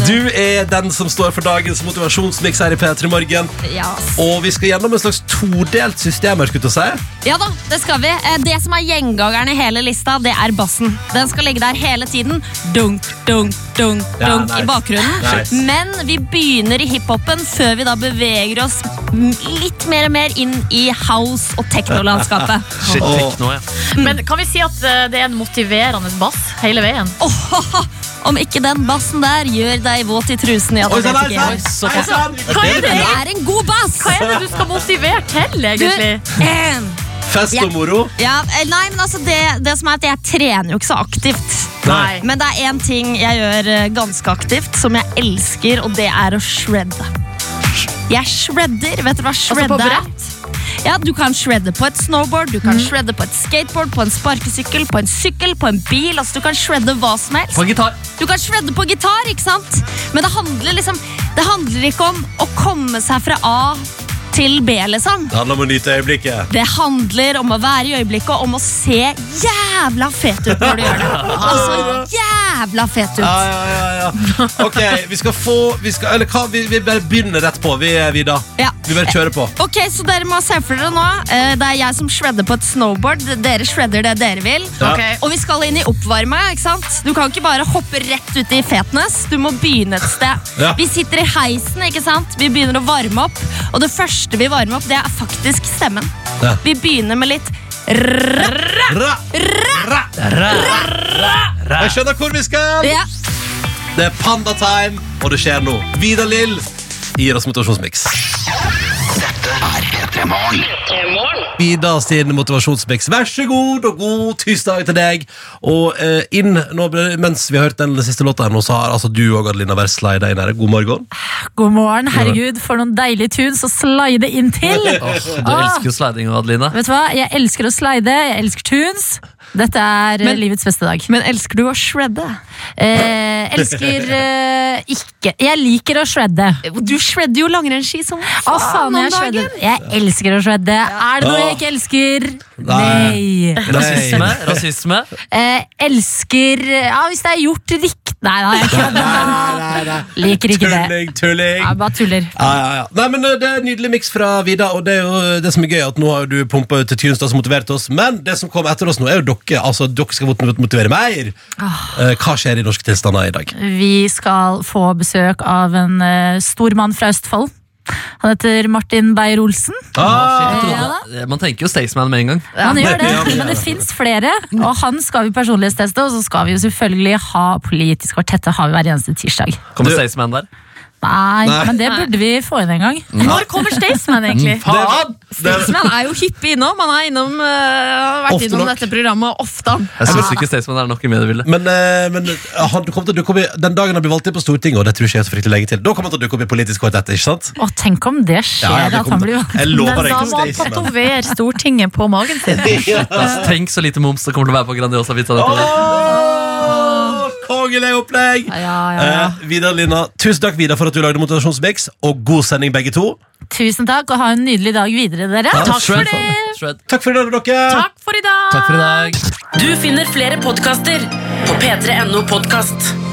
S4: Du er den som står for dagens motivasjonsmiks her i P3 Morgen, og vi skal gjennom en slags todelt system, jeg skulle til å si.
S11: Ja da, det skal vi. Eh, Det som er gjengangeren i hele lista, det er bassen. Den skal ligge der hele tiden. Dunk, dunk, dunk, dunk
S4: Ja, nice.
S11: i bakgrunnen.
S4: Nice.
S11: Men vi begynner i hiphopen før vi da beveger oss m- litt mer og mer inn i house- og teknolandskapet.
S4: *laughs*
S5: Shit,
S4: Åh.
S5: tekno, ja.
S2: Men kan vi si at eh, det er en motiverende bass hele veien?
S11: Åh, Om ikke den bassen der gjør deg våt i trusen, ja, da
S4: Oi sann,
S11: vet
S4: oi
S11: ikke jeg.
S4: sann! Oi,
S2: Altså,
S4: sann!
S2: hva er
S11: Det
S2: det,
S11: er en god bass!
S2: hva er det du skal motivere til,
S11: Du,
S2: egentlig?
S11: en.
S4: Fest og moro.
S11: Ja, eh, nei, men altså det, det som er at jeg trener jo ikke så aktivt.
S2: Nei.
S11: Men det er én ting jeg gjør eh, ganske aktivt, som jeg elsker, og det er å shredde. Jeg shredder. Vet dere hva
S2: Altså
S11: shredde
S2: på
S11: er? Ja, Du kan shredde på et snowboard, du kan shredde på et skateboard, på en sparkesykkel, på en sykkel, på en bil. altså Du kan shredde hva som helst.
S5: På gitar.
S11: Du kan shredde på gitar, ikke sant? Men det handler liksom Det handler ikke om å komme seg fra A til B, liksom.
S4: Det handler om å nyte øyeblikket.
S11: Det handler om å være i øyeblikket, om å se jævla fet ut når du gjør det. Altså jævla fet ut.
S4: Ja, ja, ja, ja. *laughs* Ok, vi skal få vi skal, Eller hva, vi, vi bare begynner rett på, vi, Vida.
S11: Ja.
S4: Vi bare kjører på.
S11: Ok, så dere må se for dere nå. eh, Det er jeg som shredder på et snowboard. Dere shredder det dere vil.
S4: Ja.
S2: Ok.
S11: Og vi skal inn i oppvarme, ikke sant? Du kan ikke bare hoppe rett ut i fetness. Du må begynne et
S4: *laughs*
S11: sted.
S4: Ja.
S11: Vi sitter i heisen, ikke sant? Vi begynner å varme opp. Og det første vi varmer opp, det er faktisk stemmen.
S4: Ja.
S11: Vi begynner med litt rrrr.
S4: Ra, ra, ra. Jeg skjønner hvor vi skal.
S11: Ja.
S4: Det er pandatime, og det skjer nå. Vidar Lill gir oss motivasjonsmiks. Vida sin motivasjonsmiks. Vær så god, og god tirsdag til deg. Og eh, inn, nå, ble- Mens vi har hørt den siste låta, her nå, så har altså du og Adelina vært slida inn her. God morgen.
S2: God morgen, herregud, for noen deilige tunes å slide inn til. *laughs*
S5: Åh, du elsker jo sliding, Adelina.
S2: Vet du hva, Jeg elsker å slide, jeg elsker tunes. Dette er
S11: Men-
S2: eh, livets beste dag.
S11: Men elsker du å shredde?
S2: Eh, elsker eh, ikke Jeg liker å shredde.
S11: Du shredder jo langrennsski som
S2: Å, faen,
S11: om
S2: jeg, shredder.
S11: dagen.
S2: jeg elsker å shredde. Er det noe jeg
S5: Åh.
S2: ikke elsker?
S5: Nei.
S2: Nei.
S5: Rasisme? Rasisme?
S2: Eh, elsker Ja, hvis det er gjort riktig Nei, nei, jeg kødder. Liker ikke det.
S4: Tulling, tulling.
S2: Jeg bare tuller.
S4: Ja, ja, ja. Nei, men eh, Det er en nydelig miks fra Vida, og det er jo eh, det som er gøy, at nå har du pumpa ut til Tynstad som motiverte oss, men det som kommer etter oss nå, er jo dere. Altså, dere skal mot- motivere mer. Eh, Hva skjer i norske tilstander i dag?
S2: Vi skal få besøk av en eh, stor mann fra Østfold. Han heter Martin Beyer-Olsen.
S5: Ah, shit, jeg
S2: Ja,
S5: trodde- Man tenker jo Staysman med en gang.
S2: Han gjør det, men det fins flere. Og han skal vi personlighetsteste, og så skal vi jo selvfølgelig ha Politisk kvartett. Det har vi hver eneste tirsdag.
S5: Kommer Staysman der?
S2: Nei,
S5: Nei.
S2: men det burde vi få inn en gang.
S5: Nei.
S2: Når kommer Staysman,
S4: Mm,
S2: egentlig?
S5: Faen!
S11: Staysman er jo hippie innom. Han er innom, eh, har vært
S4: Ofte
S11: innom
S4: nok.
S11: dette programmet
S4: *laughs*
S11: ofte.
S5: Jeg syns ikke Staysman er nok i mediebildet.
S4: Men, eh, men eh, han kommer til, å dukke opp i- den dagen han blir valgt inn på Stortinget, og det tror ikke jeg er så fryktelig lenge til, da kommer han til å dukke opp i Politisk kvartett, ikke sant?
S2: Å, tenk om det skjer,
S4: Ja, ja, det
S2: at han
S4: kommer
S2: blir
S4: til- Jeg lover
S2: Men
S4: deg
S2: Da
S4: ikke
S2: må han
S4: Staysman.
S12: tatovere Stortinget på magen
S4: *laughs*
S12: sin.
S5: Altså, tenk så lite moms det kommer til å være på Grandiosa Vita. dette året.
S4: Åh, Kongelig opplegg! Eh, Vidar Lina, tusen takk Vidar for at du lagde motivasjonsmix, og god sending begge to.
S2: Tusen takk, og ha en nydelig dag videre, dere.
S4: Ja,
S2: Takk for
S4: shred.
S2: det!
S4: Takk for i dag, dere!
S2: Takk for i dag!
S5: Takk for i dag.
S13: Du finner flere podkaster på p3.no podkast.